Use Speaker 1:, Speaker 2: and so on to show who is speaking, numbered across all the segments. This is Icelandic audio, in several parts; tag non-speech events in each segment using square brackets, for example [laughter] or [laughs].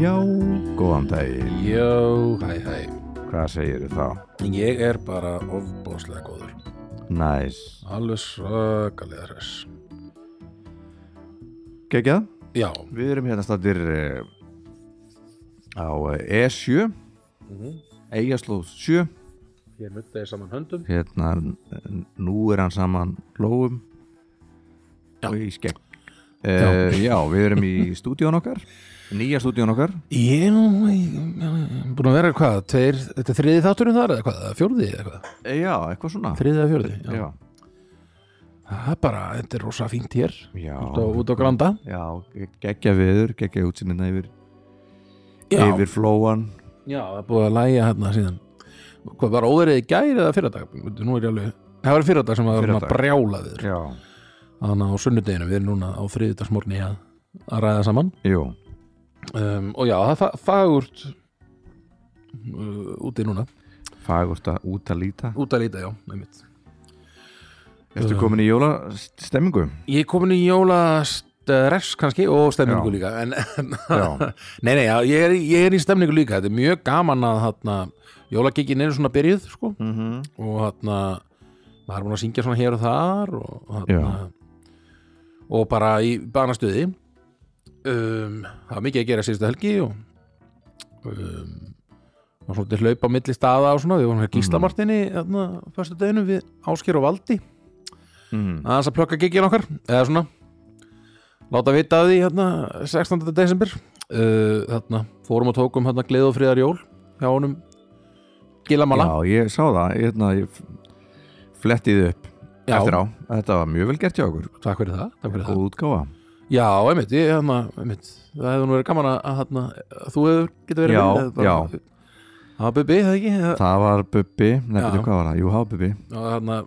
Speaker 1: Já, góðan daginn.
Speaker 2: Jó, hæ, hæ.
Speaker 1: Hvað segir þú þá?
Speaker 2: Ég er bara ofbóðslega góður.
Speaker 1: Næs.
Speaker 2: Alveg svakalega hress.
Speaker 1: Gekkjað?
Speaker 2: Já.
Speaker 1: Við erum hérna stættir uh, á eh, E7,
Speaker 2: Mm -hmm.
Speaker 1: Eyjaslóð 7.
Speaker 2: Ég nuttaði saman höndum.
Speaker 1: Hérna, n- nú er hann saman lóum
Speaker 2: Já.
Speaker 1: og í skegg. Uh, já. við erum í stúdíón okkar, nýja stúdíón okkar.
Speaker 2: Ég er búin að vera hvað, tveir, þetta er þriði þátturinn þar eða hvað, eða fjórði eða hvað.
Speaker 1: Eh, já, eitthvað svona.
Speaker 2: Þriði eða fjórði, já.
Speaker 1: Já,
Speaker 2: Það er bara, þetta er rosa fínt hér,
Speaker 1: já.
Speaker 2: út á, út á granda.
Speaker 1: Já, geggja viður, geggja útsinninna yfir,
Speaker 2: Já,
Speaker 1: yfir flóan.
Speaker 2: já, það er búið að læja hérna síðan. Hvað var óverið í gæri eða fyrradag? Nú er ég alveg, það var fyrradag sem var
Speaker 1: Fyrradag.
Speaker 2: brjálaður.
Speaker 1: Já.
Speaker 2: þannig að á sunnudeginu við erum núna á þriðdagsmorni að, að ræða saman
Speaker 1: Jú,
Speaker 2: um, og já, það er fa- fagurt uh, úti núna
Speaker 1: fagurt að út að líta.
Speaker 2: út að líta, já, einmitt
Speaker 1: Ertu komin í
Speaker 2: [laughs]
Speaker 1: jólastemmingu?
Speaker 2: ég er komin í jólastress kannski og stemningu
Speaker 1: Já.
Speaker 2: líka en, en
Speaker 1: Já.
Speaker 2: nei, nei, já, ég er, í- ég er í stemningu líka þetta er mjög gaman að þarna jólagikkin er svona byrjuð, sko
Speaker 1: Mm -hmm.
Speaker 2: og þarna maður er búin að syngja svona hér og þar og, þarna, og bara í banastuði um, það var mikið að gera síðustu helgi og um, og svolítið hlaupa á milli staða og svona, við vorum hér gíslamartinni þarna, fyrstu deginu við Ásker og Valdi
Speaker 1: Mm.
Speaker 2: aðeins að plöka gigin okkar, eða svona láta vita af því hérna 16. desember uh, þarna, fórum og tókum hérna gleð og friðar jól hjá honum Gilamala
Speaker 1: Já, ég sá það, ég, hérna, ég flettið upp
Speaker 2: Já,
Speaker 1: eftir á. Þetta var mjög vel gert hjá okkur.
Speaker 2: takk fyrir það, takk fyrir það.
Speaker 1: Góð útgáfa.
Speaker 2: Já, einmitt, ég, hana, einmitt það hefði nú verið gaman að, að hana, þú hefur getur verið
Speaker 1: Já,
Speaker 2: með, það var- Það var bubbi, það ekki Það-
Speaker 1: Það var Bubbi,
Speaker 2: Já.
Speaker 1: nefnir hvað var það? Jú, það var Bubbi,
Speaker 2: og hana,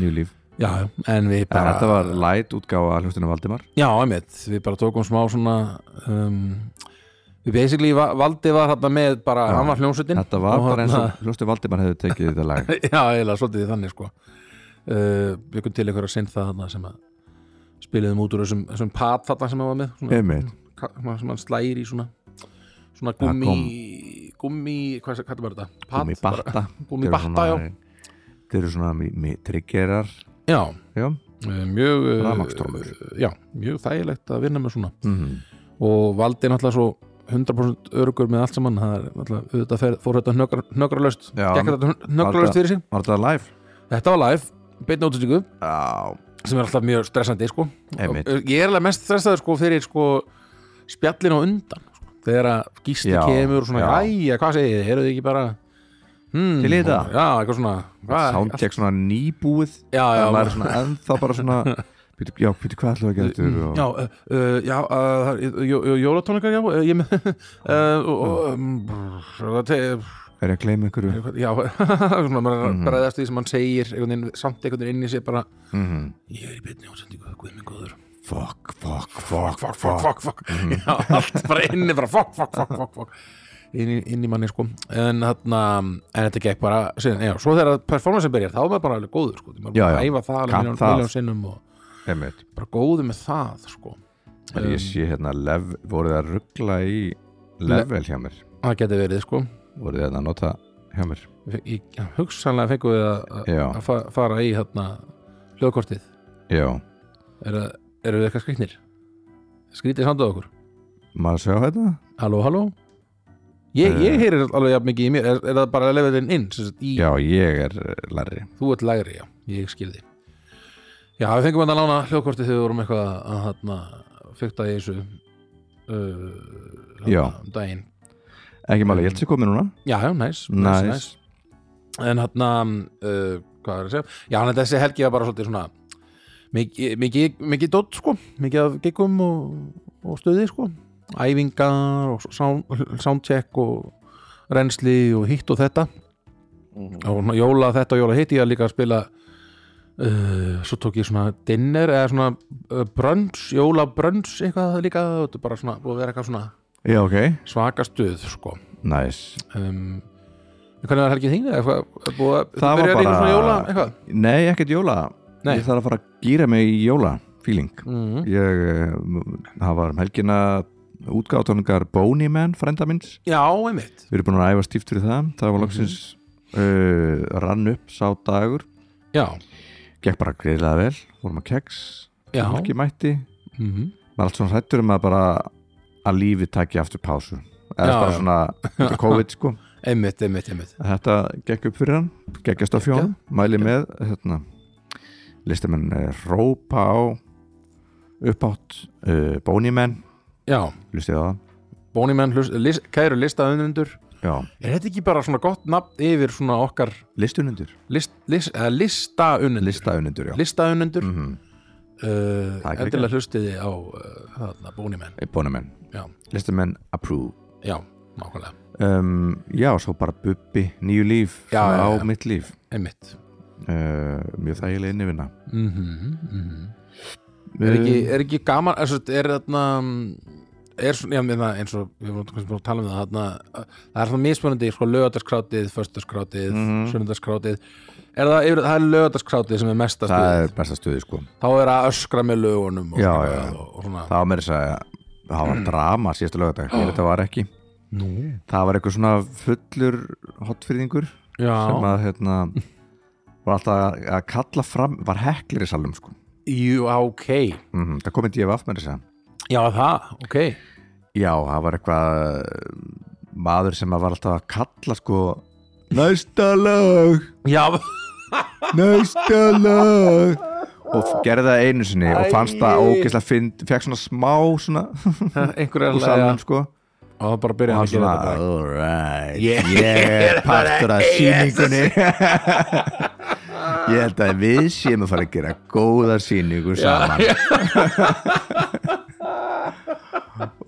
Speaker 1: nýju líf.
Speaker 2: Já, hérna, já, en við
Speaker 1: En
Speaker 2: bara
Speaker 1: þetta var light útgáfa að hlustinu Valdimar.
Speaker 2: Já, einmitt, við bara tókum smá svona um, Við basically, va- Valdi var þarna með bara,
Speaker 1: Já.
Speaker 2: hann var hljómsveitin
Speaker 1: Þetta var
Speaker 2: og hérna-
Speaker 1: bara eins
Speaker 2: þarna-
Speaker 1: og hlustinu Valdimar hefði tekið þetta lag.
Speaker 2: [laughs] Já, eiginlega, svolítið þannig sko uh, Byggum til einhverja sinn það þarna sem að spiliðum út úr þessum, þessum pat þarna sem hann var með svona,
Speaker 1: Einmitt.
Speaker 2: ka- svona- sem hann slægir í svona svona
Speaker 1: Það
Speaker 2: gummi gummi, hvað kallar maður þetta? Pat,
Speaker 1: Gumi batta.
Speaker 2: bara- gúmmí batta, já.
Speaker 1: Þeir eru svona mi- mi- triggerar.
Speaker 2: Já,
Speaker 1: Já.
Speaker 2: eh, mjög eh,
Speaker 1: Rafmagnstromur.
Speaker 2: Já, mjög þægilegt að vinna með svona
Speaker 1: Mm.
Speaker 2: og valdi náttúrulega svo 100% örugur með allt saman það er náttúrulega, auðvitað fer, fór þetta hnökra- hnökralaust
Speaker 1: Já,
Speaker 2: gekk þetta hnökralaust fyrir sig
Speaker 1: Var þetta live?
Speaker 2: Þetta var live, beinna útendingu
Speaker 1: Já.
Speaker 2: sem er alltaf mjög stressandi sko.
Speaker 1: Einmitt.
Speaker 2: Og ég er alveg mest stressaður sko, fyrir sko, spjallin á undan sko. þegar að gísli
Speaker 1: Já,
Speaker 2: kemur og svona,
Speaker 1: já.
Speaker 2: æja, hvað segið þið, eru þið ekki bara hmm,
Speaker 1: Til í þetta?
Speaker 2: já, eitthvað svona hvað-
Speaker 1: Soundcheck svona nýbúið.
Speaker 2: já, já,
Speaker 1: Það er svona ennþá bara
Speaker 2: [laughs]
Speaker 1: svona, "Bíddu, já, býtu hvað ætlum við að gera þetta? eru?" Og-
Speaker 2: já, uh, uh, já uh, jólatónleikar, já uh, ég með [laughs] uh, og- og um, brr, það-
Speaker 1: Er ég að gleyma einhverju?
Speaker 2: já, [laughs] svona maður
Speaker 1: Mhm.
Speaker 2: mm -hmm. bregðast því sem hann segir einhvern veginn, samt einhvern veginn inn í sér bara
Speaker 1: Mm -hmm.
Speaker 2: ég er í beinni ásendingu, guð minn góður
Speaker 1: Fuck, fuck, fuck, Mhm.
Speaker 2: fuck, fuck, fuck, fuck já, allt bara inni, bara fuck, fuck, fuck, fuck, fuck. Inn, í, inn í manni sko en, þarna, en þetta gekk bara síðan, já, svo þegar performancein byrjar þá er maður bara alveg góður sko, maður
Speaker 1: Já,
Speaker 2: bara
Speaker 1: já.
Speaker 2: æfa það alveg
Speaker 1: Kann
Speaker 2: miljón,
Speaker 1: það.
Speaker 2: miljón sinnum og
Speaker 1: Einmitt.
Speaker 2: bara góður með það sko
Speaker 1: Um, ég sé hérna, lev, voruð þið að ruggla í level hjá mér?
Speaker 2: það geti verið sko
Speaker 1: Voruð þið hérna að nota hjá mér?
Speaker 2: Ég- ég, hugsanlega fengum við að- að
Speaker 1: Já.
Speaker 2: að fa- fara í hérna, hljóðkortið
Speaker 1: Já.
Speaker 2: eru eru við eitthvað skrýtnir skrýtið samt á okkur
Speaker 1: Maður sjá þetta?
Speaker 2: halló, halló ég, ég heyrir alveg jafn mikið í mér er, er það bara levelin inn sem sagt,
Speaker 1: Eh.
Speaker 2: í
Speaker 1: Já, ég er eh, lærri.
Speaker 2: Þú ert lægri, já, ég skilði Já, við fengum hérna að lána hljóðkorti þegar við vorum eitthvað að, að hana, fykta í þessu uh, þarna
Speaker 1: Já.
Speaker 2: um daginn
Speaker 1: Ekki máli, ég held sér komið núna.
Speaker 2: Já, já, næs, næs,
Speaker 1: Næs.
Speaker 2: næs. En hann uh, hvað er að segja? Já, hann þessi helgi var bara svolítið svona mikið, mikið, mikið dott, sko mikið af giggum og, og stöði, sko æfingar og sound, soundcheck og rensli og hitt og þetta og svona jóla þetta og jóla hitt ég að líka að spila uh, svo tók ég svona dinner eða svona uh, brönns, jóla brönns eitthvað líka, þetta er bara svona búið að vera eitthvað svona
Speaker 1: Já, ok.
Speaker 2: svaka stuð sko
Speaker 1: Næs.
Speaker 2: um, en hvernig var helgið þín eða eitthvað, er búið að
Speaker 1: Það var
Speaker 2: byrjar í
Speaker 1: bara-
Speaker 2: svona jóla eitthvað
Speaker 1: Nei, ekkert jóla.
Speaker 2: Nei.
Speaker 1: Ég Mhm. þarf að fara að gýra mig í jóla. Feeling.
Speaker 2: mm
Speaker 1: ég eh, m- það var um helgina útgáðtónungar Boney Man, frenda minns
Speaker 2: Já, einmitt
Speaker 1: Við erum búin að æfa stíft fyrir það Það var loksins uh, rann upp sá dagur
Speaker 2: Já,
Speaker 1: Gekk bara greiðlega vel, vorum að keks
Speaker 2: já
Speaker 1: Fólki mætti
Speaker 2: mm
Speaker 1: Maður er allt svona hrættur um að bara að lífið taki aftur pásu Eða
Speaker 2: Já,
Speaker 1: bara
Speaker 2: já.
Speaker 1: svona þetta er COVID sko
Speaker 2: Einmitt, einmitt, einmitt
Speaker 1: Þetta gekk upp fyrir hann, gekkjast á fjón Mæli með hérna, listamenn eh, Rópa á uppátt uh, Bónimenn,
Speaker 2: Já,
Speaker 1: lustið á það
Speaker 2: Bónimenn, list, kæru listaunundur
Speaker 1: Já,
Speaker 2: Er þetta ekki bara svona gott nafn yfir svona okkar
Speaker 1: listunundur
Speaker 2: list, list, eh, listaunundur
Speaker 1: Listaunundur, já
Speaker 2: Listaunundur
Speaker 1: mm -hmm.
Speaker 2: uh,
Speaker 1: Það er ekki
Speaker 2: Endilega hlustiði á uh, Bónimenn
Speaker 1: Bónimenn,
Speaker 2: Já,
Speaker 1: listamenn Approve
Speaker 2: já, nákvæmlega
Speaker 1: um, Já, svo bara Bubbi, nýju líf
Speaker 2: Já,
Speaker 1: svona
Speaker 2: já,
Speaker 1: á
Speaker 2: já.
Speaker 1: mitt líf
Speaker 2: Einmitt
Speaker 1: uh, Mjög þægileg innivinna
Speaker 2: mm er, ekki,
Speaker 1: Um,
Speaker 2: er ekki gaman er, er þarna mm, er svona, já, meina, eins og við vorum kannski búin að tala um það þarna, að- það er svona mismunandi sko, lögatarskrátið, föstarskrátið, mm
Speaker 1: Mhm.
Speaker 2: sunnundarskrátið er það, yfir, það er lögatarskrátið sem er mesta
Speaker 1: Um, Það
Speaker 2: stuðið,
Speaker 1: er besta stuði sko
Speaker 2: þá er að öskra með lögunum og,
Speaker 1: Já,
Speaker 2: svona,
Speaker 1: já.
Speaker 2: og, og svona
Speaker 1: Það var meira þess að það
Speaker 2: Mm.
Speaker 1: var drama síðasta
Speaker 2: Oh.
Speaker 1: lögadag Þetta var ekki
Speaker 2: Nú.
Speaker 1: Það var eitthvað svona fullur hotfyrðingur sem
Speaker 2: já,
Speaker 1: að hérna var alltaf að kalla fram var heklir í salum sko
Speaker 2: jú, á, ok
Speaker 1: mm það komið DFF með þess að
Speaker 2: já, það, ok
Speaker 1: já, það var eitthvað eh, maður sem að var alltaf að kalla sko næsta lag, [laughs]
Speaker 2: já,
Speaker 1: næsta lag og gerði það einu sinni og fannst það
Speaker 2: Æi.
Speaker 1: ógeðslega fynd, fekk svona smá svona
Speaker 2: einhverja
Speaker 1: úr salnum sko
Speaker 2: og það bara byrja
Speaker 1: og hann
Speaker 2: hann að gera
Speaker 1: svona,
Speaker 2: þetta
Speaker 1: alright
Speaker 2: [laughs] Ég-
Speaker 1: ég er partur af síningunni [laughs] ég held að við séum að fara að gera góða síningu saman [laughs]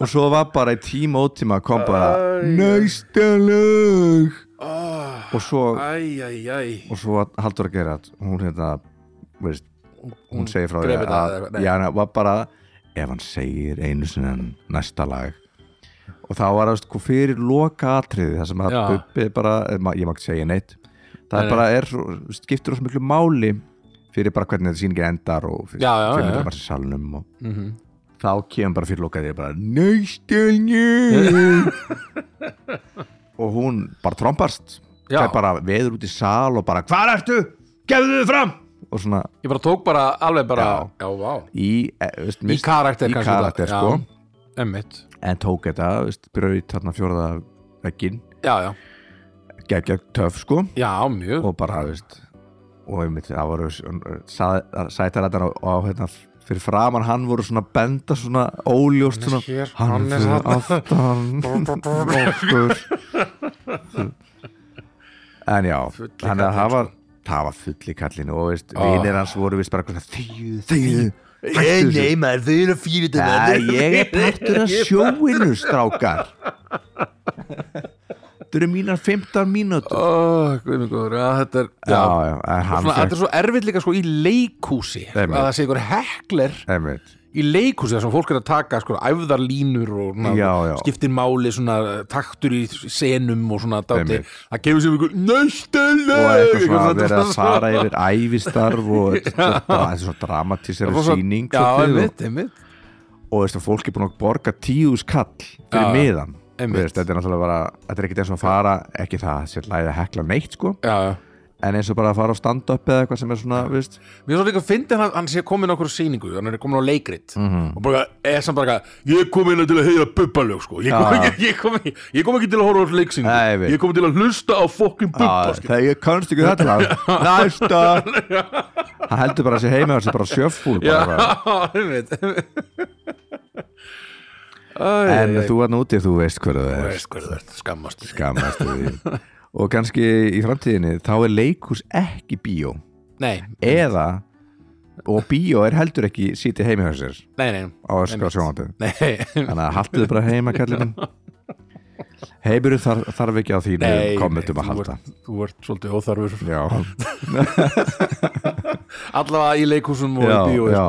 Speaker 1: og svo var bara í tíma og tíma kom bara næsta lög
Speaker 2: oh,
Speaker 1: og svo,
Speaker 2: æj, æj, æj
Speaker 1: og svo haldur að gera hún hérna veist, hún segir frá
Speaker 2: gref
Speaker 1: því
Speaker 2: þetta eða eitthvað,
Speaker 1: að
Speaker 2: nei.
Speaker 1: já, hann var bara ef hann segir einu sinni en næsta lag og þá var það sko, fyrir loka atriði það sem að
Speaker 2: Já.
Speaker 1: Bubbi bara, eh, ma- ég má ekki segja neitt það
Speaker 2: Nei,
Speaker 1: er bara er, svo- skiptir rosa miklu máli fyrir bara hvernig þetta sýningi endar og fyrir
Speaker 2: Já, já, já.
Speaker 1: fyrir bara salnum og
Speaker 2: mm -hmm.
Speaker 1: þá kemur bara fyrir lokaðið bara
Speaker 2: [laughs]
Speaker 1: nöystelnjö og hún bara trombast
Speaker 2: Já.
Speaker 1: það er bara veður út í sal og bara hvað ertu, gefðu þið fram og svona
Speaker 2: Ég bara tók bara alveg bara
Speaker 1: Já.
Speaker 2: Já, vá
Speaker 1: í, eh, veist,
Speaker 2: Í
Speaker 1: mist,
Speaker 2: karakter
Speaker 1: í
Speaker 2: kannski
Speaker 1: karakter
Speaker 2: þetta,
Speaker 1: sko,
Speaker 2: Já, emmitt
Speaker 1: en tók þetta veist, braut þarna fjórða vekkin
Speaker 2: Já, já
Speaker 1: geggja töf sko
Speaker 2: Já, mjög
Speaker 1: og bara veist, og einmitt það voru sætarættar á, á hérna fyrir framan hann voru svona benda svona óljóst svona hann
Speaker 2: Hann er hér, hann er
Speaker 1: fyrir
Speaker 2: þarna."
Speaker 1: aftan okkur en já
Speaker 2: Fulli
Speaker 1: hann að
Speaker 2: kallinn,
Speaker 1: hafa það var full í kallinu og veist,
Speaker 2: Ah.
Speaker 1: vinir hans voru vist bara eitthvað þegju, þegju
Speaker 3: Ei, nei, maður, þau eru fyrir þetta
Speaker 1: Ja, ég er partur af sjóinu, strákar Þetta eru mínar 15 mínútur
Speaker 2: Ó, guð minn góður Já, þetta er
Speaker 1: Já, já, en hann
Speaker 2: Svona, Þetta
Speaker 1: fekk
Speaker 2: er svo erfitt líka sko í leikhúsi
Speaker 1: Einmitt.
Speaker 2: Að það sé ykkur hekler
Speaker 1: einmitt,
Speaker 2: í leikhúsi þar sem fólk er að taka sko æfðarlínur og svona,
Speaker 1: Já, já.
Speaker 2: skiptir máli svona taktur í senum og svona dáti
Speaker 1: Einmitt.
Speaker 2: Það gefur sér ykkur
Speaker 1: og
Speaker 2: nöstelög
Speaker 1: eitthvað svona að vera að fara yfir ævistarf
Speaker 2: [laughs]
Speaker 1: og þetta er svona dramatísir sýning
Speaker 2: Já,
Speaker 1: svolítið, og,
Speaker 2: einmitt, einmitt
Speaker 1: og veist, að fólk er búin að borga tíus kall fyrir
Speaker 2: Já,
Speaker 1: miðan
Speaker 2: einmitt.
Speaker 1: Veist, þetta er náttúrulega bara, þetta er ekkert eins og að fara ekki það sér læði að hekla neitt sko
Speaker 2: Já, já
Speaker 1: en eins og bara að fara á stand-up eða eitthvað sem er svona, veist,
Speaker 2: Mér er svo líka að fyndi hann að hann sé komin á okkur sýningu, hann er komin á leikrit
Speaker 1: Mhm.
Speaker 2: og bara er samt bara eitthvað, ég kom inn til að heyra bubbalög sko, ég kom,
Speaker 1: Já.
Speaker 2: ekki, ég, kom, ég kom ekki til að horfa á sleiksýningu,
Speaker 1: Nei, ég veit.
Speaker 2: ég kom til að hlusta á fokkin bubba sko.
Speaker 1: "Ah, þegar ég kannst ekki þetta
Speaker 2: [laughs]
Speaker 1: lag næsta hann heldur bara að sé heima og sé bara sjöfúl bara.
Speaker 2: [laughs] Já, einmitt
Speaker 1: en þú var núti þú veist hverðu það er
Speaker 2: Veist hvað þú ert, skammast
Speaker 1: skammast því [laughs] og kannski í framtíðinni þá er leikhús ekki bíó
Speaker 2: Nei,
Speaker 1: eða og bíó er heldur ekki sítið heima hjá sér
Speaker 2: nei, nei,
Speaker 1: á öskra sjónvandið
Speaker 2: nei
Speaker 1: þannig að haltu þið bara heima kallið minn heimur þar, þarf ekki á þínu
Speaker 2: Nei,
Speaker 1: kommentum
Speaker 2: nei,
Speaker 1: um að
Speaker 2: þú
Speaker 1: halda
Speaker 2: ert, þú ert svolítið óþarfur
Speaker 1: já,
Speaker 2: allavega í leikhúsum
Speaker 1: [laughs]
Speaker 2: og
Speaker 1: já,
Speaker 2: í bíó
Speaker 1: já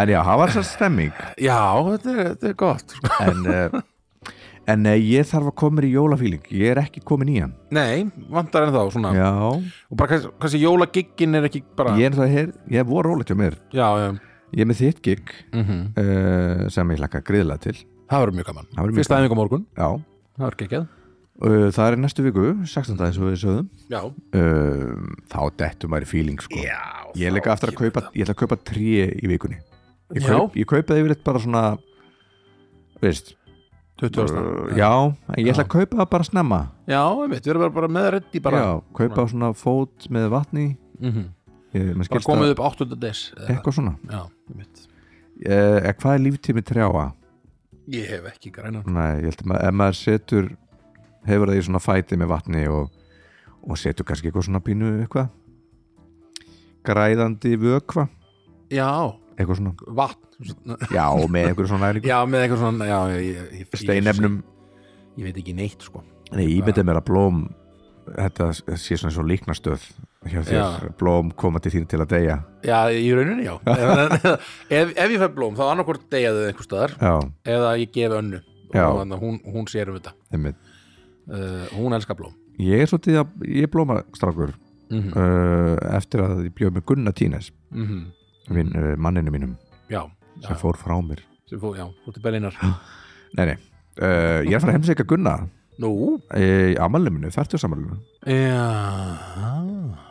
Speaker 1: en já, það var sér stemming
Speaker 2: já þetta, er, þetta er gott sko. [laughs]
Speaker 1: en, uh, en uh, ég þarf að koma mér í jólafíling ég er ekki komin í hann
Speaker 2: nei, vantar en þá svona.
Speaker 1: já,
Speaker 2: og bara kannski, kannski jólagiggin er ekki bara
Speaker 1: ég er það hér, ég er voru rólegt hjá mér
Speaker 2: já, já
Speaker 1: ég er með þitt gig
Speaker 2: mm -hmm.
Speaker 1: uh, sem ég hlakka griðlega til
Speaker 2: það verður mjög gaman
Speaker 1: Það verður mjög
Speaker 2: fyrsta æfingu á morgun,
Speaker 1: já
Speaker 2: það verður geggjað
Speaker 1: Uh, það er í næstu viku, 16. eins og við sögðum
Speaker 2: já,
Speaker 1: uh, þá dettum maður í feeling sko.
Speaker 2: já
Speaker 1: ég er líka aftur að kaupa ég ætla að kaupa trí í vikunni ég,
Speaker 2: Já.
Speaker 1: kaup, ég kaupa það yfirleitt bara svona veist
Speaker 2: 20.
Speaker 1: uh, já, en ég ætla að kaupa það bara snemma
Speaker 2: já, einmitt, við erum bara- bara með reddi bara,
Speaker 1: já, kaupa svona fót með vatni
Speaker 2: mm
Speaker 1: ég, mér
Speaker 2: bara
Speaker 1: skilst að
Speaker 2: komið upp 8. des eða
Speaker 1: eitthvað svona
Speaker 2: eitthvað. já, einmitt
Speaker 1: uh, hvað er líftími trjáa?
Speaker 2: ég hef ekki græna
Speaker 1: Nei, ég held að maður, ef maður setur hefur það í svona fæti með vatni og, og setur kannski eitthvað svona pínu eitthvað græðandi vökva
Speaker 2: já,
Speaker 1: eitthvað svona,
Speaker 2: vatn
Speaker 1: já, með einhverju svona næringu
Speaker 2: já, með eitthvað svona já, ég, ég, ég,
Speaker 1: steinefnum
Speaker 2: ég, ég veit ekki neitt sko
Speaker 1: Nei, ég myndi mér að blóm þetta sé svona svo líknastöð hjá þér,
Speaker 2: Já.
Speaker 1: blóm koma til þín til að deyja
Speaker 2: já, í rauninni já ef, ef, ef ég fær blóm, þá annarkvort deyjaðu einhver staðar
Speaker 1: Já,
Speaker 2: eða ég gef önnu
Speaker 1: Já.
Speaker 2: og þannig að hún, hún sér um þetta
Speaker 1: einmitt
Speaker 2: uh, hún elskar blóm
Speaker 1: Ég er svolítið að, ég er blómastrákur
Speaker 2: mm -hmm.
Speaker 1: uh, eftir að ég bjóð með Gunnar Tínes
Speaker 2: Mhm.
Speaker 1: minn, uh, manninu mínum
Speaker 2: já,
Speaker 1: sem
Speaker 2: já,
Speaker 1: fór frá mér
Speaker 2: sem fó, já, þú til Berlínar
Speaker 1: Nei, nei, uh, ég er að fara að heimsækja Gunnar
Speaker 2: nú,
Speaker 1: Eh, í amaluminu, færtugsammalinu
Speaker 2: já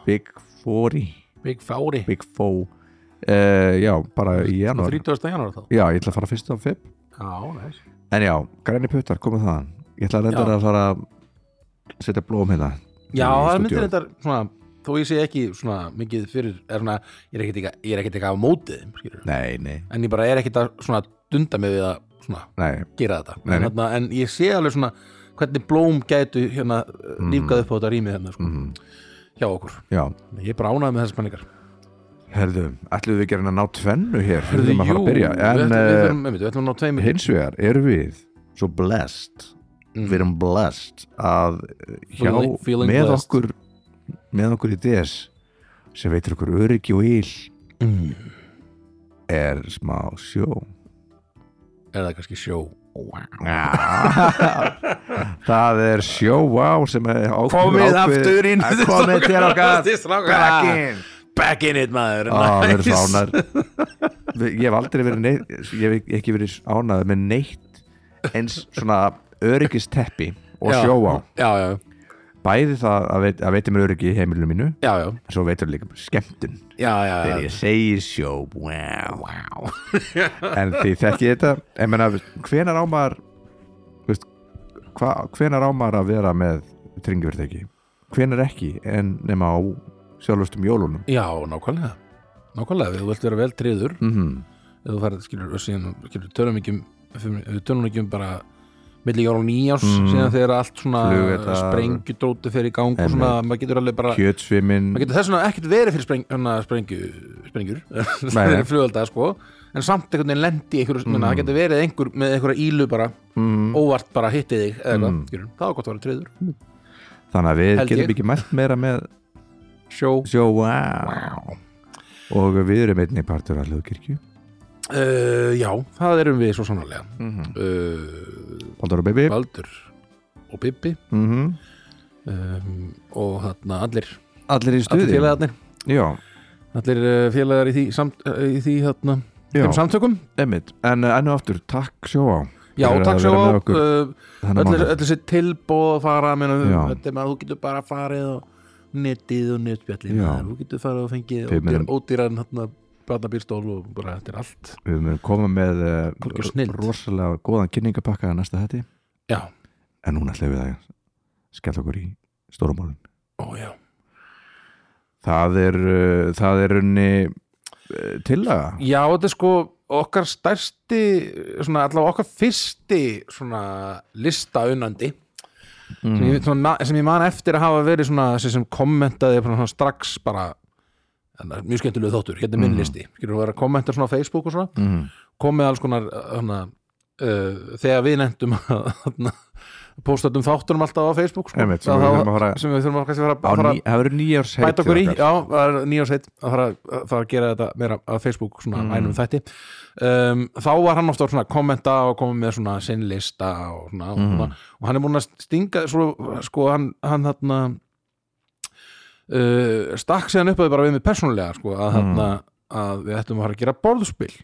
Speaker 1: Big 40
Speaker 2: Big Fári,
Speaker 1: Big 4 uh, já, bara í janúar
Speaker 2: 30. januar þá
Speaker 1: já, ég ætla að fara fyrst á feb
Speaker 2: já, næs
Speaker 1: en já, græni puttar, komið þaðan ég ætla að reynda
Speaker 2: Já.
Speaker 1: að fara að setja blóm hérna
Speaker 2: Já,
Speaker 1: í
Speaker 2: það
Speaker 1: stúdíó.
Speaker 2: myndir þetta svona, þó ég sé ekki svona mikið fyrir er svona, ég er ekkert eitthvað- ég er ekkert eitthvað á mótið þeim, skilurðu.
Speaker 1: nei, nei,
Speaker 2: en ég bara er ekkert að svona dunda mig við að svona
Speaker 1: nei,
Speaker 2: gera þetta
Speaker 1: Nei,
Speaker 2: en,
Speaker 1: nei.
Speaker 2: þarna, en ég sé alveg svona hvernig blóm gætu hérna mm. lífgað upp á þetta rýmið hérna sko,
Speaker 1: Mhm.
Speaker 2: hjá okkur
Speaker 1: já
Speaker 2: ég er bara ánægð með þessar spenningar
Speaker 1: herðu, ætlum við ekki að reyna að ná tvennu hér
Speaker 2: Heyrðu,
Speaker 1: fyrir að fara
Speaker 2: jú,
Speaker 1: að byrja en
Speaker 2: við ætlum, við,
Speaker 1: uh,
Speaker 2: ætlum, við, við ætlum að ná tveimur
Speaker 1: hins vegar erum við svo blessed við erum blessed að eh, hjá
Speaker 2: Feeling- feeling
Speaker 1: með
Speaker 2: blessed.
Speaker 1: okkur með okkur í DS sem veitir okkur öryggi og íl
Speaker 2: Mm.
Speaker 1: er smá sjó
Speaker 2: er það kannski sjó
Speaker 1: Já. [laughs] það er sjóvá sem er ákveð,
Speaker 2: Komið aftur inn,
Speaker 1: Að komið til okkar
Speaker 2: [laughs] Þið strákar. Ah,
Speaker 1: back in.
Speaker 2: back in it maður
Speaker 1: Á, við erum svo
Speaker 2: Nice.
Speaker 1: ánar ég hef aldrei verið neitt, ég hef ekki verið ánað með neitt eins svona öryggisteppi og
Speaker 2: Já.
Speaker 1: sjóvá
Speaker 2: já, já,
Speaker 1: bæði það að, veit, að veitir mér öryggi í heimilinu mínu
Speaker 2: já, já,
Speaker 1: en svo veitir mér líka skemmtun
Speaker 2: já, já, já.
Speaker 1: þegar ég segi sjó wow, wow. [laughs] en því þekki ég þetta en menna, hvenar á maður veist, hva, hvenar á maður að vera með tringjufyrirtæki hvenar ekki en nema á sjálfustum jólunum
Speaker 2: Já, nákvæmlega Nákvæmlega, ef þú vilt vera vel triður
Speaker 1: mm -hmm.
Speaker 2: ef þú færið, skilur, og síðan skilur, tölum ekki um fimm- við tölum ekki um bara milli jól og nýjárs,
Speaker 1: Mm.
Speaker 2: síðan þegar allt svona
Speaker 1: Flugeldar.
Speaker 2: sprengjudróti fer í gang og svona, maður getur alveg bara
Speaker 1: kjötsvimin
Speaker 2: maður getur þess vegna ekkert verið fyrir spreng, hana, sprengju, sprengjur [laughs]
Speaker 1: Nei.
Speaker 2: fyrir flugölda, sko en samt einhvern veginn lendi í einhverju, mm. það getur verið einhver með einhverja ílu bara,
Speaker 1: mm,
Speaker 2: óvart bara hittið þig eða eitthvað, skilur, það var gott að vera triður
Speaker 1: þannig að við
Speaker 2: Held
Speaker 1: getum
Speaker 2: ég.
Speaker 1: ekki mælt meira með
Speaker 2: sjó,
Speaker 1: sjó wow. og við erum einnig partur af hlugkirkju
Speaker 2: uh, já, það erum við svo sannarlega
Speaker 1: mm -hmm.
Speaker 2: uh,
Speaker 1: Baldur og Bibi
Speaker 2: Baldur og Bibbi
Speaker 1: mm -hmm.
Speaker 2: um, og þarna allir
Speaker 1: allir í
Speaker 2: allir
Speaker 1: stuði
Speaker 2: félagarnir
Speaker 1: já,
Speaker 2: allir uh, félagar í því, samt, uh, í því þarna,
Speaker 1: já,
Speaker 2: þeim samtökum
Speaker 1: einmitt en uh, ennu aftur, takk sjóvá
Speaker 2: já,
Speaker 1: Fyrir að
Speaker 2: takk svo
Speaker 1: vera
Speaker 2: á
Speaker 1: með okkur.
Speaker 2: uh,
Speaker 1: Þennan
Speaker 2: öll
Speaker 1: mánuð.
Speaker 2: öll þessi tilbóð að fara meina,
Speaker 1: Já.
Speaker 2: þetta er maður, þú getur bara farið og netið og netbjallin
Speaker 1: Já.
Speaker 2: maður, þú getur farið og fengið
Speaker 1: Við
Speaker 2: ódýr,
Speaker 1: munum-
Speaker 2: ódýran þarna barnabýrstól og bara þetta er allt
Speaker 1: Við mögum koma með
Speaker 2: Algjör
Speaker 1: uh,
Speaker 2: snilld.
Speaker 1: rosalega góðan kynningapakka að næsta hætti
Speaker 2: já,
Speaker 1: en núna ætlum við að skella okkur í stórumálun
Speaker 2: ó já,
Speaker 1: Það er, uh, það er unni uh, tillaga
Speaker 2: já þetta er sko okkar stærsti svona, allavega okkar fyrsti svona listaunandi
Speaker 1: Mhm.
Speaker 2: sem ég, svona, ma- sem ég man eftir að hafa verið svona þessi sem kommentaði bara svona strax bara en það er mjög skemmtilegu þóttur, hérna er minn
Speaker 1: Mhm.
Speaker 2: listi skilur þú vera að kommenta svona á Facebook og svona
Speaker 1: mm.
Speaker 2: komið alls konar hana, uh, þegar við nefndum að hana, postatum þáttunum alltaf á Facebook sko,
Speaker 1: Einmitt, sem við
Speaker 2: Að þá-
Speaker 1: þurfum að fara-
Speaker 2: sem við þurfum að, kannski fara,
Speaker 1: Á
Speaker 2: að fara
Speaker 1: ný- Það eru nýjárs heitt
Speaker 2: bæta okkur í, já, það er nýjársveit að fara að, fara að gera þetta meira að Facebook svona
Speaker 1: Mm.
Speaker 2: ænum þætti um, þá var hann ofta svona að kommenta og komið með svona sinnlista og svona,
Speaker 1: Mm.
Speaker 2: og svona og hann er múin að stinga svo, sko, hann, hann þarna uh, stakk séðan upp að þið bara við mig persónulega, sko,
Speaker 1: Mm.
Speaker 2: að, þarna, að við ættum að fara að gera borðspil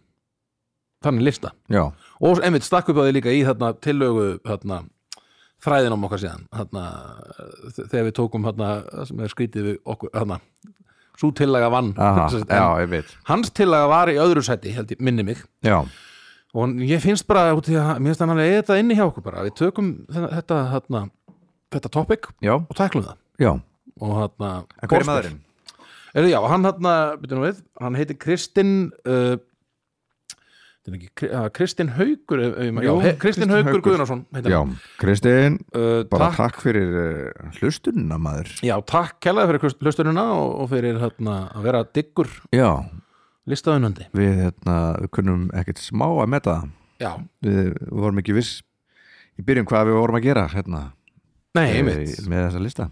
Speaker 2: þannig lista
Speaker 1: já,
Speaker 2: og einmitt stakk upp á því líka í þarna tillögu þarna þræðin um okkar síðan þarna, eh, þegar við tókum þarna það sem er skrítið við okkur þarna, svo tillaga vann
Speaker 1: aha,
Speaker 2: Sem sagt, en
Speaker 1: já, ég veit
Speaker 2: hans tillaga var í öðru sæti, held ég, minni mig
Speaker 1: já,
Speaker 2: og ég finnst bara út í að mér finnst þannig að eða þetta inni hjá okkur bara við tökum þennan- þetta, þarna, þetta topic
Speaker 1: já,
Speaker 2: og tæklum það
Speaker 1: já
Speaker 2: og þarna,
Speaker 1: en hver er maðurinn?
Speaker 2: Er, já, hann hann, byrjum við, hann heitir Kristinn uh, þetta er ekki, Kri- ah, Kristinn Haugur ef- ef ég maður-
Speaker 1: Jú,
Speaker 2: já, he-
Speaker 1: Kristinn
Speaker 2: Kristinn Haugur
Speaker 1: Haukur.
Speaker 2: Guðnason heitir
Speaker 1: já,
Speaker 2: hann.
Speaker 1: Kristinn,
Speaker 2: uh,
Speaker 1: bara
Speaker 2: takk,
Speaker 1: takk fyrir uh, hlustunna maður
Speaker 2: já, takk kælaði fyrir hlust- hlustunina og, og fyrir þarna, að vera diggur
Speaker 1: já,
Speaker 2: listaðunandi
Speaker 1: við hérna, við kunnum ekkert smá að meta það.
Speaker 2: já,
Speaker 1: við vorum ekki viss í byrjun hvað við vorum að gera hérna,
Speaker 2: nei,
Speaker 1: eh,
Speaker 2: einmitt
Speaker 1: með þessa lista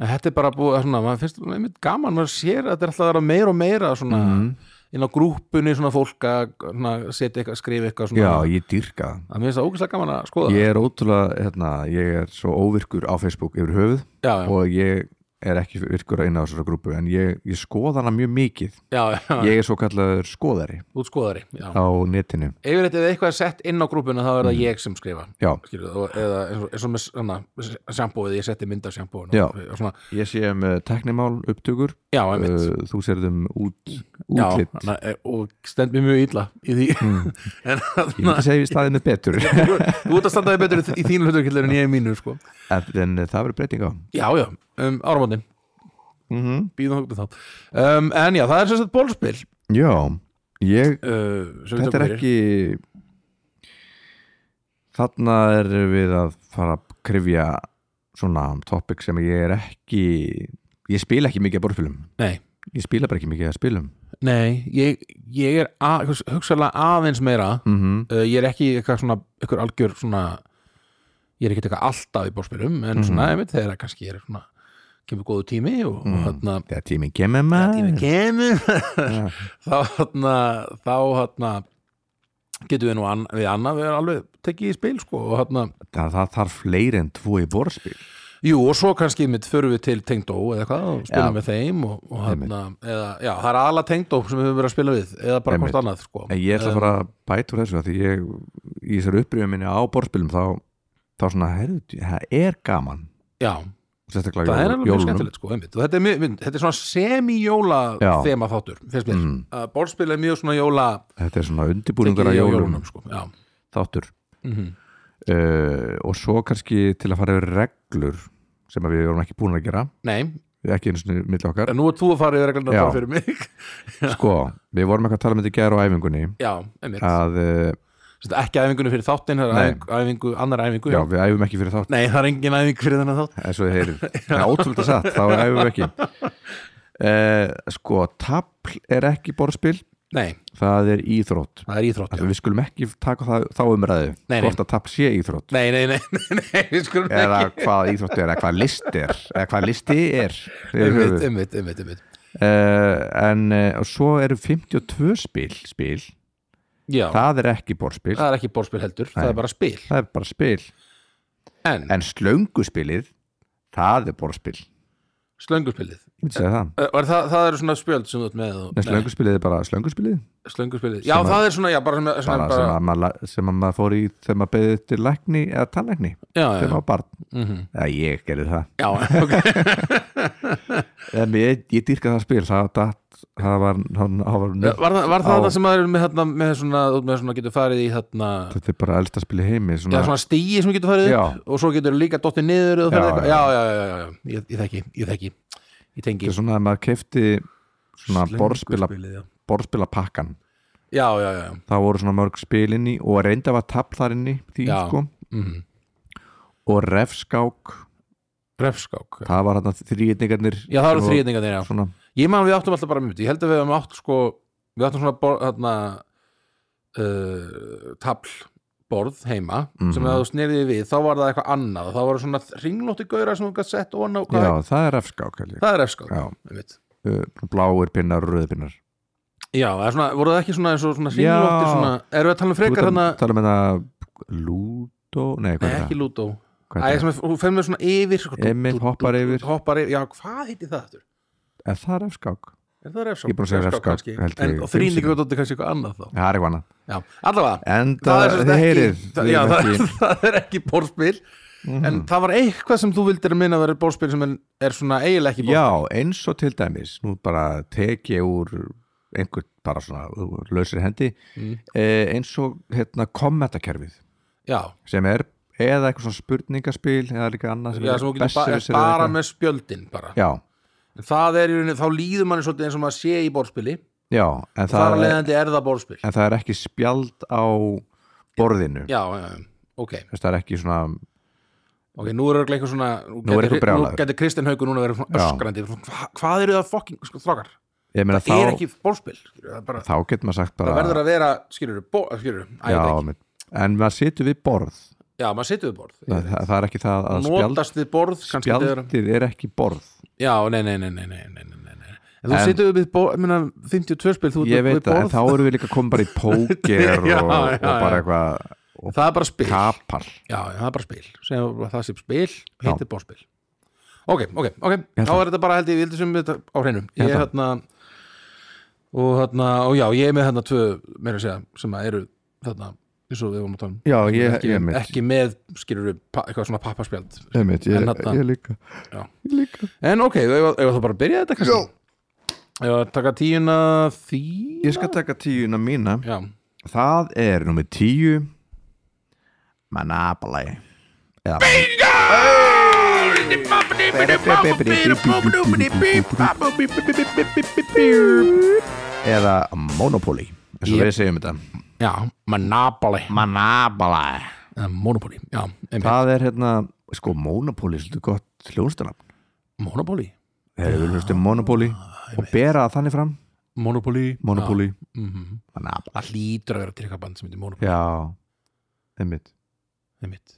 Speaker 2: þetta er bara búið, svona, maður finnst einmitt gaman, maður sér að þetta er alltaf að vera meira og meira svona,
Speaker 1: Mhm.
Speaker 2: inn á grúppunni svona fólk að svona, setja eitthvað, skrifa eitthvað svona,
Speaker 1: já, ég dýrka það.
Speaker 2: að mér finnst það ógæslega gaman að skoða
Speaker 1: ég er ótrúlega, hérna, ég er svo óvirkur á Facebook yfir höfuð
Speaker 2: já, já,
Speaker 1: og ég er ekki virkur inn á þessara grúpu en ég, ég skoða hana mjög mikið
Speaker 2: já, já,
Speaker 1: ég er svo kallaður skoðari
Speaker 2: útskoðari já.
Speaker 1: á netinu
Speaker 2: yfirleitt ef eitthvað er sett inn á grúpuna þá
Speaker 1: Mhm.
Speaker 2: er það ég sem skrifa
Speaker 1: já,
Speaker 2: skilur, og, eða eins og, eins og með hana, sjampóið, ég setti mynd af sjampóinu
Speaker 1: Já.
Speaker 2: og svona,
Speaker 1: ég sé um eh, tæknimál upptökur
Speaker 2: já, einmitt
Speaker 1: uh, þú sérð um út,
Speaker 2: já,
Speaker 1: útlitt [laughs]
Speaker 2: hana, e- og stend mér mjög illa í því en
Speaker 1: Mm. ég myndi
Speaker 2: þarna
Speaker 1: segja í staðinu betur [laughs] en,
Speaker 2: [laughs] þú ert að standa þig betur í- í þínu hluturkildur en ég í mínu sko.
Speaker 1: en eh, það verður breyting á
Speaker 2: já, já, um, áramótin
Speaker 1: mm
Speaker 2: býðum okkur þá um, en já, það er sem sagt bólspil
Speaker 1: já, ég
Speaker 2: uh, sem við
Speaker 1: þetta
Speaker 2: tökum
Speaker 1: er
Speaker 2: fyrir.
Speaker 1: ekki þarna er við að fara að krifja svona um topic sem ég er ekki ég spila ekki mikið að borðspilum
Speaker 2: nei,
Speaker 1: ég spila bara ekki mikið að spilum
Speaker 2: nei, ég, ég er að, hugsaðlega aðeins meira
Speaker 1: mm -hmm.
Speaker 2: uh, ég er ekki eitthvað svona eitthvað algjör svona ég er ekki eitthvað alltaf í bórspilum en svona, einmitt, þegar kannski er svona kemur góðu tími og, hérna, og þarna
Speaker 1: þegar tíminn kemur
Speaker 2: þegar
Speaker 1: maður
Speaker 2: tími kemur [laughs] þá þarna þá þarna getum við nú an, við annað við erum alveg tekið í spil sko og þarna
Speaker 1: það, það þarf fleiri en tvo í borðspil
Speaker 2: Jú, og svo kannski mitt förum við til Tengdó eða hvað, og spilum
Speaker 1: Já.
Speaker 2: með þeim og, og hérna, eða, já, það er aðla Tengdó sem við höfum verið að spila við, eða bara
Speaker 1: Einmitt.
Speaker 2: hvort annað, sko.
Speaker 1: en ég ætla að fara að bæta úr þessu af því ég í þessari upprýðum minni á borðspilum þá, þá svona, herðu, það er gaman
Speaker 2: Já,
Speaker 1: sérstaklega
Speaker 2: það er
Speaker 1: jól-
Speaker 2: alveg mjög skemmtilegt, sko, einmitt. Og þetta er, mjög, mynd- þetta er svona semi-jóla
Speaker 1: Já.
Speaker 2: þema þáttur, finnst mér.
Speaker 1: Mm.
Speaker 2: Að Bólspil er mjög svona jóla
Speaker 1: þetta er svona undirbúningar að
Speaker 2: tekið í
Speaker 1: jólunum
Speaker 2: sko. Já,
Speaker 1: þáttur
Speaker 2: mhm,
Speaker 1: uh, og svo kannski til að fara yfir reglur sem að við vorum ekki búin að gera
Speaker 2: nei,
Speaker 1: ekki einu sinni milli
Speaker 2: [laughs]
Speaker 1: okkar
Speaker 2: en nú er þú að fara yfir regluna
Speaker 1: Já.
Speaker 2: bara fyrir mig. [laughs]
Speaker 1: sko, við vorum eitthvað að tala um þetta í gæra á æfingunni
Speaker 2: Já, einmitt.
Speaker 1: að uh,
Speaker 2: Sérst, ekki æfingunum fyrir þáttin, það er
Speaker 1: Nei.
Speaker 2: æfingu, æfingu, annar æfingu.
Speaker 1: já, við æfum ekki fyrir þátt
Speaker 2: Nei, það er engin æfing fyrir þennan þátt.
Speaker 1: eins og þið
Speaker 2: [laughs]
Speaker 1: heyrir, það er ótrúlega satt þá æfum við ekki uh, sko, tapl er ekki borðspil,
Speaker 2: Nei,
Speaker 1: það er íþrótt
Speaker 2: það er íþrótt, já.
Speaker 1: Þannig við skulum ekki taka það, þá umræðu
Speaker 2: Nei, nei.
Speaker 1: hvort að tapl sé íþrótt
Speaker 2: Nei, nei, nei, nei, [laughs] nei, við skulum
Speaker 1: eða
Speaker 2: ekki
Speaker 1: hvað íþrótt er, eða hvað list er eða hvað listi er yfir höfuð.
Speaker 2: Einmitt, einmitt, einmitt, einmitt
Speaker 1: uh, en uh, svo eru 52 spil, spil.
Speaker 2: Já,
Speaker 1: það er ekki borðspil
Speaker 2: það er ekki bórspil heldur, það
Speaker 1: Nei.
Speaker 2: er bara spil
Speaker 1: það er bara spil
Speaker 2: En,
Speaker 1: en slönguspilið, það er borðspil ég
Speaker 2: slönguspilið
Speaker 1: myndi segja það
Speaker 2: Ö, er það, það eru svona spjöld sem þú ert með og,
Speaker 1: Nei, slönguspilið er bara slönguspilið
Speaker 2: Nei, Slönguspilið, já
Speaker 1: Sem að-
Speaker 2: það er svona, já bara, sem, sem
Speaker 1: bara, sem,
Speaker 2: bara
Speaker 1: að maður, la- sem að maður fór í þegar maður beðið til lækni eða tannlækni
Speaker 2: Já, já,
Speaker 1: þegar maður var barn,
Speaker 2: mm
Speaker 1: eða ég gerði það
Speaker 2: já,
Speaker 1: [laughs]
Speaker 2: ok
Speaker 1: en ég, ég dýrka það spil það, það, það var, það, það var nörd.
Speaker 2: Var það, var það
Speaker 1: Á.
Speaker 2: það sem það er með, þarna, með svona, þú ert með svona getur farið í þarna
Speaker 1: þetta er bara elsta spil í heimi
Speaker 2: Já,
Speaker 1: svona,
Speaker 2: svona stíi sem þú getur farið upp
Speaker 1: Já.
Speaker 2: og svo getur líka dottið niður og
Speaker 1: Já,
Speaker 2: ferð eitthvað.
Speaker 1: já.
Speaker 2: já, já, já, já, já, ég, ég þekki, ég þekki Ég tengi
Speaker 1: þetta er svona að maður kefti svona borðspila,
Speaker 2: Slönguspilið, já.
Speaker 1: borðspila pakkan
Speaker 2: Já, já, já, já,
Speaker 1: það voru svona mörg spil inn í og reynda var tapl þar inn í því
Speaker 2: Já.
Speaker 1: sko
Speaker 2: mhm
Speaker 1: og refskák,
Speaker 2: Refskák
Speaker 1: það var þarna þrýðningarnir
Speaker 2: Já, það eru þrýðningarnir, já
Speaker 1: svona,
Speaker 2: Ég man við áttum alltaf bara mjög Ég held að við áttum átt sko Við áttum svona borð, þarna uh, tablborð heima sem
Speaker 1: Mhm.
Speaker 2: að þú sneriði við þá var það eitthvað annað þá var það svona ringlótti gauðra sem þú gætt sett ofan á hvað
Speaker 1: já,
Speaker 2: er-
Speaker 1: það er refskák held ég.
Speaker 2: Það er refskák
Speaker 1: Já.
Speaker 2: einmitt.
Speaker 1: Uh, bláir pinnar og rauðir pinnar
Speaker 2: Já, það er svona, voru það ekki svona eins og svona ringlótti
Speaker 1: Já.
Speaker 2: svona, erum við að tala um
Speaker 1: Þú
Speaker 2: frekar
Speaker 1: ert
Speaker 2: hana
Speaker 1: að tala um þetta Lúdó, nei hvað
Speaker 2: Nei,
Speaker 1: er
Speaker 2: ekki
Speaker 1: það?
Speaker 2: Lúdó
Speaker 1: Hvað
Speaker 2: Æ,
Speaker 1: er
Speaker 2: sem
Speaker 1: það?
Speaker 2: er, hún fer með svona yfir sko, dú-
Speaker 1: Emil
Speaker 2: dú-
Speaker 1: hoppar
Speaker 2: dú-
Speaker 1: yfir.
Speaker 2: Hoppar yfir, já, hvað heiti það þetta?
Speaker 1: Er það refskák?
Speaker 2: Er það
Speaker 1: Ég
Speaker 2: refskák?
Speaker 1: er búin að segja refskák, held
Speaker 2: En
Speaker 1: ég, fimm
Speaker 2: þrýningadóttir kannski eitthvað annað þá
Speaker 1: það er eitthvað annað
Speaker 2: Já, allavega
Speaker 1: En
Speaker 2: það
Speaker 1: það,
Speaker 2: er sem sagt
Speaker 1: þið
Speaker 2: ekki-
Speaker 1: heyrið
Speaker 2: það,
Speaker 1: við
Speaker 2: já,
Speaker 1: erum
Speaker 2: það,
Speaker 1: ekki- Mhm.
Speaker 2: það [laughs] er ekki bórspil En það var eitthvað sem þú vildir að minna að vera bórspil sem er, er svona eiginlega ekki bórspil
Speaker 1: Já, eins og til dæmis nú bara tek ég úr einhvern bara svona úr lausri hendi
Speaker 2: Mm.
Speaker 1: eh, eins og hérna kommentakerfið
Speaker 2: Já,
Speaker 1: sem er eða eitthvað svona spurningaspil eða líka annað sem
Speaker 2: já
Speaker 1: er
Speaker 2: sem þú getur ba
Speaker 1: Berserkir eða
Speaker 2: bara
Speaker 1: eitthvað.
Speaker 2: með spjöldin bara
Speaker 1: Já,
Speaker 2: En það er í rauninni, þá líður manni svolítið eins og maður sé í bórspili
Speaker 1: já, en
Speaker 2: Þar
Speaker 1: það,
Speaker 2: að
Speaker 1: er,
Speaker 2: leiðandi er það bórspil Já,
Speaker 1: en það er ekki spjald á borðinu
Speaker 2: já, já, ok
Speaker 1: Þess, það er ekki svona
Speaker 2: Ok, nú er örugglega eitthvað svona
Speaker 1: Nú er einhver brjálaður.
Speaker 2: Nú getur Kristinn Haukur núna verið svona
Speaker 1: Já.
Speaker 2: öskrandi hva, Hvað eru það fucking sko, þrákar?
Speaker 1: ég meina
Speaker 2: Það
Speaker 1: þá,
Speaker 2: er ekki bólspil það, er bara,
Speaker 1: þá getur maður sagt
Speaker 2: það
Speaker 1: bara
Speaker 2: verður að vera, eh, skilur skilur,
Speaker 1: já,
Speaker 2: já,
Speaker 1: einmitt. en maður situr við borð það,
Speaker 2: já, maður situr við borð yfirleitt.
Speaker 1: það, það er ekki það að spjald,
Speaker 2: Notast við borð kannski þegar-
Speaker 1: spjaldið er ekki borð
Speaker 2: Já, nei, nei, nei, nei, nei, nei, nei, nei, nei. En þú
Speaker 1: En-
Speaker 2: situr við borð, minna, 52 spil þú ert
Speaker 1: ég
Speaker 2: við
Speaker 1: veit það, en
Speaker 2: borð,
Speaker 1: þá erum við líka komin
Speaker 2: [laughs]
Speaker 1: bara í póker og,
Speaker 2: Já, já,
Speaker 1: og bara
Speaker 2: já.
Speaker 1: eitthvað og
Speaker 2: það er bara spil
Speaker 1: kapal
Speaker 2: Já, já, það er bara spil, Segjum að það sé spil heitir bórspil Ok, ok, ok, þá er þetta bara held ég vildi sem við þetta á hreinum Ég er
Speaker 1: held
Speaker 2: hérna og hérna, og já, ég er með hérna tvö, meira að segja, sem að eru þarna, eins og við vorum að tala um
Speaker 1: já, ég,
Speaker 2: ekki,
Speaker 1: ég mitt,
Speaker 2: ekki með, skilur við, eitthvað svona pappaspjald
Speaker 1: ég, mitt ég,
Speaker 2: en þarna-
Speaker 1: ég líka
Speaker 2: Já.
Speaker 1: ég líka
Speaker 2: En ok, ef ef þú bara að byrja þetta kannski Já Ef að taka tíuna því
Speaker 1: ég skal taka tíuna mína
Speaker 2: Já,
Speaker 1: það er nummið tíu Manabali eða eða Monopoly eins og
Speaker 2: Yep.
Speaker 1: við segjum þetta
Speaker 2: já, Monopoly
Speaker 1: Manabali
Speaker 2: Eða Monopoly, já, einmitt
Speaker 1: það er hérna, sko Monopoly er svolítið gott hljóðstanafn
Speaker 2: Monopoly
Speaker 1: þegar við hlustum Monopoly
Speaker 2: Ah,
Speaker 1: og bera það þannig fram
Speaker 2: Monopoly
Speaker 1: Monopoly
Speaker 2: Já, mhm.
Speaker 1: Manabali
Speaker 2: Það hlýtur að vera til eitthvað band sem heitir Monopoly
Speaker 1: Já, einmitt
Speaker 2: einmitt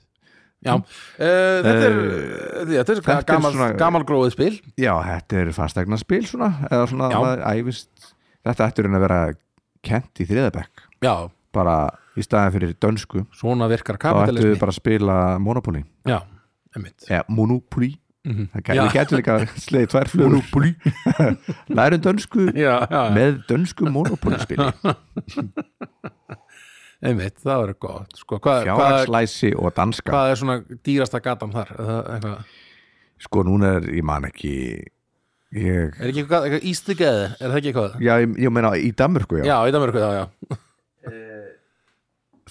Speaker 2: Já, uh, þetta er, uh, þetta er
Speaker 1: þetta er
Speaker 2: gamal,
Speaker 1: svona-
Speaker 2: gamal gróðið spil
Speaker 1: Já, þetta er fastegnarspil svona eða svona
Speaker 2: Já.
Speaker 1: að æfist þetta ættur en að vera kent í þriðabekk
Speaker 2: Já,
Speaker 1: bara í staðan fyrir dönsku
Speaker 2: svona virkar
Speaker 1: þá ættu
Speaker 2: kapitalismi
Speaker 1: við bara að spila Monopoly
Speaker 2: Já, einmitt
Speaker 1: eða Monopoly
Speaker 2: Mhm.
Speaker 1: það
Speaker 2: Já.
Speaker 1: gæ- við getum [laughs] líka slegið tvær flugur Monopoly [laughs] lærum dönsku
Speaker 2: Já, já, já.
Speaker 1: með dönsku Monopoly [laughs] spili
Speaker 2: einmitt, það verður gott sko, hvað, hvað,
Speaker 1: fjárhagslæsi og danska
Speaker 2: hvað er svona dýrasta gatan þar? Er það eitthvað-
Speaker 1: sko núna er, ég man ekki ég,
Speaker 2: Er ekki eitthvað, eitthvað ístiggeði? Er það ekki eitthvað?
Speaker 1: já, ég, ég meina í Danmörku já,
Speaker 2: Já, í Danmörku, já, já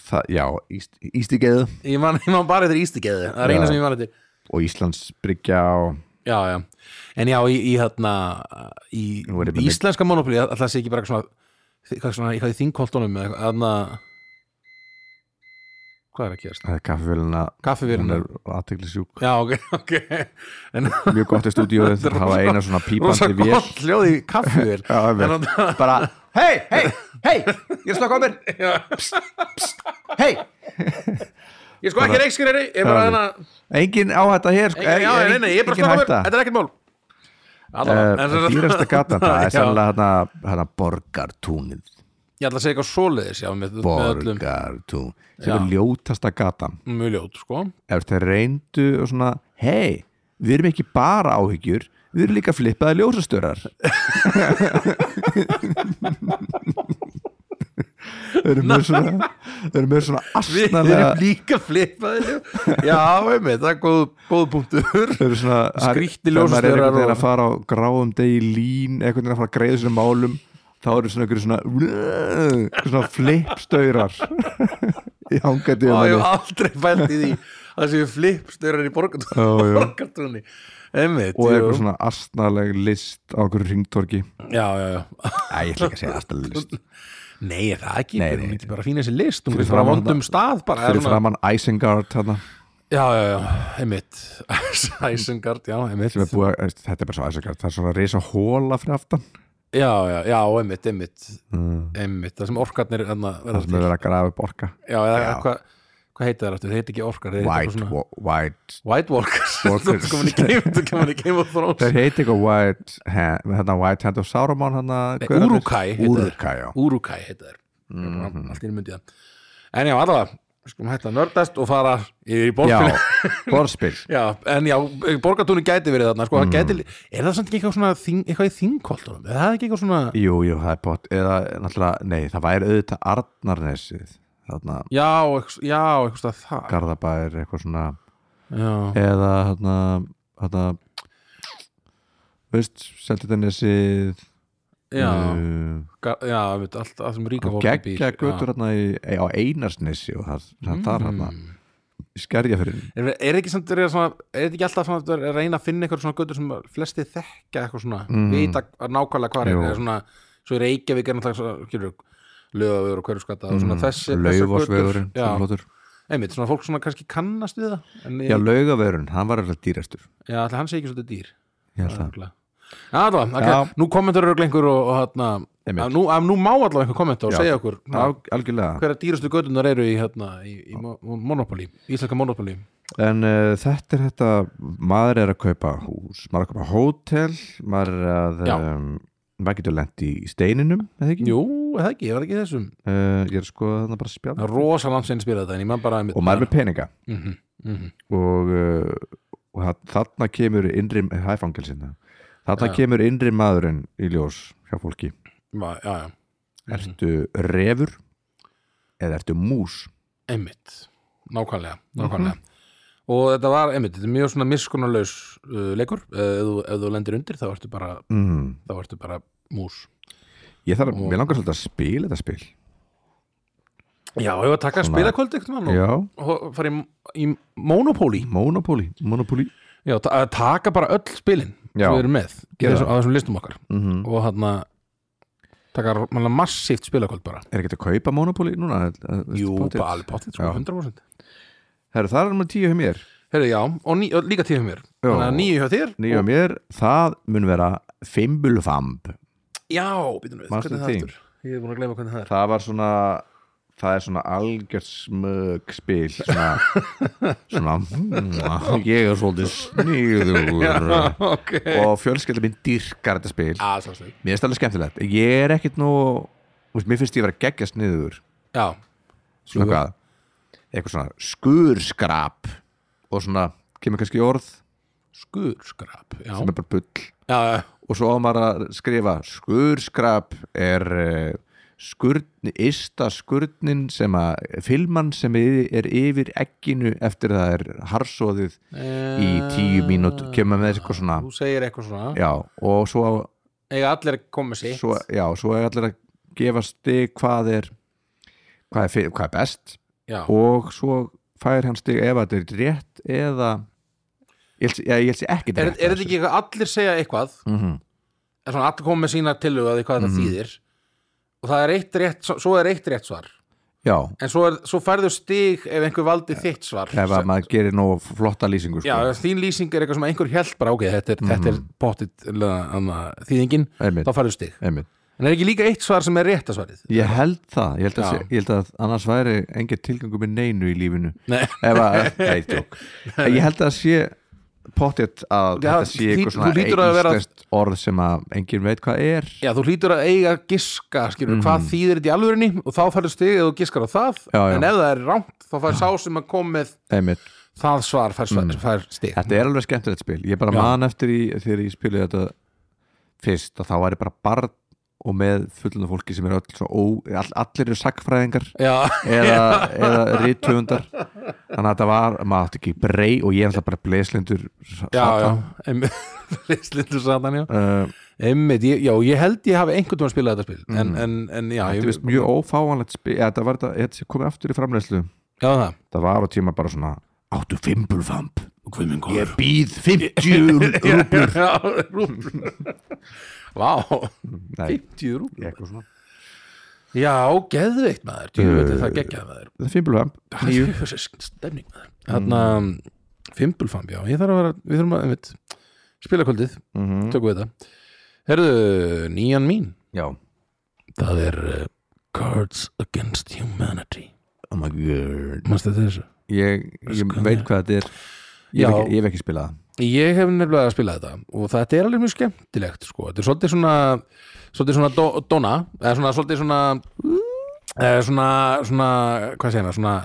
Speaker 1: Það- já Íst, Ístigeðu
Speaker 2: Ég man, ég man bara eftir ístiggeði, það er
Speaker 1: Já.
Speaker 2: eina sem ég man eftir
Speaker 1: og Íslandsbryggja og
Speaker 2: Já, já, en já, í, í hérna í
Speaker 1: Nú er ég bara með-
Speaker 2: íslenska monopoli alltaf sé ekki bara eitthvað svona eitthvað svona, eitthvað í þingkoltunum eða eitthvað, þarna Hvað er að gerast?
Speaker 1: Það er kaffevélina Hún
Speaker 2: Kaffivírinu?
Speaker 1: er aðtekli sjúk
Speaker 2: Já, ok, [laughs] ok En [laughs]
Speaker 1: Mjög gott í stúdíu
Speaker 2: Þetta er
Speaker 1: Það var
Speaker 2: rosa-
Speaker 1: eina svona
Speaker 2: rosa
Speaker 1: pípandi vél
Speaker 2: gott hljóð í kaffivil
Speaker 1: Já, einmitt.
Speaker 2: En þarna-
Speaker 1: Bara Hei, hei, hei Ég
Speaker 2: sko,
Speaker 1: er slokk á mér Hei
Speaker 2: Ég sko ekki reikskriðri, ég bara
Speaker 1: Já,
Speaker 2: hérna
Speaker 1: Engin áhætta hér sko.
Speaker 2: Engin- Já,
Speaker 1: Engin-
Speaker 2: nei, nei, ég er bara
Speaker 1: engin
Speaker 2: slokkur,
Speaker 1: hætta.
Speaker 2: þetta er ekkert mál Allavega, en sem
Speaker 1: Eh,
Speaker 2: sagt-
Speaker 1: Dýrasta gatan Það er
Speaker 2: Já.
Speaker 1: sannlega hérna Hérna borgartúnið
Speaker 2: [laughs] Ég ætla að segja eitthvað svoleiðis, já, með, með öllum
Speaker 1: Borgartún Sem er
Speaker 2: Já.
Speaker 1: ljótasta gatan
Speaker 2: mjög ljót, sko
Speaker 1: Ef þeir reyndu og svona Hei, við erum ekki bara áhyggjur Við erum líka flippaði ljósastörar Þeir eru með svona Þeir eru með svona
Speaker 2: Við
Speaker 1: astnalega
Speaker 2: erum líka flipaðir Já, einmitt, það er góð, góð punktur
Speaker 1: Þeir eru svona
Speaker 2: Skrýttir
Speaker 1: þegar maður er
Speaker 2: ljósastaurar
Speaker 1: einhvern veginn
Speaker 2: og-
Speaker 1: að fara á gráum degi í lín einhvern veginn að fara að greiða svona málum þá eru svona einhverju svona einhverju svona flipstaurar [laughs] í hangandi
Speaker 2: Já,
Speaker 1: um
Speaker 2: ég hef
Speaker 1: henni
Speaker 2: aldrei fælt í því Það séu flipstörar í
Speaker 1: Já, já.
Speaker 2: borgartúni Einmitt,
Speaker 1: og
Speaker 2: jú.
Speaker 1: eitthvað svona astnaleg list á einhverju ringtorki
Speaker 2: Já, já, já
Speaker 1: Æ, ég ætla ekki að segja astnaleg list
Speaker 2: Nei, er það ekki,
Speaker 1: Nei,
Speaker 2: hún
Speaker 1: nei.
Speaker 2: myndi bara fína þessi list
Speaker 1: Fyrir
Speaker 2: Hún myndi bara á
Speaker 1: framan
Speaker 2: vondum
Speaker 1: það-
Speaker 2: stað bara
Speaker 1: fyrir
Speaker 2: er svona-
Speaker 1: framann Isengard þarna,
Speaker 2: Já, já, já, einmitt [laughs] Sæsengard, já, einmitt
Speaker 1: sem er búið að, eh, þetta er bara svo Isengard, það er svona reysa hóla fyrir aftan,
Speaker 2: Já, já, já, einmitt, einmitt
Speaker 1: Mm.
Speaker 2: Einmitt, það sem orkarnir þarna verða
Speaker 1: það sem er verið að grafa upp orka
Speaker 2: Já, eða
Speaker 1: Já.
Speaker 2: hvað hva heitir það aftur? Þeir heita ekki orkar þeir heita eitthvað
Speaker 1: White, wa- white
Speaker 2: White Walkers
Speaker 1: Walkers.
Speaker 2: [laughs] Þú komin í Game, þú komin í Game of Thrones
Speaker 1: þeir heiti eitthvað White Hand, hérna White Hand of Sauron hérna,
Speaker 2: Nei,
Speaker 1: gaurarnir.
Speaker 2: Uruk-hai heita þeir.
Speaker 1: Uruk-hai, já
Speaker 2: Mhm. Úrúkæ heita þeir mm -hmm. Allt í einu myndi ég það En já, allavega við skulum hætta að nördast og fara yfir í
Speaker 1: já,
Speaker 2: borgartúni
Speaker 1: borðspil
Speaker 2: [laughs] já, en já, borgartúni gæti verið þarna sko, mm. gæti, er það samt ekki eitthvað, svona, þing, eitthvað í þingkoltunum, er það ekki eitthvað svona
Speaker 1: jú, jú, það er bort eða náttúrulega, nei, það væri auðvitað Arnarnesið þarna,
Speaker 2: já, eitthvað, já, eitthvað stað það
Speaker 1: Garðabær eitthvað svona,
Speaker 2: já,
Speaker 1: eða þarna, þarna veist, Seltjarnesið
Speaker 2: já,
Speaker 1: uh,
Speaker 2: ga- já, við veit, allt, allt sem ríka fólk býr.
Speaker 1: geggja
Speaker 2: Já. Mm.
Speaker 1: götur hérna í, á Einarsnesi og það, það þar hérna í skerjafyrinn
Speaker 2: Er, er, ekki samt, verið svona, er þetta ekki alltaf svona, að reyna að finna eitthvað svona göttur sem flesti þekka eitthvað svona,
Speaker 1: Mm.
Speaker 2: vita nákvæmlega hvað er
Speaker 1: Jú.
Speaker 2: eða svona, svo í Reykjavík er náttúrulega skilur, lögavöður og hverjuskata og svona þessi,
Speaker 1: laufásvegurinn
Speaker 2: já,
Speaker 1: Mhm. Mm. sem flottur.
Speaker 2: einmitt, svona fólk svona kannski kannast við það en
Speaker 1: já,
Speaker 2: ég,
Speaker 1: laugavegurinn, hann var alltaf dýrastur
Speaker 2: já, ætli hann sé ekki svolítið dýr
Speaker 1: ég held það,
Speaker 2: örugglega. Já, allavega,
Speaker 1: Já.
Speaker 2: okay. nú kommentar eru einhver og, og hérna,
Speaker 1: Einmitt.
Speaker 2: að nú, að nú má allavega einhver kommenta og
Speaker 1: Já.
Speaker 2: segja okkur
Speaker 1: Al, algjörlega
Speaker 2: hverja dýrastu göttunar eru í, hérna, í, í mo- Monopoly, íslenska Monopoly
Speaker 1: En uh, þetta er þetta, maður er að kaupa hús, maður er að kaupa hótel, maður er að,
Speaker 2: Já.
Speaker 1: um, maður getur lent í steininum, eða ekki?
Speaker 2: Jú, er það ekki, var það ekki í þessum
Speaker 1: Uh, ég er að skoða þannig bara spjall.
Speaker 2: rosa landsinn spila þetta en ég man bara einmitt
Speaker 1: Og maður er með peninga
Speaker 2: mm -hmm,
Speaker 1: og, uh, og það, þarna kemur innri, hæfangelsinna, þarna
Speaker 2: Já.
Speaker 1: kemur innri maðurinn í ljós hjá fólki.
Speaker 2: já, já, Mhm.
Speaker 1: Ertu refur eða ertu mús?
Speaker 2: einmitt nákvæmlega, nákvæmlega og þetta var einmitt, þetta er mjög svona miskunarlaus uh, leikur, uh, ef, þú, ef þú lendir undir þá ertu bara,
Speaker 1: Mm.
Speaker 2: þá ertu bara mús
Speaker 1: Ég þarf,
Speaker 2: Og-
Speaker 1: mér langar svolítið að spila þetta spil.
Speaker 2: já, og ég var að taka
Speaker 1: Svona-
Speaker 2: spilakvöld eitthvað mann
Speaker 1: Já,
Speaker 2: og fara í, í Monopoly
Speaker 1: Monopoly, Monopoly.
Speaker 2: já, ta að taka bara öll spilin
Speaker 1: Já.
Speaker 2: sem við erum með í
Speaker 1: Gera það.
Speaker 2: þessum, á þessum listum okkar
Speaker 1: Mm
Speaker 2: og hann taka manna, massíft spilakvöld bara
Speaker 1: Er ekki hægt að kaupa Monopoly núna?
Speaker 2: jú, bara alveg potið, sko,
Speaker 1: Já.
Speaker 2: 100%
Speaker 1: Herru, það er nummer 10 hjá mér
Speaker 2: Herri, já, og ní, og líka tíu hjá mér
Speaker 1: Já.
Speaker 2: Þannig að nýju hjá þér
Speaker 1: 9 hjá
Speaker 2: og,
Speaker 1: mér, það mun vera Fimbulfamb
Speaker 2: Já, býtum við,
Speaker 1: Manstu
Speaker 2: hvernig er það
Speaker 1: þín?
Speaker 2: aftur? Ég er búin að gleyma hvernig það er
Speaker 1: Það var svona Það er svona algjört smög spil
Speaker 2: [laughs]
Speaker 1: Svona, svona mm, Ég er svolítið sníður
Speaker 2: Ok
Speaker 1: Og fjölskylda mín dýrkar þetta spil
Speaker 2: Já, sjálfsög
Speaker 1: Mér finnst það alveg skemmtilegt Ég er ekkit nú þú veist, Mér finnst ég vera geggja sniður
Speaker 2: Já,
Speaker 1: Svona hvað Eitthvað svona skurskrap Og svona, kemur kannski í orð
Speaker 2: skurskrap Já,
Speaker 1: Sem er bara bull
Speaker 2: já, já,
Speaker 1: og svo á maður að skrifa skurskrap er eh, skurn, ysta skurnin sem að filman sem yfir- er yfir egginu eftir það er harsóðið í tíu mínútur kemur með eitthvað svona
Speaker 2: Eh, Þú segir eitthvað svona
Speaker 1: já, og svo,
Speaker 2: Eiga allir að koma með sitt
Speaker 1: svo, já, svo er allir að gefa stig hvað er hvað er, fi- hvað er best
Speaker 2: Já,
Speaker 1: og svo fær hann stig ef þetta er rétt eða ég held- já, ég held sér ekki
Speaker 2: er, er þetta ekki eitthvað allir segja eitthvað
Speaker 1: mm -hmm.
Speaker 2: er svona allir koma með sína tilhugaði hvað
Speaker 1: Mhm.
Speaker 2: það þýðir og það er eitt rétt, svo- svo er eitt rétt svar
Speaker 1: já,
Speaker 2: en svo, er, svo færðu stig ef einhver valdi þitt svar
Speaker 1: ef að
Speaker 2: sem-
Speaker 1: maður gerir nóg flotta lýsingu sko.
Speaker 2: Já, þín lýsing er eitthvað sem einhver held bara ok, þetta er, mm -hmm. er pottit hérna, þýðingin,
Speaker 1: Mhm. einmitt,
Speaker 2: þá færðu stig
Speaker 1: einmitt.
Speaker 2: en er ekki líka eitt svar sem er rétta svarið?
Speaker 1: ég held það, ég held, að,
Speaker 2: Já.
Speaker 1: sé, ég held að annars væri engin tilgangu með neinu í lífinu
Speaker 2: [laughs] Nei,
Speaker 1: ef að, nei, tjók ég held að sé pottet að
Speaker 2: Já,
Speaker 1: þetta sé
Speaker 2: því-
Speaker 1: eitthvað
Speaker 2: þú
Speaker 1: svona
Speaker 2: hlýtur að vera-
Speaker 1: íslenskt orð sem að enginn veit hvað er
Speaker 2: já, þú hlýtur að eiga að giska, skilur, hvað þýðir þetta í alvörinni og þá færðu stig eða þú giskar á það
Speaker 1: Mm. Já, já.
Speaker 2: en ef það er rangt, þá fær sá sem að kom með
Speaker 1: einmitt,
Speaker 2: það svar fær, svar, fær stig
Speaker 1: Mm. þetta er alveg skemmtilegt spil ég bara
Speaker 2: Já.
Speaker 1: man eftir í, þegar ég spilaði þetta fyrst og þá var ég bara barn og með fullunum fólki sem er öll svo ó, all, allir eru sagfræðingar
Speaker 2: Já,
Speaker 1: eða, eða ríttöfundar þannig að þetta var, maður átti ekki brey og ég er alltaf bara bleslindur
Speaker 2: já, já einmitt, [laughs] Slindur satan, já
Speaker 1: Uh,
Speaker 2: Einmitt, ég, já, ég held ég hafi einhvern veginn spilað þetta spil en, en, en já,
Speaker 1: Mm. þetta
Speaker 2: ég
Speaker 1: er vist mjög ófáanlegt spil þetta var þetta, þetta sem komið aftur í framleyslu
Speaker 2: Já, það
Speaker 1: það var á tíma bara svona áttu fimbulfamp,
Speaker 2: Guð minn góður
Speaker 1: ég býð
Speaker 2: [laughs]
Speaker 1: 50 rúbl
Speaker 2: rúblur [laughs] Já, rúblur [laughs] Vá,
Speaker 1: nei,
Speaker 2: 50 rúblur
Speaker 1: eitthvað svona
Speaker 2: Já, geðveikt maður, djúvöldi það geggjað maður
Speaker 1: það er fimbulfamp, nýju
Speaker 2: Það er stemning maður Þarna, fimbulfamb, já, ég þarf að vera Við þurfum að, einmitt, spila kvöldið
Speaker 1: Mhm.
Speaker 2: Tökum við þetta Herðu, nýjan mín
Speaker 1: já,
Speaker 2: Það er uh, Cards Against Humanity
Speaker 1: oh my god
Speaker 2: Manstu þetta þessu?
Speaker 1: ég, ég veit hvað þetta er ég
Speaker 2: Já.
Speaker 1: hef ekki, ég hef ekki spilað það.
Speaker 2: Ég hef nefnilega að spila þetta og þetta er alveg mjög skemmtilegt sko. Þetta er svolítið svona svolítið svona do, dona eða svona svolítið svona eða svona, svona hvað segir maður, svona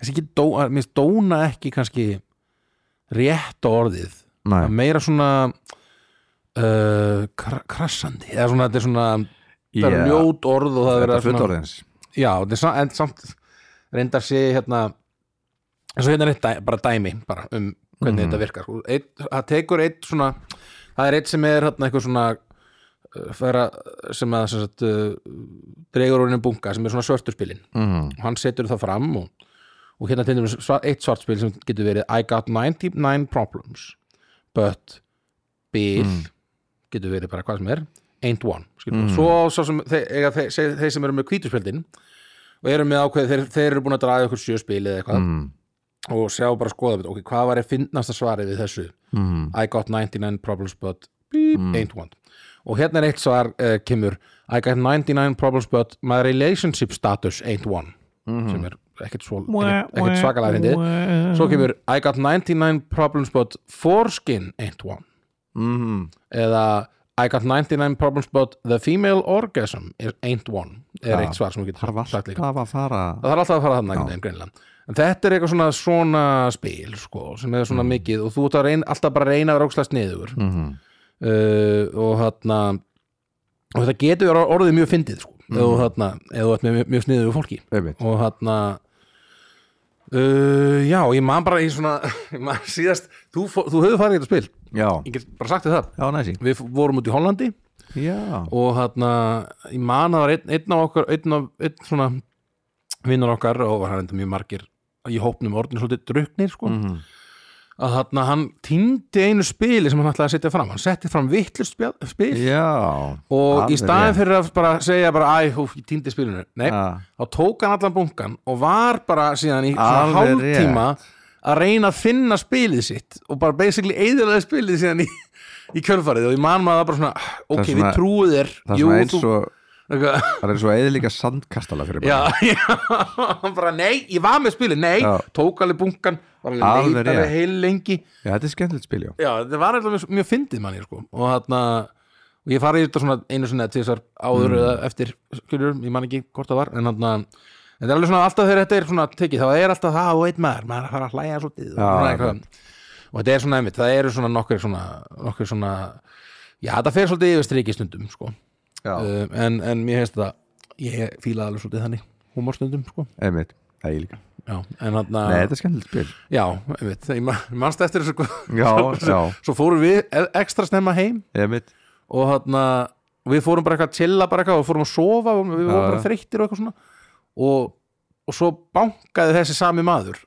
Speaker 2: kannski ekki dó, að- mér finnst dóna ekki kannski rétt orðið
Speaker 1: Nei.
Speaker 2: Það er meira svona uh, kra krassandi eða svona, þetta er svona yeah.
Speaker 1: Yeah.
Speaker 2: ljót orð og það er
Speaker 1: Þetta er
Speaker 2: verið að svona,
Speaker 1: fullorðins
Speaker 2: já, þetta er sa- en samt reyndar sé hérna eins og hérna er eitt dæ, bara dæmi bara um hvernig þetta virkar sko. eitt, það tekur eitt svona það er eitt sem er hérna eitthvað svona uh, færa, sem að sem sagt, uh, dregur orðinu bunga sem er svona svörturspilin
Speaker 1: mm.
Speaker 2: og hann setur það fram og, og hérna til dæmis sva- eitt svartspil sem getur verið I got 99 problems but Bill getur verið bara hvað sem er ain't one mm. svo, svo sem, þeir, eiga, þeir, þeir, þeir sem eru með kvítuspildin og eru með ákveð þeir, þeir eru búin að draga ykkur sjöspil eða eitthvað
Speaker 1: Mm.
Speaker 2: og sjá bara skoða ok, hvað var ég finnast að svarið við þessu
Speaker 1: Mm.
Speaker 2: I got 99 problems but beep, ain't one og hérna er eitt svar uh, kemur I got 99 problems but my relationship status ain't one sem er ekkert svo ekkert, ekkert svakalega hindi svo kemur I got 99 problems but foreskin ain't one
Speaker 1: Mm.
Speaker 2: eða I got 99 problems but the female orgasm is- ain't one er
Speaker 1: Já,
Speaker 2: eitt svar sem við
Speaker 1: Það
Speaker 2: getum
Speaker 1: var
Speaker 2: sagt líka
Speaker 1: alltaf að fara
Speaker 2: það þarf alltaf að fara þarna einhvern veginn greinlega en þetta er eitthvað svona, svona spil sko, sem er svona mikið og þú ert að reyna, alltaf bara að reyna að rákslega sniður mm
Speaker 1: Mhm.
Speaker 2: uh, og þarna og þetta getur verið orðið mjög fyndið sko, mm og þarna, eða þú ert með mjög, mjög sniður fólki
Speaker 1: Einmitt.
Speaker 2: og þarna uh, já, ég man bara í svona [laughs] ég man síðast, þú, fó- þú höfðu farið í þetta spil
Speaker 1: Já,
Speaker 2: ég get bara sagt þér það
Speaker 1: já næsi
Speaker 2: við f- vorum út í Hollandi
Speaker 1: Já,
Speaker 2: og þarna ég man að það var einn, einn af okkar einn, af, einn svona vinnur okkar og var hann enda mjög margir í hópnum orðin svolítið druknir sko
Speaker 1: Mm. Mhm.
Speaker 2: að þarna hann týndi einu spili sem hann ætlaði að setja fram hann setti fram vittlust spil
Speaker 1: já
Speaker 2: og í
Speaker 1: alveg
Speaker 2: staðin
Speaker 1: rétt.
Speaker 2: fyrir að bara segja bara æ, hú, ég týndi spilinu nei,
Speaker 1: Ah.
Speaker 2: þá tók hann allan bunkan og var bara síðan í svona
Speaker 1: Alveg
Speaker 2: hálftíma að reyna að finna spilið sitt og bara basically eðurlega spilið síðan í, í kjölfarið og ég man maður að bara svona "Ah, ok,
Speaker 1: svona-
Speaker 2: við trúið þér
Speaker 1: Það er
Speaker 2: jú,
Speaker 1: svona eins
Speaker 2: þú-
Speaker 1: og
Speaker 2: Eitthvað-
Speaker 1: Það er svo eða líka sandkastala fyrir
Speaker 2: Já,
Speaker 1: bara
Speaker 2: [laughs] já, hann bara nei, ég var með spilið, nei,
Speaker 1: Já.
Speaker 2: tók alveg bunkan var alveg
Speaker 1: Alveg
Speaker 2: leit alveg
Speaker 1: rétt.
Speaker 2: heil lengi
Speaker 1: Já, þetta er skemmtilegt spil, já
Speaker 2: Já, þetta var alveg mjög, mjög fyndið manni sko. og þarna, og ég farið í þetta svona einu svona tíðsar
Speaker 1: Mm.
Speaker 2: áður eða eftir skilur, ég man ekki hvort það var en þarna, þetta er alveg svona alltaf þegar þetta er svona tekið, þá er alltaf það og einn maður maður er að fara að hlæja svolítið og,
Speaker 1: Já,
Speaker 2: svona eitthvað. og þetta er svona einmitt, það eru svona nokkur svona, nokkur svona já, þetta fer svolítið yfir strikið stundum sko.
Speaker 1: Já,
Speaker 2: uh, en, en mér hefst það ég fílaði alveg svolítið þannig húmorstundum sko.
Speaker 1: Eh, einmitt Það er líka
Speaker 2: já, en þarna
Speaker 1: Nei, þetta er skemmtilegt spil
Speaker 2: já, einmitt, ég man- manst eftir þessu
Speaker 1: [laughs]
Speaker 2: hvað-
Speaker 1: Já, já,
Speaker 2: svo fórum við e- ekstra snemma heim
Speaker 1: einmitt
Speaker 2: og þarna við fórum bara eitthvað að chilla bara eitthvað og fórum að sofa og við vorum
Speaker 1: Já,
Speaker 2: bara
Speaker 1: já.
Speaker 2: þreyttir og eitthvað svona og, og svo bankaði þessi sami maður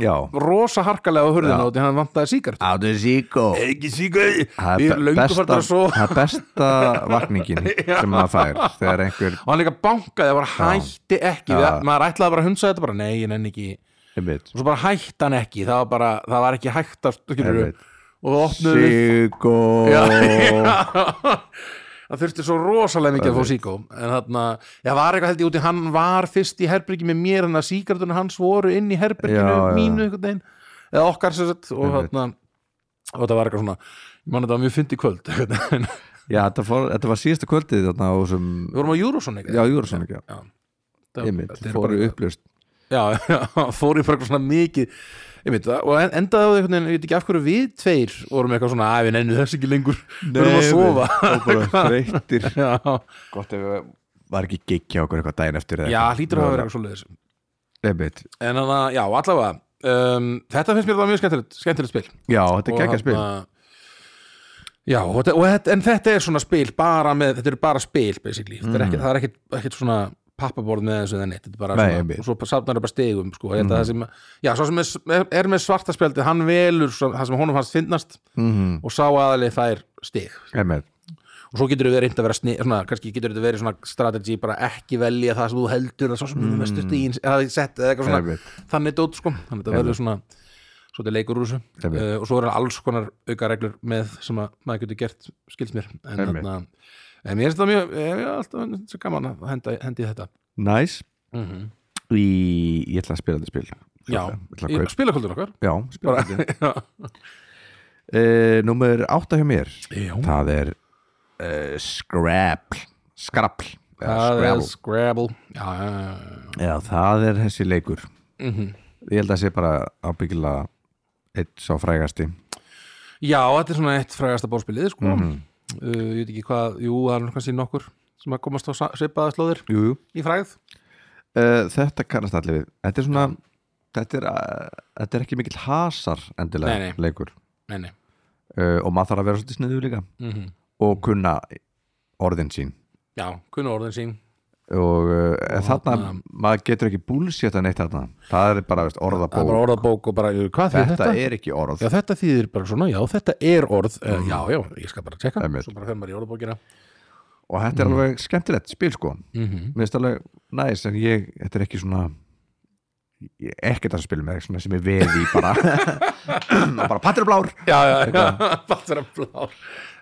Speaker 1: Já
Speaker 2: rosa harkalega á hurðina
Speaker 1: Já.
Speaker 2: og hann vantaði síkart
Speaker 1: Átum síkó
Speaker 2: ekki síkart,
Speaker 1: Það
Speaker 2: við
Speaker 1: er
Speaker 2: erum
Speaker 1: be-
Speaker 2: löngu
Speaker 1: besta,
Speaker 2: farnar að sofa
Speaker 1: það er besta
Speaker 2: [laughs]
Speaker 1: vakningin sem maður fær þegar einhver
Speaker 2: og hann líka bankaði, það var hætti ekki við,
Speaker 1: Já.
Speaker 2: maður ætlaði bara að hunsa þetta bara, nei, ég nenni ekki
Speaker 1: einmitt,
Speaker 2: og svo bara hætti hann ekki, það var bara það var ekki hægt að, skilur
Speaker 1: einmitt.
Speaker 2: og það opnuðu við
Speaker 1: Sigó
Speaker 2: Já, [laughs] já. það þurfti svo rosalega mikið að fá síkó en þarna, já var eitthvað held ég úti hann var fyrst í herbyrgi með mér þannig að síkartunum hans voru inn í herbyrginu
Speaker 1: Já, já.
Speaker 2: mínu einhvern veginn, eða okkar sem sagt og
Speaker 1: Einmitt.
Speaker 2: þarna og það var eitthvað svona, ég man þetta var mjög fyndi kvöld [laughs] einhvern veginn.
Speaker 1: Já, þetta, fór, þetta var síðasta kvöldið þarna á þessum
Speaker 2: við vorum á Júrósson
Speaker 1: Já, Júrasson ekki,
Speaker 2: já.
Speaker 1: já, einmitt
Speaker 2: Þetta er
Speaker 1: fóru
Speaker 2: bara-
Speaker 1: upplust
Speaker 2: já, já, [laughs] fór ég bara eitthvað svona mikið ég veit það, og en- endaði á því einhvern veginn, ég veit ekki af hverju við tveir vorum eitthvað svona, að við nennum þess ekki lengur [laughs] við erum að sofa
Speaker 1: og bara þreyttir
Speaker 2: já,
Speaker 1: Gott ef við var ekki gigja okkur eitthvað daginn eftir eða
Speaker 2: já
Speaker 1: eitthvað.
Speaker 2: hlýtur að hafa verið eitthvað svoleiðis
Speaker 1: Einmitt,
Speaker 2: en þannig að, já, allavega um, þetta finnst mér það mjög skemmtilegt, skemmtilegt spil
Speaker 1: já, þetta er
Speaker 2: Og
Speaker 1: geggja spil
Speaker 2: þarna- já, og þetta, og þetta, en þetta er svona spil bara með, þetta eru bara spil basically, þetta er ekki, það er ekkit, ekkit svona pappaborð með þessu eða neitt, þetta er bara
Speaker 1: Nei,
Speaker 2: svona,
Speaker 1: einmitt.
Speaker 2: og svo safnar það bara stegum sko, mm. það sem, já, svo sem er, er, er með svarta spjaldi, hann velur svo, það sem honum fannst finnast
Speaker 1: Mhm,
Speaker 2: og sá aðalegi fær steg
Speaker 1: Einmitt,
Speaker 2: og svo getur við reynd að vera sni, svona, kannski getur þetta verið svona strategy bara ekki velja það sem þú heldur að svo sem þú mm. mestu stíðin eða sett eða eitthvað svona
Speaker 1: Einmitt.
Speaker 2: þannig dót sko, þannig þetta verður svona svolítið leikur úr þessu
Speaker 1: Einmitt.
Speaker 2: uh, og svo eru alls konar auka reglur með sem að maður getur gert skilst mér en,
Speaker 1: Einmitt.
Speaker 2: þarna, en mér finnst það mjög, ég er alltaf svo gaman að henda, hendi í þetta
Speaker 1: næs
Speaker 2: mm -hmm.
Speaker 1: í, Ég ætla að spila þetta spil
Speaker 2: Já,
Speaker 1: Ég ætla að kaupa-
Speaker 2: spilakvöldun okkar
Speaker 1: já spila þetta
Speaker 2: [laughs] Já,
Speaker 1: uh, Númer 8 hjá mér
Speaker 2: Já.
Speaker 1: Það er uh, Scrabble Scrabble eða
Speaker 2: það er
Speaker 1: Scrabble.
Speaker 2: Scrabble Já, já, já, já.
Speaker 1: Já, það er þessi leikur
Speaker 2: Mhm.
Speaker 1: ég held að sé bara ábyggilega eitt sá frægasti
Speaker 2: Já, þetta er svona eitt frægasta bórspilið sko.
Speaker 1: Mhm.
Speaker 2: uh, Ég veit ekki hvað, jú, það er nú kannski nokkur sem að komast á sa- svipaða slóðir
Speaker 1: jú, jú.
Speaker 2: í fræð
Speaker 1: Uh, þetta kannast allir við þetta er svona þetta er, uh, þetta er ekki mikill hasar endilega
Speaker 2: Nei, nei.
Speaker 1: leikur
Speaker 2: Nei, nei
Speaker 1: uh, og maður þarf að vera svolítið sniðu líka
Speaker 2: mm
Speaker 1: og kunna orðin sín
Speaker 2: Já, kunna orðin sín
Speaker 1: og uh, þarna,
Speaker 2: þarna-
Speaker 1: maður getur ekki búlsétta neitt þarna, það er bara veist,
Speaker 2: Það er
Speaker 1: orðabók,
Speaker 2: bara orðabók og bara, hvað þýðir
Speaker 1: þetta,
Speaker 2: þetta?
Speaker 1: er ekki orð
Speaker 2: Já, þetta þýðir bara svona, já, þetta er orð mm. Já, já, ég skal bara tjekka
Speaker 1: Mhm. Einmitt.
Speaker 2: Svo bara þegar maður í orðabókina
Speaker 1: og þetta er alveg skemmtilegt spil sko
Speaker 2: mm
Speaker 1: mér finnst alveg næs en ég, þetta er ekki svona ég- ekkert að spila með svona sem ég veði
Speaker 2: [laughs]
Speaker 1: bara og bara patrir blár
Speaker 2: Já, já, já, [laughs] fattur að blár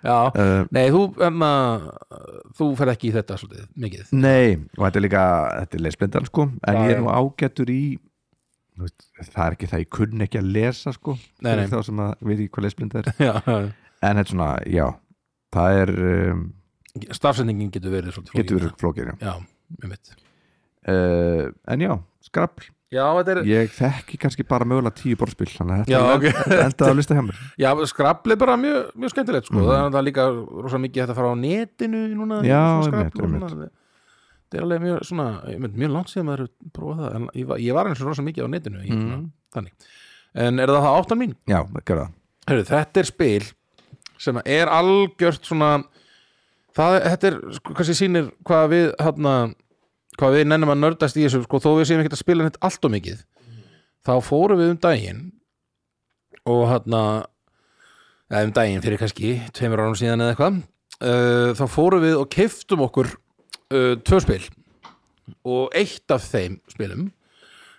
Speaker 2: Já,
Speaker 1: uh,
Speaker 2: nei, þú emma, þú fer ekki í þetta svolítið
Speaker 1: [laughs]
Speaker 2: mikið
Speaker 1: nei, og þetta er líka þetta er lesblindan sko, en
Speaker 2: Já,
Speaker 1: ég
Speaker 2: já.
Speaker 1: er nú ágættur í þú veist, það er ekki það ég kunni ekki að lesa sko
Speaker 2: Nei, nei.
Speaker 1: fyrir þá sem að við ekki hvað lesblinda er
Speaker 2: Já,
Speaker 1: en þetta er svona, já, það er um,
Speaker 2: stafsendingin getur verið svolítið flókin.
Speaker 1: getur verið flókir já.
Speaker 2: Já, með mitt
Speaker 1: uh, en já, skrapl
Speaker 2: Já, þetta er,
Speaker 1: ég þekki kannski bara mögulega tíu borðspil þannig að
Speaker 2: Já,
Speaker 1: þetta
Speaker 2: ok.
Speaker 1: okay. endaði að lista hjá mér
Speaker 2: já, skrabli bara mjög, mjög skemmtilegt
Speaker 1: Mhm.
Speaker 2: sko. það er það líka rosa mikið hægt að fara á netinu núna,
Speaker 1: Já,
Speaker 2: svona
Speaker 1: einmitt,
Speaker 2: skrafl og
Speaker 1: einmitt.
Speaker 2: svona. þetta er alveg mjög svona, einmitt, mjög langt síðan maður hefur prófað það, en ég var, ég var eins og rosa mikið á netinu hérna. ég,
Speaker 1: Mhm.
Speaker 2: svona, þannig, en er það það áttan mín?
Speaker 1: já, gerða það
Speaker 2: Heru, þetta er spil sem er algjört svona það, þetta er, sko, kannski sýnir hvað við hana, hvað við nennum að nördast í þessu, sko, þó við séum ekkert að spila neitt allt og mikið þá fórum við um daginn og hérna eða um daginn fyrir kannski tveimur árum síðan eða eitthvað uh, þá fórum við og keiftum okkur uh, tvö spil og eitt af þeim spilum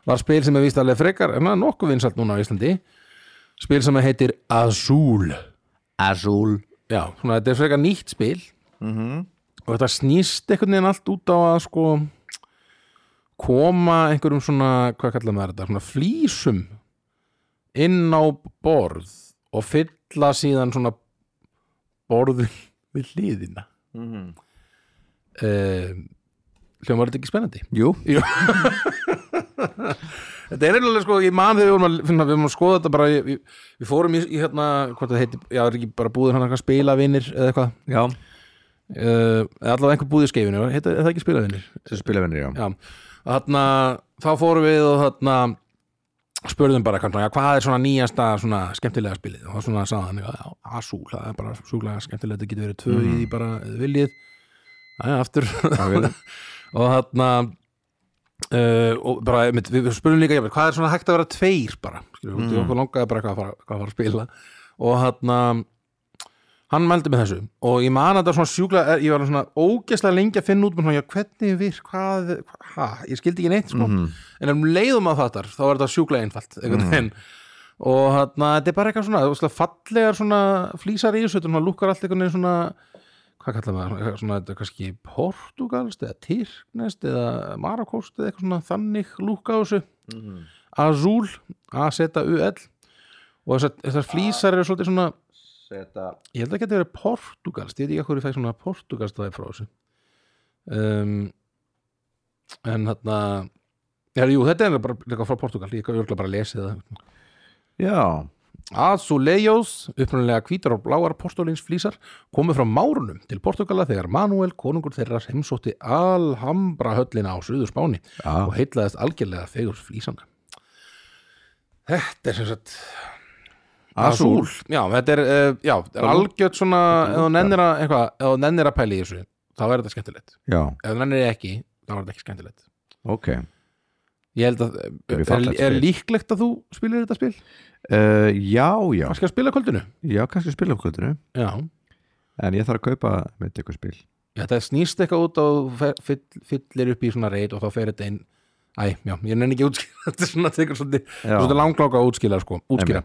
Speaker 2: var spil sem er víst alveg frekar en það er nokkuð vinsalt núna á Íslandi spil sem heitir Azul
Speaker 1: Azul
Speaker 2: já, svona þetta er frekar nýtt spil Mhm. og þetta snýst einhvern veginn allt út á að sko koma einhverjum svona, hvað kallar maður þetta svona flýsum inn á borð og fylla síðan svona borðin [laughs] við hliðina Mhm. um, hljómar þetta ekki spennandi
Speaker 1: jú,
Speaker 2: Þetta er eiginlega sko, ég man þegar við vorum að, finna, við vorum að skoða þetta bara, ég, ég, við fórum í, í hérna, hvort það heiti, já, er ekki bara búður hann eitthvað spilavinir eða eitthvað,
Speaker 1: já,
Speaker 2: uh, eða allavega einhver búður skeifinu, heita, er það ekki spilavinir?
Speaker 1: sem spilavinnir já.
Speaker 2: Já, þarna, þá fórum við og þarna spurðum bara kannski, já, hvað er svona nýjasta svona skemmtilega spilið og þá svona sagði hann, já, asúl, það er bara súklega skemmtilega, þetta getur verið tvö í því bara eða viljið, já, aftur
Speaker 1: vel.
Speaker 2: [laughs] og þarna uh, og bara, einmitt, við við spurðum líka jafnvel, hvað er svona hægt að vera tveir bara, skiljum, mm. okkur langaði bara hvað að fara, hvað að fara að spila og þarna hann meldi með þessu og ég man að þetta svona sjúkla eh, ég var svona ógeðslega lengi að finna út með svona, já, hvernig virk, hvað, hvað ég skildi ekki neitt, sko,
Speaker 1: Mhm. Mm.
Speaker 2: en um leiðum að fattar þá er þetta sjúkla einfalt mm. og þarna, þetta er bara eitthvað svona, svona fallegar svona flýsar í þessu þetta svona lukkar allt einhvern veginn svona hvað kallar maður, svona, svona þetta er kannski portugalst eða tyrknest eða marakóst eða eitthvað svona þannig lúkka á þessu Mm. Azul, A-Z-U-L og þessar, þessar flýsar eru svolítið svona
Speaker 1: Seta.
Speaker 2: ég held að geta verið portugalst ég veit ekki að hverju fæk svona portugalst það er frá þessu um, en þarna já, jú, þetta er bara líka frá Portugal ég örgla bara að lesa það
Speaker 1: já,
Speaker 2: Azulejós, upprunalega hvítar og bláar postulins flýsar, komu frá Márunum til Portugala þegar Manuel, konungur þeirra heimsótti Alhambra höllina á Suður Spáni
Speaker 1: já.
Speaker 2: og heitlaðist algjörlega fegur flýsana Þetta er sem sagt Azul, já, þetta er, uh, já, er algjört svona, ef þú nennir að eitthvað, ef þú nennir að pæla í þessu þá er þetta skemmtilegt,
Speaker 1: já,
Speaker 2: ef þú nennir ekki þá er þetta ekki skemmtilegt
Speaker 1: ok
Speaker 2: ég held að,
Speaker 1: Þetta er
Speaker 2: er,
Speaker 1: fallegt
Speaker 2: er
Speaker 1: spil.
Speaker 2: líklegt að þú spilir þetta spil?
Speaker 1: uh, já, já,
Speaker 2: kannski að spila kvöldinu?
Speaker 1: já, kannski spila um kvöldinu
Speaker 2: Já,
Speaker 1: en ég þarf að kaupa með eitthvað spil
Speaker 2: þetta snýst eitthvað út og fer- fyll, fyllir upp í svona reit og þá fer þetta inn Æ, já, ég nenni ekki að útskýra [laughs] þetta er svona, tekur svolítið,
Speaker 1: Já.
Speaker 2: svolítið langláka að útskýra, sko, útskýra.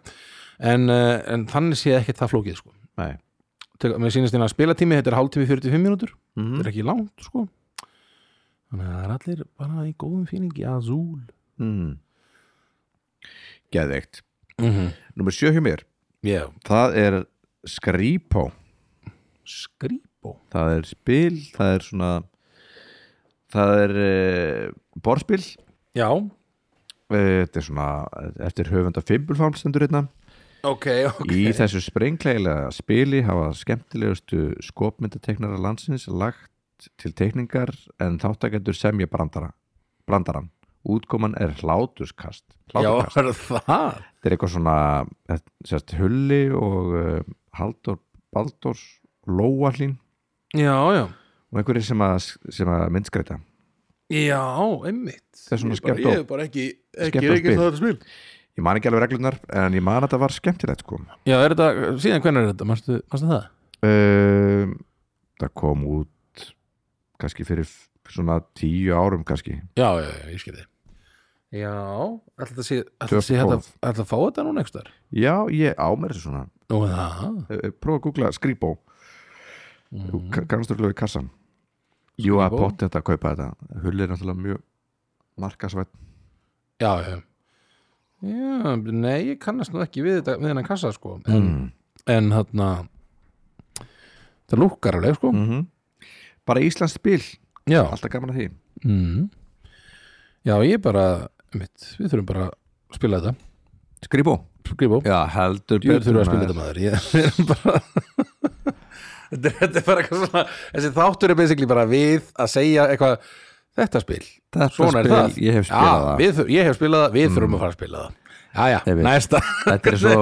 Speaker 2: En, uh, en þannig sé ekki það flókið sko.
Speaker 1: nei,
Speaker 2: Tek- Mér sýnist hérna að spilatími, þetta er hálftími 45 mínútur
Speaker 1: mm
Speaker 2: þetta er ekki langt sko þannig að það er allir bara í góðum fíningi azúl
Speaker 1: mm. geðveikt
Speaker 2: mm -hmm.
Speaker 1: nummer sjö hjá mér,
Speaker 2: yeah.
Speaker 1: það er Skrýpó
Speaker 2: skrýpó
Speaker 1: það er spil, það er svona það er uh, eh, borðspil
Speaker 2: já,
Speaker 1: Eh, þetta er svona eftir höfunda Fimbulfálm stendur hérna
Speaker 2: ok, ok
Speaker 1: Í þessu sprengleilega spili hafa skemmtilegustu skopmyndateknara landsins lagt til tekningar en þáttakendur semja brandara, brandaran. Útkoman er hláturskast.
Speaker 2: já,
Speaker 1: hláturkast.
Speaker 2: er það
Speaker 1: Þetta er eitthvað svona þetta- sérst, Hulli og uh, Haldur Baldurs Lóallín
Speaker 2: já, já,
Speaker 1: og einhverjir sem að, sem að myndskreita.
Speaker 2: já, einmitt
Speaker 1: Það er svona
Speaker 2: Ég bara-
Speaker 1: skemmtó-
Speaker 2: ég er bara ekki, ekki
Speaker 1: skemmtó
Speaker 2: reikist
Speaker 1: spil.
Speaker 2: það þetta spil
Speaker 1: Ég man ekki alveg reglunar en ég man að þetta var skemmtilegt sko.
Speaker 2: já, er þetta, síðan hvernig er þetta, marstu, marstu það
Speaker 1: Uh, það kom út kannski fyrir f- svona tíu árum kannski.
Speaker 2: já, já, já, ég skil þið já, ætla þetta sé ætla þetta sé hægt
Speaker 1: 2012.
Speaker 2: að- ætli að fá þetta núna einhverstaðar
Speaker 1: Já, ég á mér þessu svona
Speaker 2: nú er það
Speaker 1: Eh, eh, prófa að googla skrýbó
Speaker 2: Mm.
Speaker 1: mm. kannasturlega í kassan jú að
Speaker 2: Skribó?
Speaker 1: pott þetta að kaupa þetta hulli er náttúrulega mjög markasvætt
Speaker 2: já, já já, nei, ég kannast nú ekki við þetta við hennan kassa, sko en,
Speaker 1: Mm.
Speaker 2: en þarna það lúkkar alveg, sko
Speaker 1: mm -hmm. bara Íslands spil,
Speaker 2: já,
Speaker 1: alltaf gaman að því
Speaker 2: mm. já, ég bara mitt, við þurfum bara að spila þetta
Speaker 1: skrýbó,
Speaker 2: skrifa á,
Speaker 1: já heldur
Speaker 2: ég þurfum að spila
Speaker 1: maður.
Speaker 2: þetta maður ég [laughs] við erum bara Þetta er- þetta er bara eitthvað svona þessi þáttur er basically bara við að segja eitthvað, þetta spil
Speaker 1: Þetta
Speaker 2: svona er
Speaker 1: spil,
Speaker 2: það
Speaker 1: ég hef spilað það.
Speaker 2: við, þur- ég hef spilað það, við þurfum að fara að spila það já, já,
Speaker 1: Einmitt.
Speaker 2: næsta
Speaker 1: þetta er svo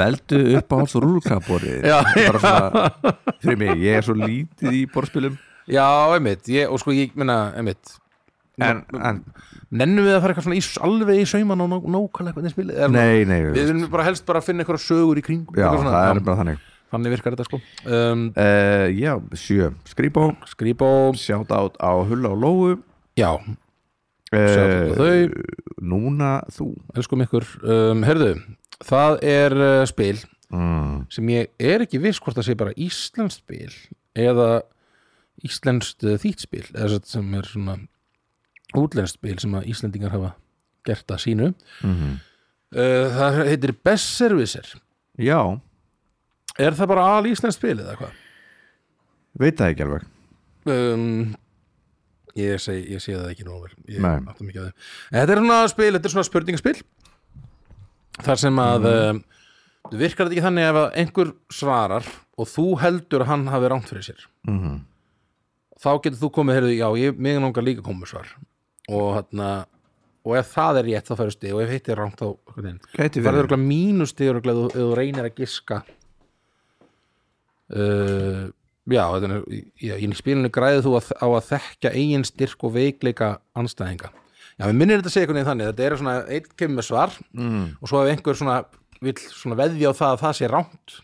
Speaker 1: veldu upp á hans rúlkaborið
Speaker 2: Já,
Speaker 1: bara svona fyrir mig, ég er svo lítið í borðspilum
Speaker 2: [laughs] já, einmitt, ég, og sko ég meina, einmitt
Speaker 1: en, en
Speaker 2: Nennum við að fara eitthvað svona í, alveg í sauman og nó- nákvæmlega hvernig spilið er?
Speaker 1: nei, nei
Speaker 2: Við viljum bara helst bara að finna eitthvað sögur í kring
Speaker 1: já,
Speaker 2: eitthvað svona.
Speaker 1: það er
Speaker 2: Já,
Speaker 1: bara þannig
Speaker 2: Þannig virkar þetta sko um,
Speaker 1: uh, já, sjö, skrýbó
Speaker 2: Skrýpa
Speaker 1: sjátt át á hulla og lóu
Speaker 2: Já,
Speaker 1: Eh,
Speaker 2: Shoutout á þau.
Speaker 1: núna þú
Speaker 2: elskum ykkur um, Herðu, það er uh, spil
Speaker 1: mm.
Speaker 2: sem ég er ekki viss hvort það sé bara íslenskt spil eða íslenskt uh, þýtt spil eða sem sagt sem er svona útlenskt spil sem að Íslendingar hafa gert að sínu uh, Það heitir Best Servicer
Speaker 1: já,
Speaker 2: Er það bara al íslenskt spil eða hvað?
Speaker 1: veit það ekki alveg
Speaker 2: um, ég, seg, ég sé það ekki nóg vel ég
Speaker 1: Nei.
Speaker 2: átta mig ekki á því. En þetta er svona spil, þetta er svona spurningaspil þar sem að mm. virkar þetta ekki þannig ef að einhver svarar og þú heldur að hann hafi rámt fyrir sér
Speaker 1: mm.
Speaker 2: þá getur þú komið, heyrðu, já, ég, mig langar líka að koma með svar og hérna og ef það er rétt þá færðu stig og ef hitt er rámt þá
Speaker 1: gæti
Speaker 2: færðu
Speaker 1: verið
Speaker 2: örgulega mínustig örgulega ef þú- ef þú reynir að giska uh, já, þetta er já, í spilinu græði þú að, á að þekkja eigin styrk og veikleika anstæðinga já, við minnir þetta að segja einhvern veginn þannig þetta er svona, einn kemur með svar
Speaker 1: mm.
Speaker 2: og svo ef einhver svona vill svona veðja á það að það sé rámt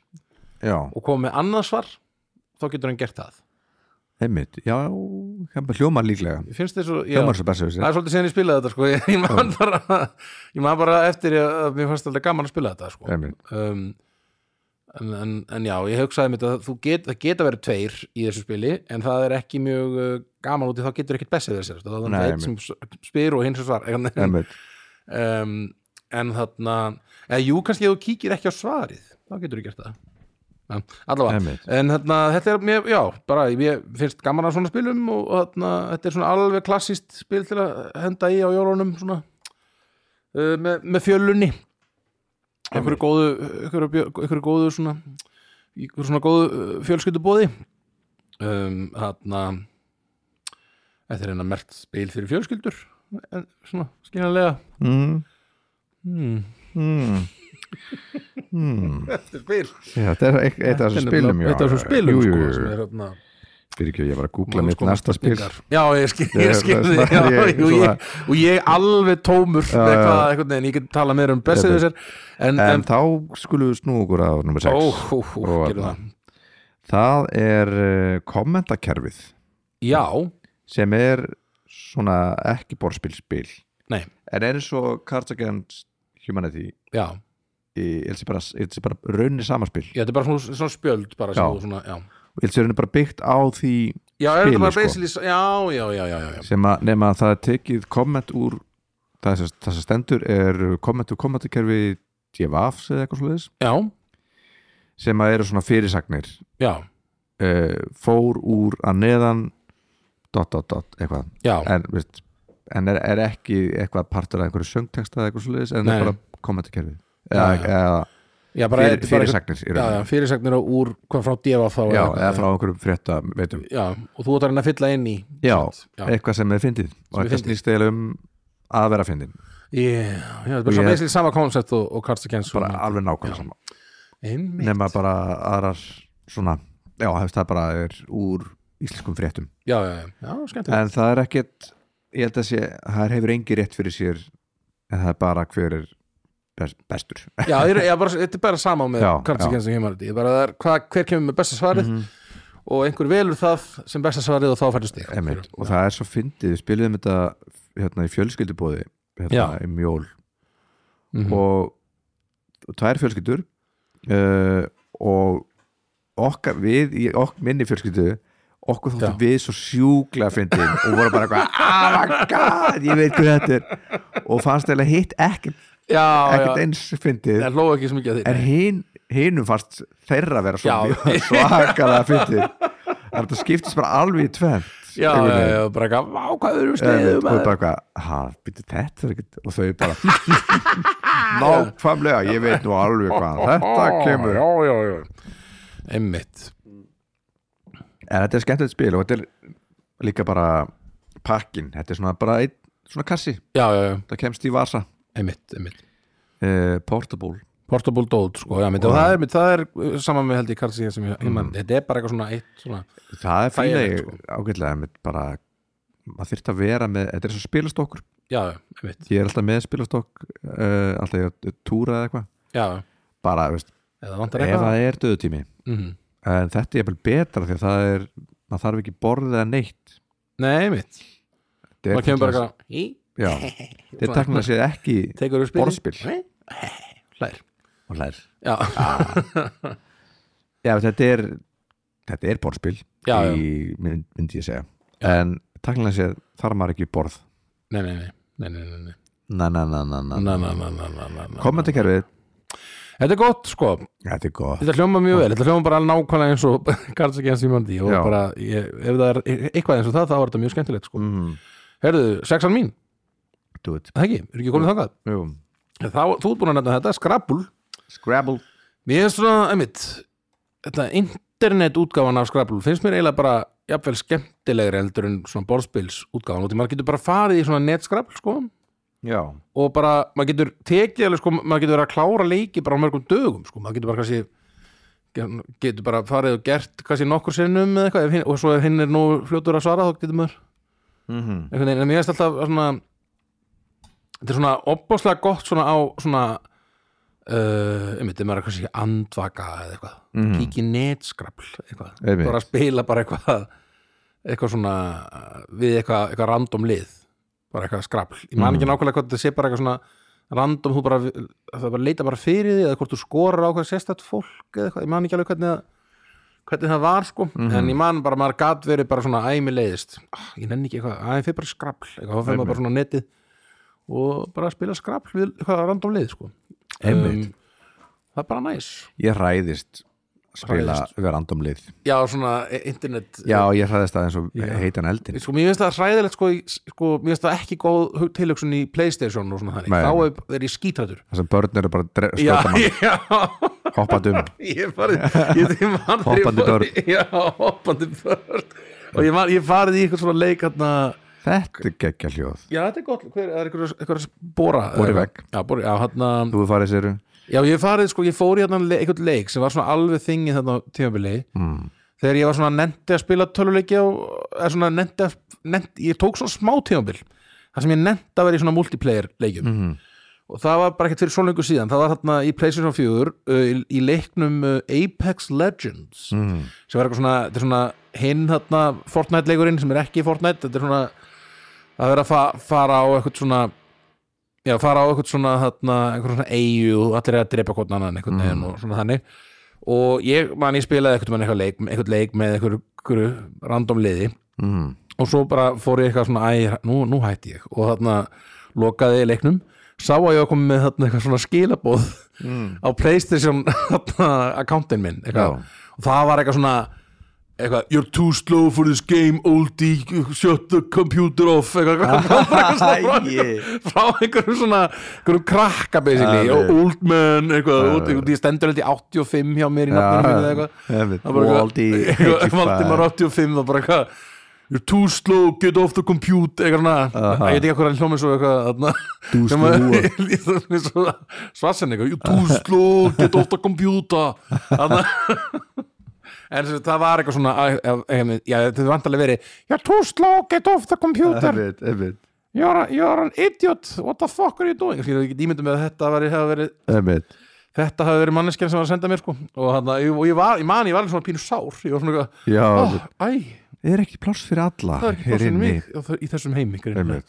Speaker 1: já,
Speaker 2: og komið með annað svar þá getur hann gert það
Speaker 1: einmitt, já, kempa hljómar líklega
Speaker 2: Mér finnst þér svo, já,
Speaker 1: hljómar svo bersa
Speaker 2: það er svolítið sem ég spilaði þetta sko, [laughs] ég, ég man bara ég man bara eftir að mér fannst alltaf gaman að spila þetta sko
Speaker 1: einmitt,
Speaker 2: um, en, en, en já, ég hugsaði mitt að þú get, það geta verið tveir í þessu spili en það er ekki mjög uh, gaman út í þá getur ekkert bestið þessir þá er
Speaker 1: Nei,
Speaker 2: það einn sem s- spyr og hins sem svar [laughs] en, en,
Speaker 1: einmitt.
Speaker 2: um, en þarna eða jú, kannski ef þú kíkir ekki á svarið þá getur þú gert það En, allavega,
Speaker 1: Einmitt.
Speaker 2: en þarna, þetta er mér, já, bara, ég finnst gaman að svona spilum og þarna, þetta er svona alveg klassist spil til að henda í á jólunum svona uh, með, með fjölunni einhverju góðu einhverju, bjö- einhverju góðu svona einhverju svona góðu uh, fjölskyldubóði um, þarna þetta er eina mert spil fyrir fjölskyldur en svona skiljanlega
Speaker 1: Mm.
Speaker 2: hmm.
Speaker 1: Mm. Mm.
Speaker 2: [laughs] þetta er spil
Speaker 1: Já, þetta er eitt eitt af þessum spilum já.
Speaker 2: eitt af þessum spilum
Speaker 1: jú,
Speaker 2: sko,
Speaker 1: jú,
Speaker 2: sem
Speaker 1: jú.
Speaker 2: er hérna
Speaker 1: fyrir ekki, ég var að googla mitt
Speaker 2: Sko,
Speaker 1: næsta spil
Speaker 2: spurningar. já, ég skil, ég
Speaker 1: Ég-
Speaker 2: skil
Speaker 1: það-
Speaker 2: þig, já,
Speaker 1: [laughs] ég-
Speaker 2: ég, og,
Speaker 1: svona-
Speaker 2: ég, og ég alveg tómur með
Speaker 1: já.
Speaker 2: hvað, einhvern veginn, ég get talað meira um bestið
Speaker 1: Þetta
Speaker 2: þessar en,
Speaker 1: en
Speaker 2: en,
Speaker 1: þá skulum við snú okkur á nummer 6
Speaker 2: ó, ó, ó,
Speaker 1: Og
Speaker 2: gerum
Speaker 1: þarna.
Speaker 2: það
Speaker 1: það er eh, kommentakerfið
Speaker 2: já,
Speaker 1: sem er svona ekki borðspilspil
Speaker 2: Nei.
Speaker 1: en eins og Cards Against Humanity
Speaker 2: já,
Speaker 1: Ilse bara, Ilse bara raunni samarspil
Speaker 2: já, þetta er bara svona, svona spjöld bara,
Speaker 1: Já.
Speaker 2: sem þú svona, já
Speaker 1: og Ilse raunni bara byggt á því
Speaker 2: Já, er
Speaker 1: spili,
Speaker 2: þetta bara
Speaker 1: sko.
Speaker 2: basically sko. Já, já, já, já, já, já.
Speaker 1: sem að nema að það er tekið komment úr það sem, það sem stendur er komment úr kommentakerfi DFAFs eða eitthvað svoleiðis
Speaker 2: já,
Speaker 1: sem að eru svona fyrirsagnir eh,
Speaker 2: já,
Speaker 1: uh, fór úr að neðan dot dot dot eitthvað
Speaker 2: já.
Speaker 1: en veist, en er, er ekki eitthvað partur af einhverju söngteksta eða eitthvað svoleiðis en
Speaker 2: Nei.
Speaker 1: er bara kommentakerfið eða,
Speaker 2: Já, já.
Speaker 1: eða
Speaker 2: já, bara,
Speaker 1: fyrir,
Speaker 2: þetta er bara eitthvað-
Speaker 1: fyrirsagnir í
Speaker 2: já, já,
Speaker 1: rauninni.
Speaker 2: fyrirsagnir á úr hvað frá djöfa þá
Speaker 1: já, eða frá einhverjum frétta veitum
Speaker 2: já, og þú ætlar hann að fylla inn í
Speaker 1: já,
Speaker 2: já,
Speaker 1: eitthvað sem er fyndið og
Speaker 2: er
Speaker 1: eitthvað
Speaker 2: fyndið.
Speaker 1: snýst eða um að vera fyndin
Speaker 2: yeah, já, þetta er
Speaker 1: Og
Speaker 2: svo
Speaker 1: ég-
Speaker 2: meðslega sama koncept og, og Karst Against
Speaker 1: bara
Speaker 2: Humanity.
Speaker 1: alveg
Speaker 2: Já.
Speaker 1: nákvæmlega sama
Speaker 2: Einmitt.
Speaker 1: nema bara aðrar svona já, hefst það bara er úr íslenskum fréttum
Speaker 2: já, já, já, já, skemmtilegt
Speaker 1: en það er ekkert ég held að sé, það hefur engi rétt fyrir sér en það er bara hver er best, bestur
Speaker 2: já, ég, já, bara, þetta er bara sama með
Speaker 1: Já, Mhm.
Speaker 2: Karst
Speaker 1: já.
Speaker 2: Against Humanity Ég bara, það er, hva, hver kemur með besta svarið og einhver velur það sem besta svarið og þá fættu stig
Speaker 1: Einmitt, og það er svo fyndið, við spiliðum þetta hérna í fjölskyldubóði hérna
Speaker 2: Já.
Speaker 1: í mjól
Speaker 2: mm
Speaker 1: og, og tvær fjölskyldur uh, og okkar, við í ok, minni fjölskyldu okkur þóttu
Speaker 2: Já.
Speaker 1: við svo sjúklega fyndin og voru bara eitthvað, oh my god ég veit hvað þetta er og fannst eða hitt ekkert,
Speaker 2: já,
Speaker 1: ekkert
Speaker 2: já,
Speaker 1: eins fyndið
Speaker 2: það hlóa ekki sem ekki að
Speaker 1: en
Speaker 2: þér
Speaker 1: hin, hinum fannst þeirra vera svo
Speaker 2: Já.
Speaker 1: mjög [laughs] svakalega fyndið en þetta skiptist bara alveg í tvent
Speaker 2: já, já, já, bara eitthvað, vá, hvað erum
Speaker 1: eða
Speaker 2: við stegum
Speaker 1: bara eitthvað, ha, býttu þetta er ekkert og þau bara [laughs] nákvæmlega, ég veit nú alveg hvað þetta kemur
Speaker 2: já, já, já. einmitt
Speaker 1: en þetta er skemmtilegt spil og þetta er líka bara pakkin, þetta er svona bara einn svona kassi,
Speaker 2: já, já, já,
Speaker 1: það kemst í vasa
Speaker 2: einmitt, einmitt
Speaker 1: uh, portable
Speaker 2: Portable Dode, sko, já, myndi, og það er, mynd, það er uh, saman með held ég Karlsíðan sem ég, mm. þetta er bara eitthvað svona eitt svona,
Speaker 1: það er
Speaker 2: Þægilegt,
Speaker 1: fyrir
Speaker 2: sko.
Speaker 1: ágætlega einmitt bara, maður þyrfti að vera með þetta er svo spilastokkur,
Speaker 2: já, já, einmitt
Speaker 1: ég er alltaf með spilastokk uh, alltaf ég að túra eða eitthvað
Speaker 2: já, já,
Speaker 1: bara, veist,
Speaker 2: eða vantar
Speaker 1: ef
Speaker 2: eitthvað
Speaker 1: það er döðutími
Speaker 2: mm
Speaker 1: en þetta er jafnvel betra því að það er maður þarf ekki borðið að neitt
Speaker 2: nei, einmitt,
Speaker 1: Þetta er
Speaker 2: maður kemur bara
Speaker 1: teknilega-
Speaker 2: eitthvað í,
Speaker 1: [laughs] já, þetta er teknilega séð ekki
Speaker 2: tekur upp
Speaker 1: borðspil
Speaker 2: hlær,
Speaker 1: og hlær
Speaker 2: já,
Speaker 1: já, þetta er, þetta er borðspil
Speaker 2: Já, já.
Speaker 1: í, mynd, myndi ég segja en teknilega séð þarf maður ekki borð
Speaker 2: nei, nei, nei, nei, nei, nei, nei,
Speaker 1: na na na na na,
Speaker 2: na, na, na, na, na, na, na.
Speaker 1: kommentakerfið,
Speaker 2: þetta er gott, sko,
Speaker 1: þetta er gott
Speaker 2: Þetta hljóma mjög vel, þetta hljóma bara nákvæmlega eins og [laughs] Karls ekki hans í mandi og
Speaker 1: Já.
Speaker 2: bara, ég, ef það er e- eitthvað eins og það, þá er þetta mjög skemmtilegt sko.
Speaker 1: mm,
Speaker 2: Herðu, sexan mín,
Speaker 1: do it
Speaker 2: er það ekki, er ekki komin þangað
Speaker 1: Jú.
Speaker 2: Þá, þú ert búin að nefna þetta, skrabbul
Speaker 1: Scrabble
Speaker 2: Mér finnst svona, einmitt, þetta internet útgáfan af skrabbul finnst mér eiginlega bara, jafnvel skemmtilegri heldur en svona borðspils útgáfan og því maður getur bara farið í svona netskrabbul sko
Speaker 1: já,
Speaker 2: og bara, maður getur tekið alveg sko, maður getur verið að klára leiki bara á mörgum dögum sko, maður getur bara kannski getur bara farið og gert kannski nokkur sinnum eða eitthvað, ef hinn, og svo ef hinn er nú fljótur að svara þá getur maður
Speaker 1: mm
Speaker 2: einhvern veginn, en mér finnst alltaf svona þetta er svona opbáslega gott svona á svona uh, einmitt, ef maður er kannski andvaka eða eitthvað, mm.
Speaker 1: Mhm.
Speaker 2: kíkja í netskrafl eitthvað,
Speaker 1: Einmitt.
Speaker 2: bara að spila bara eitthvað eitthvað svona uh, við eitthvað, eitthvað random lið bara eitthvað skrafl, ég man ekki nákvæmlega hvað þetta sé bara eitthvað svona random, þú bara það bara leita bara fyrir því eða hvort þú skorar á hvað sérstætt fólk eða eitthvað, ég man ekki alveg hvernig það hvernig það var sko, en ég man bara maður gat verið bara svona æmi leiðist ah, ég nenni ekki eitthvað, aðeins fyrir bara skrafl eitthvað, þá fyrir maður bara svona á netið og bara spila skrafl við eitthvað random leið sko
Speaker 1: Einmitt.
Speaker 2: það er bara næs
Speaker 1: ég hræðist að spila
Speaker 2: Hræðist.
Speaker 1: við random lið
Speaker 2: já, svona eh, internet
Speaker 1: já, ég hræðist aðeins og
Speaker 2: Já.
Speaker 1: heitan eldin
Speaker 2: sko, mér finnst það hræðilegt sko, í- sko mér finnst það ekki góð hug- tilhugsun í Playstation og svona þannig,
Speaker 1: Nei.
Speaker 2: þá er, er ég skítrættur
Speaker 1: það sem börn eru bara að dre-
Speaker 2: já,
Speaker 1: skjóta mann,
Speaker 2: já [laughs]
Speaker 1: hoppað um
Speaker 2: ég farið ég, ég man, þegar ég
Speaker 1: Hoppandi
Speaker 2: fór-
Speaker 1: börn.
Speaker 2: já, hoppandi börn og ég, man, ég farið í eitthvað svona leik hérna,
Speaker 1: þetta er geggja hljóð
Speaker 2: já þetta er gott, hver, það er eitthvað, eitthvað bóra
Speaker 1: Bora í vegg.
Speaker 2: já, bóra, já, hérna,
Speaker 1: þú hefur farið séru
Speaker 2: já ég farið sko, ég fór í hérna le- eitthvað leik sem var svona alveg þingið þarna á tímabili
Speaker 1: mm.
Speaker 2: þegar ég var svona nendi að spila töluleiki og eða svona nendi að nendi, ég tók svona smá tímabil þar sem ég nendi að vera í svona multiplayer leikjum og það var bara ekkert fyrir svona lengur síðan það var þarna í Playstation 4 uh, í, í leiknum uh, Apex Legends
Speaker 1: Mm.
Speaker 2: sem var eitthvað svona, þetta er svona hinn þarna Fortnite leikurinn sem er ekki Fortnite þetta er svona að vera að fa fara á eitthvað svona já, fara á eitthvað svona þarna, eitthvað svona eigu og allir er að drepa hvort annan einhvern veginn og svona þannig og ég, man, ég spilaði eitthvað, eitthvað, leik, eitthvað leik með eitthvað, eitthvað random liði
Speaker 1: Mm.
Speaker 2: og svo bara fór ég eitthvað svona æ, nú, nú hætti ég og þarna lokaði ég leiknum sá að ég var komið með þarna eitthvað svona skilabóð á Playstation [laughs] þarna, accountin minn eitthvað.
Speaker 1: Já.
Speaker 2: og það var eitthvað svona eitthvað, you're too slow for this game oldie, shut the computer off eitthvað, eitthvað, eitthvað svona frá,
Speaker 1: Æi.
Speaker 2: frá einhverjum svona einhverjum krakka basically,
Speaker 1: Ja,
Speaker 2: og
Speaker 1: við.
Speaker 2: old man eitthvað, út, eitthvað, ég stendur held í 85 hjá mér í nafninu mínu eða eitthvað Það var bara
Speaker 1: Waldi
Speaker 2: eitthvað- Valdimar 85 það var bara eitthvað You're too slow, get off the compute eitthvað svona,
Speaker 1: Aha.
Speaker 2: ég veit ekki hvað hann hljómið svo eitthvað þarna,
Speaker 1: Too
Speaker 2: sem [laughs]
Speaker 1: slow.
Speaker 2: að svarsen eitthvað, you're too slow, get off the compute þarna [laughs] en sem, sagt, það var eitthvað svona að- að- að- já, þetta er vantarlega verið you're too slow, get off the computer
Speaker 1: Einmitt, einmitt,
Speaker 2: you're, a- you're an idiot, what the fuck are you doing Skilur, ég get ímyndum með að þetta var, hefði verið
Speaker 1: einmitt
Speaker 2: þetta hafi verið manneskjan sem var að senda mér sko og, hana, og ég, var, ég man ég var alveg svona pínu sár ég var svona eitthvað,
Speaker 1: Já,
Speaker 2: oh, æ,
Speaker 1: er ekki pláss fyrir alla
Speaker 2: það er ekki
Speaker 1: hér
Speaker 2: bara fyrir
Speaker 1: inni?
Speaker 2: mig á þe- í þessum heimi greinilega.
Speaker 1: Einmitt.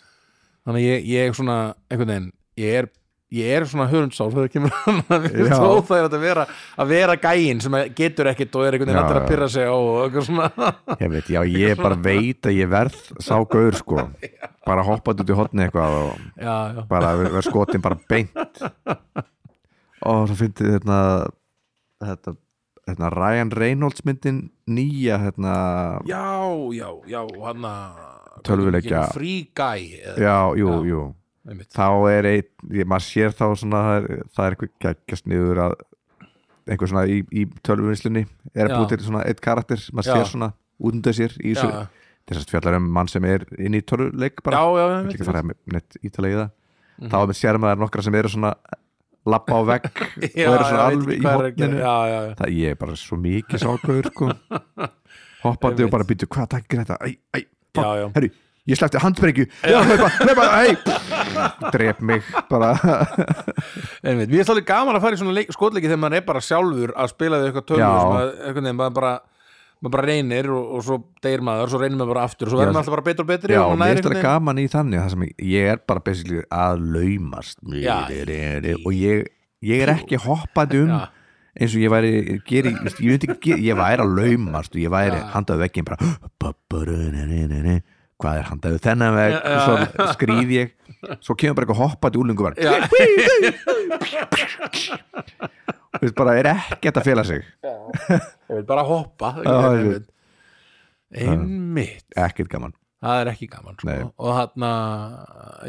Speaker 2: þannig að ég, ég svona, einhvern veginn ég er, ég er svona hörundsár þegar kemur hann að
Speaker 1: Já.
Speaker 2: finnst óþægilegt að vera að vera gæinn sem að getur ekkit og er einhvern veginn
Speaker 1: Já,
Speaker 2: allir að
Speaker 1: já.
Speaker 2: pyrra sig á og eitthvað svona [laughs]
Speaker 1: Ég veit, já, ég bara veit að ég verð sá gaur sko bara hoppað út í hotni eitthvað og
Speaker 2: já, já,
Speaker 1: bara verð skotin bara beint og svo fyndi þetta þetta, þetta Ryan Reynolds myndin nýja hérna,
Speaker 2: já, já, já hann að
Speaker 1: Tölvuleikja.
Speaker 2: free guy eða,
Speaker 1: já, jú,
Speaker 2: Já.
Speaker 1: jú
Speaker 2: einmitt.
Speaker 1: þá er einn, ég- maður sér þá svona það er, það er eitthvað geggjast niður að einhver svona í, í tölvuvinslunni er að
Speaker 2: Já.
Speaker 1: búið til svona eitt karakter maður
Speaker 2: Já.
Speaker 1: sér svona út undan sér í þessu,
Speaker 2: Já, já.
Speaker 1: þessast fjallar um mann sem er inn í tölvuleik
Speaker 2: já,
Speaker 1: bara,
Speaker 2: já,
Speaker 1: ég vil
Speaker 2: einmitt, Mhm.
Speaker 1: ekki fara neitt ítalega í það þá er maður sér maður nokkra sem eru svona lappa á vegg og
Speaker 2: [laughs] já,
Speaker 1: eru
Speaker 2: já,
Speaker 1: svona
Speaker 2: veit
Speaker 1: alveg
Speaker 2: ekki
Speaker 1: í
Speaker 2: hvað er að gera.
Speaker 1: hotninu
Speaker 2: já, já, já
Speaker 1: það ég er bara svo mikið sákaður
Speaker 2: [laughs]
Speaker 1: sko. hoppandi og bara býtu hvað takkir þetta æ, æ,
Speaker 2: Já, já.
Speaker 1: herru, ég sleppti handbrengju hlaupa, hlaupa, æ drep mig
Speaker 2: [laughs]
Speaker 1: bara
Speaker 2: Einmitt. Mér er alveg gaman að fara í svona leik, skotleiki þegar maður er bara sjálfur að spila við eitthvað tölvur
Speaker 1: Já.
Speaker 2: sem að, einhvern veginn maður bara maður bara reynir og, og svo deyr maður svo reynir maður bara aftur og svo
Speaker 1: Já.
Speaker 2: verður maður alltaf bara betur og betri
Speaker 1: já,
Speaker 2: og
Speaker 1: mér
Speaker 2: maður nær
Speaker 1: er þetta
Speaker 2: einhvern veginn
Speaker 1: gaman í þannig það sem ég- ég er bara basically að laumast
Speaker 2: Já.
Speaker 1: og ég, ég er ekki hoppandi [laughs] um
Speaker 2: Já.
Speaker 1: eins og ég væri geri, ég, veist, ég, myndi ekki gera- ég væri að laumast og ég væri handaðu vekkin bara [gasps] "Babbarunanini, hvað er handaðu þennan vekk og svo skrýð ég svo kemur bara eitthvað hoppandi úlingu bara Þú veist, bara er ekkert að fela sig
Speaker 2: ég vil bara hoppa
Speaker 1: Já,
Speaker 2: einhvern
Speaker 1: einmitt.
Speaker 2: veginn. einmitt,
Speaker 1: ekkert gaman
Speaker 2: það er ekki gaman sko.
Speaker 1: Nei.
Speaker 2: og þarna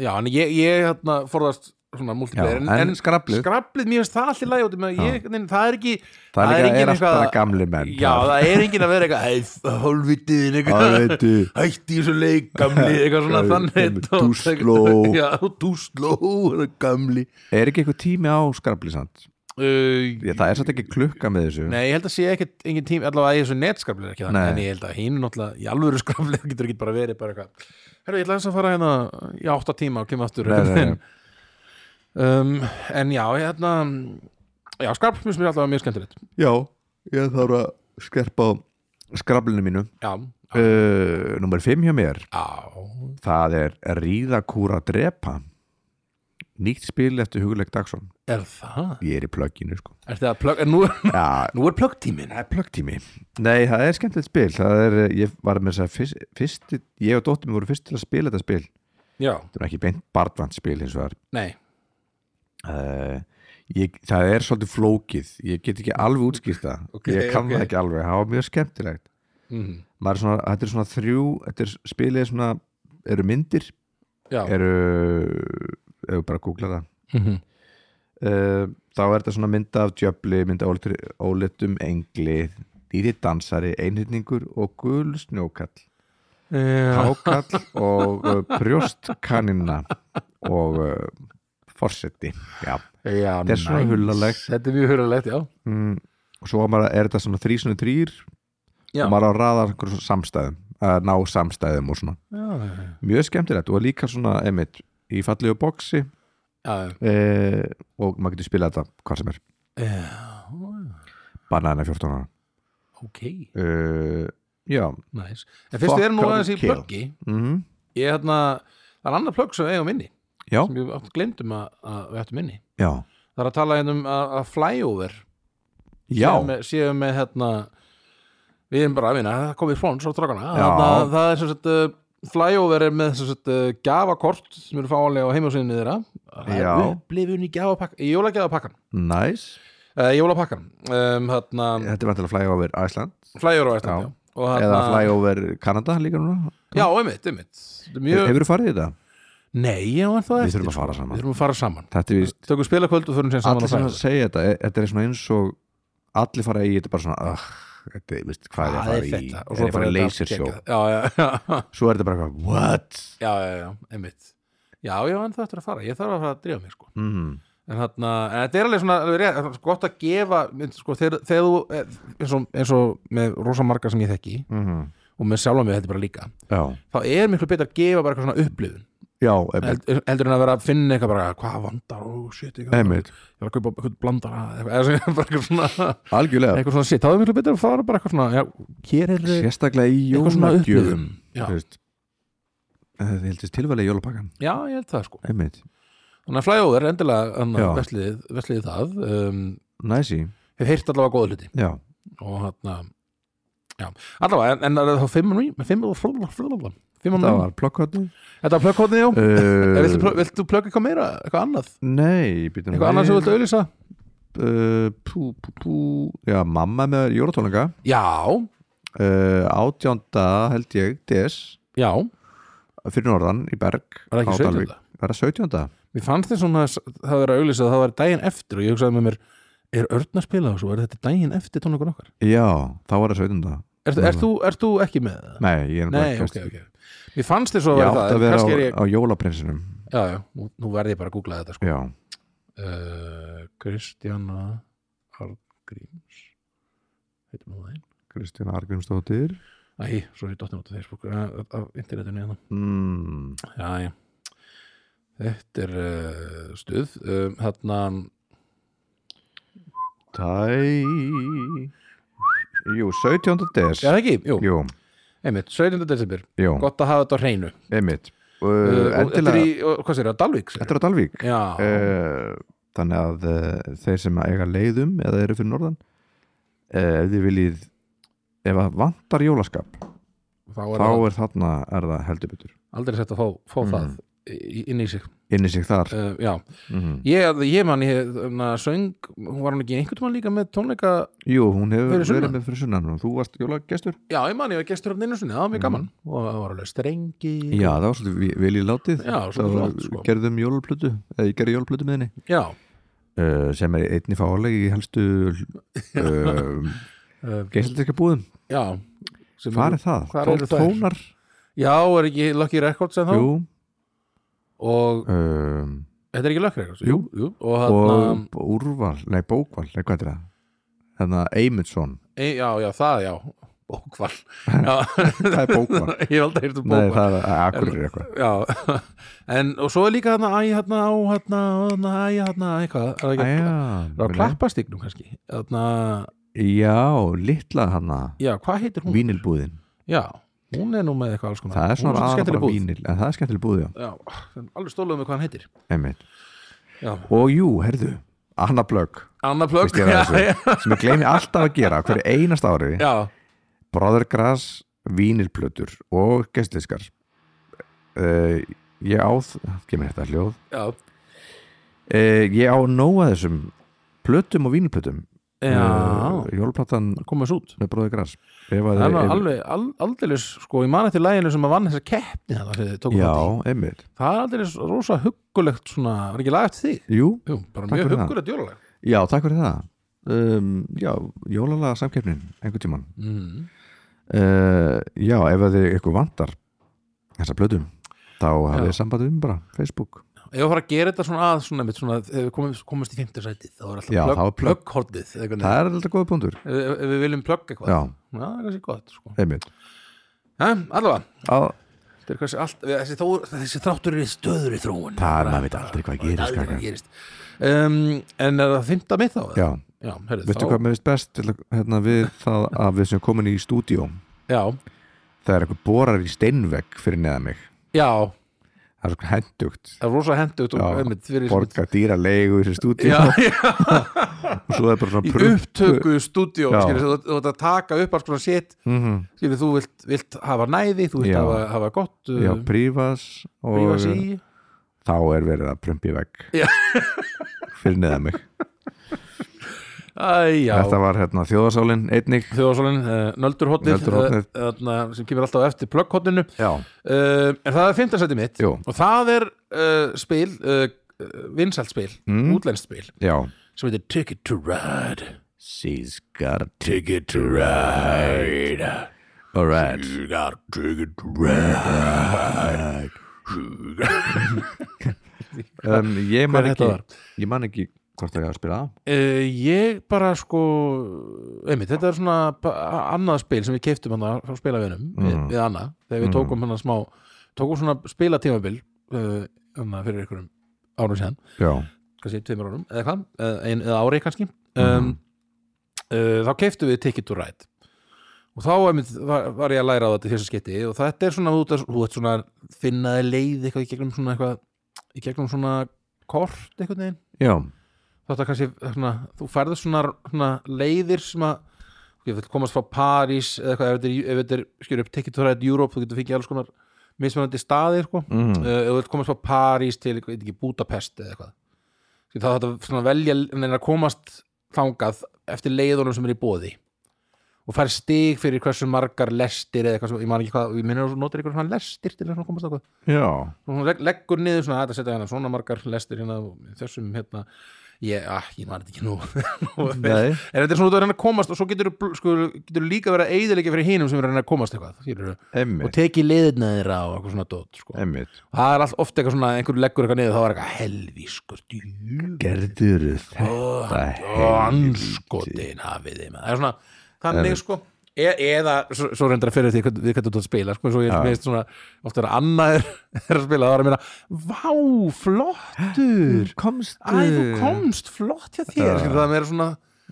Speaker 2: já, en ég, ég þarna forðast svona multiplayer
Speaker 1: Já, en skrablið?
Speaker 2: skrablið, mér finnst það allir læg út um að ég, nei, það er ekki
Speaker 1: það er,
Speaker 2: engin
Speaker 1: líka, er alltaf
Speaker 2: eitthvað-
Speaker 1: bara gamli menn
Speaker 2: já, það er enginn að vera eitthvað hálfvitiðin
Speaker 1: það
Speaker 2: eitthvað
Speaker 1: veitu
Speaker 2: hætti í þessu leik [laughs] gamli eitthvað svona
Speaker 1: Já,
Speaker 2: þannig
Speaker 1: einmitt,
Speaker 2: [laughs]
Speaker 1: too slow.
Speaker 2: já, too slow er gamli
Speaker 1: er ekki eitthvað tími á skrabli samt
Speaker 2: uh,
Speaker 1: Ég, það er satt ekki klukka með þessu
Speaker 2: nei, ég held að sé ekkert engin tím, allavega að ég þessu netskafli er ekki þannig,
Speaker 1: Nei.
Speaker 2: en ég held að hinn náttúrulega í alvöru [laughs] skafli getur ekki bara verið bara eitthvað herru, ég ætla eins að fara hérna í átta tíma og kemur aftur
Speaker 1: Nei,
Speaker 2: [laughs]
Speaker 1: nei, nei.
Speaker 2: Um, en já, hérna já, skarp mér sem er allavega mjög skemmtilegt
Speaker 1: já, ég þarf að skerpa á skrablinu mínu
Speaker 2: já, já,
Speaker 1: uh, nummer 5 hjá mér
Speaker 2: já,
Speaker 1: það er Ríðakúra drepa nýtt spil eftir hugleik dagsson
Speaker 2: er það
Speaker 1: ég er í plögginu [laughs] sko
Speaker 2: er það plögg, en nú,
Speaker 1: já,
Speaker 2: nú er [laughs] plöggtímin
Speaker 1: það er plöggtími nei, það er skemmtilegt spil það er, eh, ég var með þess að fyrst, fyrst, ég og dóttir mér voru fyrst til að spila þetta spil þetta
Speaker 2: já,
Speaker 1: er ekki beint barnvænt spil hins vegar
Speaker 2: nei,
Speaker 1: uh, ég, það er svolítið flókið ég get ekki alveg útskýrt það
Speaker 2: [laughs] Ok,
Speaker 1: ég kann það
Speaker 2: ok.
Speaker 1: ekki alveg, það var mjög skemmtilegt
Speaker 2: mm,
Speaker 1: Maður er svona, þetta er svona þrjú þetta er spilið svona, eru myndir
Speaker 2: já
Speaker 1: eru, ef við bara googla það
Speaker 2: Mhm.
Speaker 1: uh, þá er þetta svona mynda af djöfli mynda ólitum engli dýri dansari, einhyrningur og gul snjókall
Speaker 2: Já,
Speaker 1: hákall og uh, brjóstkanina og uh, forsetti já.
Speaker 2: já,
Speaker 1: Þetta er svona
Speaker 2: nice.
Speaker 1: hullalegt.
Speaker 2: Þetta er mjög hullalegt, já
Speaker 1: Mm, og svo á maður, er þetta svona þrísunni þrýr
Speaker 2: Já.
Speaker 1: og maður á að raða einhverjum svona samstæðum að ná samstæðum og svona
Speaker 2: Já,
Speaker 1: mjög skemmtilegt og líka svona emitt í fallegu boksi
Speaker 2: já,
Speaker 1: eh, og maður getur spilað þetta hvað sem er,
Speaker 2: já
Speaker 1: banana 14 ára
Speaker 2: Ok,
Speaker 1: uh, já
Speaker 2: nice En fyrst við erum nú
Speaker 1: Fuck,
Speaker 2: aðeins í
Speaker 1: kill.
Speaker 2: plöggi
Speaker 1: mm
Speaker 2: Ég er hérna, það er annað plögg sem við eigum inni
Speaker 1: Já.
Speaker 2: Sem við átt glemdum að, að við ættum inni
Speaker 1: já,
Speaker 2: Það er að tala hérna um að, að flyover
Speaker 1: já,
Speaker 2: Séum með, séum með hérna Við erum bara að vinna, það komið fóns á dragana
Speaker 1: Já.
Speaker 2: Þarna- Það er sem sagt uh, Flyover er með sem sagt uh, gjafakort sem eru fáanlega á heimasíðinni þeirra Það
Speaker 1: Já.
Speaker 2: er upplifun í gjafapakkan Í jólagjafapakkan
Speaker 1: nice
Speaker 2: Uh, jólapakkan um, hérna,
Speaker 1: þetta er vantilega að flæga over Æsland
Speaker 2: flægjur á
Speaker 1: Já.
Speaker 2: Íslandi já. og
Speaker 1: eða
Speaker 2: þarna-
Speaker 1: flyover Kanada líka núna
Speaker 2: já, einmitt, einmitt Þetta er
Speaker 1: Mjög...
Speaker 2: mjög...
Speaker 1: hefur þú farið í þetta?
Speaker 2: nei, já, en það
Speaker 1: við
Speaker 2: eftir,
Speaker 1: þurfum að
Speaker 2: sko.
Speaker 1: fara
Speaker 2: við
Speaker 1: saman
Speaker 2: þurfum að fara saman
Speaker 1: þetta er víst
Speaker 2: tökum spilakvöld og förum sér saman
Speaker 1: allir
Speaker 2: að
Speaker 1: sem
Speaker 2: fæða
Speaker 1: að segja þetta e- þetta er svona eins og allir fara í þetta er bara svona uh, þetta er, veist, hvað er að fara í
Speaker 2: þetta. Og
Speaker 1: er
Speaker 2: svo
Speaker 1: að fara í
Speaker 2: þetta
Speaker 1: lasersjó
Speaker 2: geggjað. já, já, já, [laughs]
Speaker 1: svo er þetta bara eitthvað what
Speaker 2: já, já, já, einmitt já, já, en það eftir að fara, ég þarf að fara að drífa mér sko.
Speaker 1: mm.
Speaker 2: en þarna, en þetta er alveg svona alveg rétt, það er gott að gefa mynd, sko, þegar, þegar þú, eh, eins og, eins og með rosa marga sem ég þekki
Speaker 1: Mm.
Speaker 2: og með sjálfa mig þetta bara líka
Speaker 1: já,
Speaker 2: þá er miklu betur að gefa bara eitthvað svona upplifun
Speaker 1: já, einmitt,
Speaker 2: Held- heldur en að vera að finna eitthvað bara hvað vandar og shit eitthvað,
Speaker 1: einmitt.
Speaker 2: ég var að kaupa eitthvað blandara eitthvað, eða sem- bara eitthvað svona, [laughs]
Speaker 1: algjörlega
Speaker 2: eitthvað svona shit þá er miklu betur að fara bara eitthvað svona já, hér er eh,
Speaker 1: sérstaklega í
Speaker 2: eitthvað svona
Speaker 1: jólagjöfum
Speaker 2: upplifun já,
Speaker 1: þú veist. það heldist tilvæli í jólapakkan
Speaker 2: já, ég held það sko
Speaker 1: einmitt
Speaker 2: þannig að flæjóður er endilega
Speaker 1: Já.
Speaker 2: vesliðið það um,
Speaker 1: næsi
Speaker 2: hef heyrt allavega góða hluti
Speaker 1: já
Speaker 2: og hann allavega, en, en er það þá fimm og ný fimm og flóla, flóla fimm og ný
Speaker 1: það var plokkvöldu
Speaker 2: [laughs] þetta var plökkotni, já En Mm. viltu,
Speaker 1: uh,
Speaker 2: plö- viltu plögga eitthvað meira, eitthvað annað
Speaker 1: nei býtum
Speaker 2: eitthvað annað sem þú vilt auðlýsa
Speaker 1: uh, pú, pú, pú, já, mamma með jólatónleika
Speaker 2: já,
Speaker 1: uh, átjánda held ég DS
Speaker 2: já,
Speaker 1: fyrir norðan í Berg
Speaker 2: var
Speaker 1: á
Speaker 2: það ekki
Speaker 1: Dalvík.
Speaker 2: 17.
Speaker 1: Var það 17.
Speaker 2: mér fannst þess svona s- það verið að auðlýsa að það var daginn eftir og ég hugsaði með mér er örn að spila þessu, er þetta daginn eftir tónleikun okkar
Speaker 1: Já, þá var það 17.
Speaker 2: ert er, þú, er þú ekki með það?
Speaker 1: Nei, ég er
Speaker 2: Nei,
Speaker 1: nefnilega
Speaker 2: ok, ok mér fannst þess
Speaker 1: Ég
Speaker 2: að vera það
Speaker 1: átti að
Speaker 2: en
Speaker 1: vera á,
Speaker 2: kannski er ég,
Speaker 1: á jólaprinsinum
Speaker 2: já, já, nú, nú verði ég bara að googla þetta sko.
Speaker 1: Já,
Speaker 2: uh, Kristjana Arngríms heitum nú það einn
Speaker 1: Kristján Argrímsdóttir
Speaker 2: Æ, svo er ég dottin út af Facebook eh, af internetinu hérna
Speaker 1: mm,
Speaker 2: Já, já. Þetta er uh, stuð. Um, þarna,
Speaker 1: Tæ Jú, 17. DS
Speaker 2: já það ekki, jú,
Speaker 1: Jú,
Speaker 2: einmitt, 17. desember.
Speaker 1: jú,
Speaker 2: Gott að hafa þetta á hreinu.
Speaker 1: einmitt
Speaker 2: Uh,
Speaker 1: uh,
Speaker 2: og þetta er
Speaker 1: Endilega,
Speaker 2: í, og, hvað sér það, Dalvík? segirðu?
Speaker 1: þetta er á Dalvík
Speaker 2: Já,
Speaker 1: Eh, þannig að uh, þeir sem eiga leiðum eða eru fyrir norðan uh, ef þið viljið ef að vantar jólaskap
Speaker 2: þá er
Speaker 1: þá
Speaker 2: það
Speaker 1: er þarna er það heldur betur
Speaker 2: aldrei sett að fá, fá
Speaker 1: Mm.
Speaker 2: það í- inn í sig.
Speaker 1: inni sig þar
Speaker 2: Uh, já,
Speaker 1: mm.
Speaker 2: ég, ég man, ég na, söng, hún var hann ekki einhvern tímann líka með tónleika,
Speaker 1: Jú, hún hefur
Speaker 2: Fyrir sunnan.
Speaker 1: verið með fyrir sunnan og þú varst jólagestur
Speaker 2: já, ég man, ég var gestur af nynnu sinni, það var mjög gaman.
Speaker 1: Mm.
Speaker 2: Og það var alveg strengi.
Speaker 1: Já, það var svolítið vi- vel í látið
Speaker 2: Já, svolítið
Speaker 1: var-
Speaker 2: flott, sko.
Speaker 1: gerðum jólplötu eða ég gerði jólplötu með henni
Speaker 2: Já,
Speaker 1: uh, sem er einni fáleg í helstu [laughs] uh,
Speaker 2: uh,
Speaker 1: geislindika búðum
Speaker 2: já. Sem
Speaker 1: Hvar
Speaker 2: eru-
Speaker 1: er það?
Speaker 2: Hvar
Speaker 1: Tó-
Speaker 2: eru þær?
Speaker 1: Tónar?
Speaker 2: Já, er ekki Lucky Records en þá?
Speaker 1: Jú,
Speaker 2: Og
Speaker 1: um,
Speaker 2: Þetta er ekki lögfræðikurs?
Speaker 1: Jú.
Speaker 2: jú Og hérna,
Speaker 1: og
Speaker 2: hann,
Speaker 1: b- úrval, nei bókval nei hvað er það? Þannig að Eymundsson,
Speaker 2: [laughs] e, já, já, það, já Bókval
Speaker 1: [laughs]
Speaker 2: já, [laughs]
Speaker 1: það er bókval
Speaker 2: Ég hef aldrei hýrt um
Speaker 1: Nei,
Speaker 2: bókval
Speaker 1: það er akkurir eitthvað
Speaker 2: Já, [laughs] en og svo er líka hann æ, hann á, hérna, hann á, hann á, hann á, eitthvað Er það ekki að- Það er á
Speaker 1: Æja,
Speaker 2: klappastíknum kannski Þannig að,
Speaker 1: já, litla hana
Speaker 2: já, hvað heitir hún?
Speaker 1: vínilbúðin,
Speaker 2: Já, hún er nú með eitthvað alls konar
Speaker 1: það er
Speaker 2: Hún
Speaker 1: svona aðra
Speaker 2: skemmtileg
Speaker 1: bara
Speaker 2: búð.
Speaker 1: vínil, en það er skemmtileg búð, já,
Speaker 2: Já, en alveg stóluðum við hvað hann heitir
Speaker 1: einmitt
Speaker 2: Já,
Speaker 1: og jú, herðu, Anna Blögg
Speaker 2: Anna Plögg
Speaker 1: Veist
Speaker 2: [laughs]
Speaker 1: ég
Speaker 2: Já,
Speaker 1: það þessu? sem ég gleymi alltaf að gera á hverju einast ári,
Speaker 2: já,
Speaker 1: Brothergrass vínilplötur og gestliskar uh, ég áð kemur þetta hljóð
Speaker 2: já,
Speaker 1: uh, ég á nóa þessum plötum og vínilplötum
Speaker 2: já,
Speaker 1: Eh,
Speaker 2: já.
Speaker 1: Jólplatan
Speaker 2: Komum þessu út
Speaker 1: með bróði græs Ef að
Speaker 2: Það
Speaker 1: þið-
Speaker 2: er nú
Speaker 1: ef-
Speaker 2: alveg al, aldeilis, sko, ég man eftir læginu sem að vann þessa keppni þarna sem þið tókum
Speaker 1: Já,
Speaker 2: þátt í.
Speaker 1: einmitt
Speaker 2: Það er aldeilis rosa huggulegt svona, var ekki lag eftir þig?
Speaker 1: Jú,
Speaker 2: Jú, bara
Speaker 1: Takk
Speaker 2: mjög
Speaker 1: fyrir það.
Speaker 2: huggulegt jólalag.
Speaker 1: já, takk fyrir það um, Já, jólalega samkeppnin einhvern tímann
Speaker 2: Mm.
Speaker 1: uh, Já, ef að þið ykkur vantar þessa plötum þá hafið
Speaker 2: Já.
Speaker 1: þið samband við mig bara, Facebook
Speaker 2: Ef að fara að gera þetta svona að, svona, mitt, svona ef við komum, komumst í fymtasætið, þá er
Speaker 1: Já,
Speaker 2: alltaf
Speaker 1: þá er plögg.
Speaker 2: plögghortið, eða eitthvað.
Speaker 1: Það er alltaf góða punktur
Speaker 2: Ef, ef við viljum plögg eitthvað.
Speaker 1: Já,
Speaker 2: Já, það er kannski gott, sko.
Speaker 1: einmitt
Speaker 2: Ja, allavega,
Speaker 1: Á,
Speaker 2: þetta er kannski allt, við- þessi, þó, þessi þráttur er í stöður í þróun.
Speaker 1: Það er, maður veit aldrei hvað
Speaker 2: Það er
Speaker 1: gerist
Speaker 2: aldrei hvað
Speaker 1: krakkar.
Speaker 2: gerist. Um, en er það fymta mitt þá? eða?
Speaker 1: Já,
Speaker 2: Já, herri,
Speaker 1: veistu hvað mér veist best til að- hérna, við það að við sem komin í stúdíó
Speaker 2: Já,
Speaker 1: það er eitthvað borar í steinvegg fyrir neða mig
Speaker 2: já,
Speaker 1: það er eitthvað hendugt
Speaker 2: það er rosa hendugt og
Speaker 1: Já,
Speaker 2: einmitt fyrir sem-
Speaker 1: borga dýra leigu í þessu stúdíu
Speaker 2: [laughs] Já, já.
Speaker 1: [laughs] og svo er bara svona
Speaker 2: í
Speaker 1: prump-
Speaker 2: upptöku stúdíó
Speaker 1: Já.
Speaker 2: skilur, þú, þú ert að taka upp alls konar sitt
Speaker 1: Mhm.
Speaker 2: skilur, þú vilt, vilt hafa næði þú vilt
Speaker 1: Já.
Speaker 2: hafa, hafa gott
Speaker 1: Já,
Speaker 2: uh,
Speaker 1: prífas og
Speaker 2: prífas í
Speaker 1: [laughs] þá er verið að prumpi vegg
Speaker 2: Já.
Speaker 1: fyrir neða mig
Speaker 2: Æjá,
Speaker 1: Þetta var hérna þjóðarsálinn einnig
Speaker 2: þjóðsólinn, uh, nöldurhotnið
Speaker 1: Nöldurhotnið.
Speaker 2: uh, sem kemur alltaf eftir plögghotninu uh,
Speaker 1: Já,
Speaker 2: en það er fimmtarsæti mitt
Speaker 1: Jú.
Speaker 2: og það er uh, spil uh, vinsælt spil, mm. útlenskt spil
Speaker 1: já
Speaker 2: sem heitir Ticket to Ride
Speaker 1: She's got a
Speaker 2: Ticket to Ride
Speaker 1: alright
Speaker 2: You got a ticket to ride
Speaker 1: um, Ég man
Speaker 2: Hver þetta
Speaker 1: ekki
Speaker 2: var?
Speaker 1: Ég man ekki hvort það er að spila það
Speaker 2: Uh, ég bara sko einmitt, þetta er svona pa- annað spil sem við keiftum hann frá spilavinum við,
Speaker 1: Mm.
Speaker 2: við annað, þegar við tókum hann smá tókum svona spilatímabil uh, hana, fyrir einhverjum árum séðan
Speaker 1: Já,
Speaker 2: kannski tveimur árum, eða hvað, eh, ein, eða ári kannski um, uh, þá keiftum við Ticket to Ride og þá einmitt, var, var ég að læra á þetta í fyrsta sketti og þetta er svona, þú ert- þú ert svona finnaði leið eitthvað í gegnum svona eitthvað, í gegnum svona kort einhvern veginn
Speaker 1: já,
Speaker 2: þetta kannski svona, þú færður svona, svona leiðir sem að ég vil komast frá París eða eitthvað ef þetta er- ef þetta er, skjur upp Ticket to Ride Europe þú getur fengið alls konar mismunandi staði sko.
Speaker 1: mm,
Speaker 2: uh, ef þú vilt komast frá París til ég veit ekki, Budapest eða eitthvað Skil, þá þetta svona velja neina að komast þangað eftir leiðunum sem er í bóði og fær stig fyrir hversu margar lestir eða eitthvað, sem- ég man ekki hvað, ég minnir að þú notir eitthvað svona lestir til að svona komast þangað
Speaker 1: já
Speaker 2: og hún legg, leggur niður svona þetta setja hérna svona margar lestir hérna og þessum hérna ég, ah, ég man þetta ekki nú [laughs] Nú er-
Speaker 1: Nei.
Speaker 2: en þetta er svona þú er að reyna að komast og svo getur sko, getur líka verið að eiðilegja fyrir hinum sem er að reyna að komast eitthvað skilurðu. og
Speaker 1: Emmitt,
Speaker 2: teki liðna þeirra og eitthvað svona dót sko.
Speaker 1: emmitt
Speaker 2: það er allt ofta eitthvað svona einhver leggur eitthvað niður þá er eitthvað helvi sko
Speaker 1: Gerður þetta
Speaker 2: oh, anskotin hafið þeim það er svona þannig sko E, eða, svo, svo reyndar að fyrir því hvern- við hvernig þú ert að spila sko, svo ég
Speaker 1: Já.
Speaker 2: veist svona, ofta er að annað er, [laughs] er að spila, þá er að meina vá, flottur
Speaker 1: Komstu
Speaker 2: æ, þú komst, flott hjá þér uh. það er meira svona,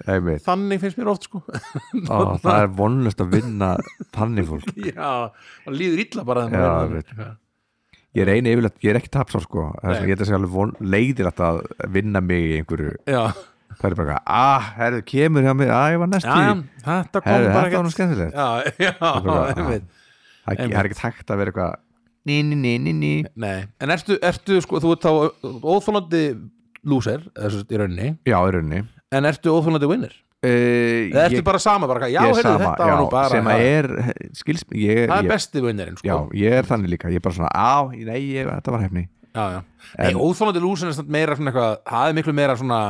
Speaker 1: Einmitt,
Speaker 2: þannig finnst mér oft sko [laughs]
Speaker 1: Ó, það er vonlust að vinna þannig fólk
Speaker 2: já, það líður illa bara þegar
Speaker 1: Já,
Speaker 2: maður er
Speaker 1: veit.
Speaker 2: þannig.
Speaker 1: Ég reyni yfirleitt, ég er ekki tapsár sko Þess
Speaker 2: Nei.
Speaker 1: að ég ætla að segja alveg von, leiðir að vinna mig í einhverju
Speaker 2: já,
Speaker 1: Það er bara, eitthvað, ah, herðu, kemur hjá mig Ah, ég var næst
Speaker 2: já,
Speaker 1: í
Speaker 2: þetta kom
Speaker 1: Herðu,
Speaker 2: bara
Speaker 1: þetta var nú skemmtilegt
Speaker 2: já, já,
Speaker 1: bara,
Speaker 2: ég veit
Speaker 1: Það er- það
Speaker 2: Einmitt.
Speaker 1: er ekki takt að vera eitthvað Ný, ný, ný, ný, ný
Speaker 2: Nei, en ertu, ertu sko, þú ert þá óþólandi lúser, þessu í rauninni
Speaker 1: Já, í rauninni
Speaker 2: en ertu óþólandi vinnir?
Speaker 1: Uh,
Speaker 2: Eða ertu bara sama, bara, eitthvað, já, heyrðu, þetta var nú bara
Speaker 1: sem að er, skils ég,
Speaker 2: það er
Speaker 1: ég,
Speaker 2: besti vinnirinn,
Speaker 1: já,
Speaker 2: sko
Speaker 1: ég er þannig líka ég er bara svona, á, nei, ég, þetta var hefni
Speaker 2: já, já. Nei, óþólandi lúser er samt meira svona eitthvað, það er miklu meira svona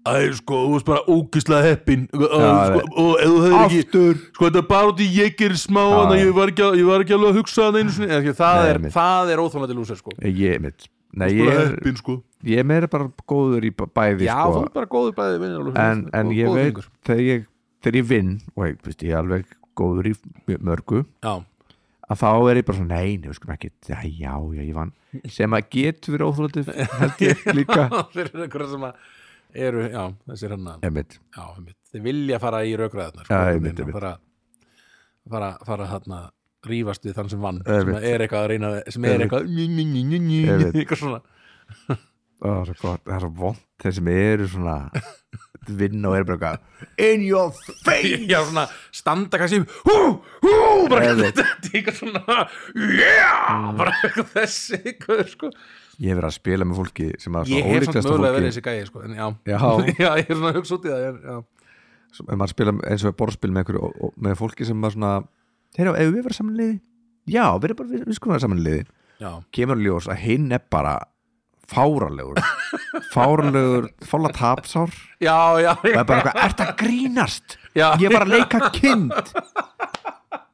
Speaker 2: Æ, sko, þú veist bara ógislega heppin Æ,
Speaker 1: Já,
Speaker 2: sko, og ef þú hefur ekki
Speaker 1: aftur,
Speaker 2: Sko, þetta er bara út í ég er smá en
Speaker 1: já.
Speaker 2: ég var ekki, að- ég var ekki alveg að hugsa það einu sinni Eða, skilur, það,
Speaker 1: Nei,
Speaker 2: er,
Speaker 1: einmitt.
Speaker 2: það er óþólandi lúser, sko
Speaker 1: Eh, ég, mitt nei, ég
Speaker 2: Bara
Speaker 1: er,
Speaker 2: heppin, sko
Speaker 1: ég er meira bara góður í b- bæði,
Speaker 2: Já, þú
Speaker 1: sko
Speaker 2: er bara góður bæði vinnir og-
Speaker 1: en, en
Speaker 2: og
Speaker 1: ég
Speaker 2: góður
Speaker 1: veit,
Speaker 2: hringur.
Speaker 1: þegar ég þegar ég vinn, og ég, veist, ég er alveg góður í mjög mörgu,
Speaker 2: Já,
Speaker 1: að þá er ég bara svona, nei, nei, skum ekki já, já, já, ég
Speaker 2: [laughs]
Speaker 1: vann, sem að getur verið óþrólandi, held ég líka
Speaker 2: [laughs] fyrir einhverja sem að eru, já, þessir hann að
Speaker 1: ég mitt,
Speaker 2: já, einmitt. þeir vilja fara í sko, raukraðarnar
Speaker 1: Já, einmitt,
Speaker 2: að
Speaker 1: einmitt.
Speaker 2: fara, fara, fara hann að rífast við þann sem vann
Speaker 1: Einmitt.
Speaker 2: sem er eitthvað að reyna, sem er
Speaker 1: Einmitt.
Speaker 2: eitthvað njú, njú, njú, njú, njú,
Speaker 1: Einmitt.
Speaker 2: eitthvað svona
Speaker 1: það er svo gott, það er svo vond þeir sem eru svona vinn og eru bara eitthvað in your face
Speaker 2: [laughs] já, svona standa kannski hú, hú, bara
Speaker 1: Einmitt. Mm.
Speaker 2: þetta er eitthvað svona yeah, bara eitthvað þessi eitthvað, sko.
Speaker 1: ég hef verið að spila með fólki sem að
Speaker 2: ég
Speaker 1: svona
Speaker 2: hef samt
Speaker 1: ólíkasta
Speaker 2: mögulega
Speaker 1: fólki
Speaker 2: verið þessi gæi sko, en [laughs] já,
Speaker 1: Já.
Speaker 2: ég er svona að hugsa út í það en, já,
Speaker 1: sem- ef maður spila eins og borðspil með, einhverju- og- og- með fólki sem maður svona heyrðu, ef við verðum samanliði já, við erum bara, við, við skulum vera samanliði
Speaker 2: já,
Speaker 1: kemur í ljós að hinn er bara fáralegur
Speaker 2: [laughs]
Speaker 1: fáralegur, fála tapsár og
Speaker 2: já, já, já,
Speaker 1: er bara eitthvað, ert að grínast
Speaker 2: já.
Speaker 1: ég er bara að leika kind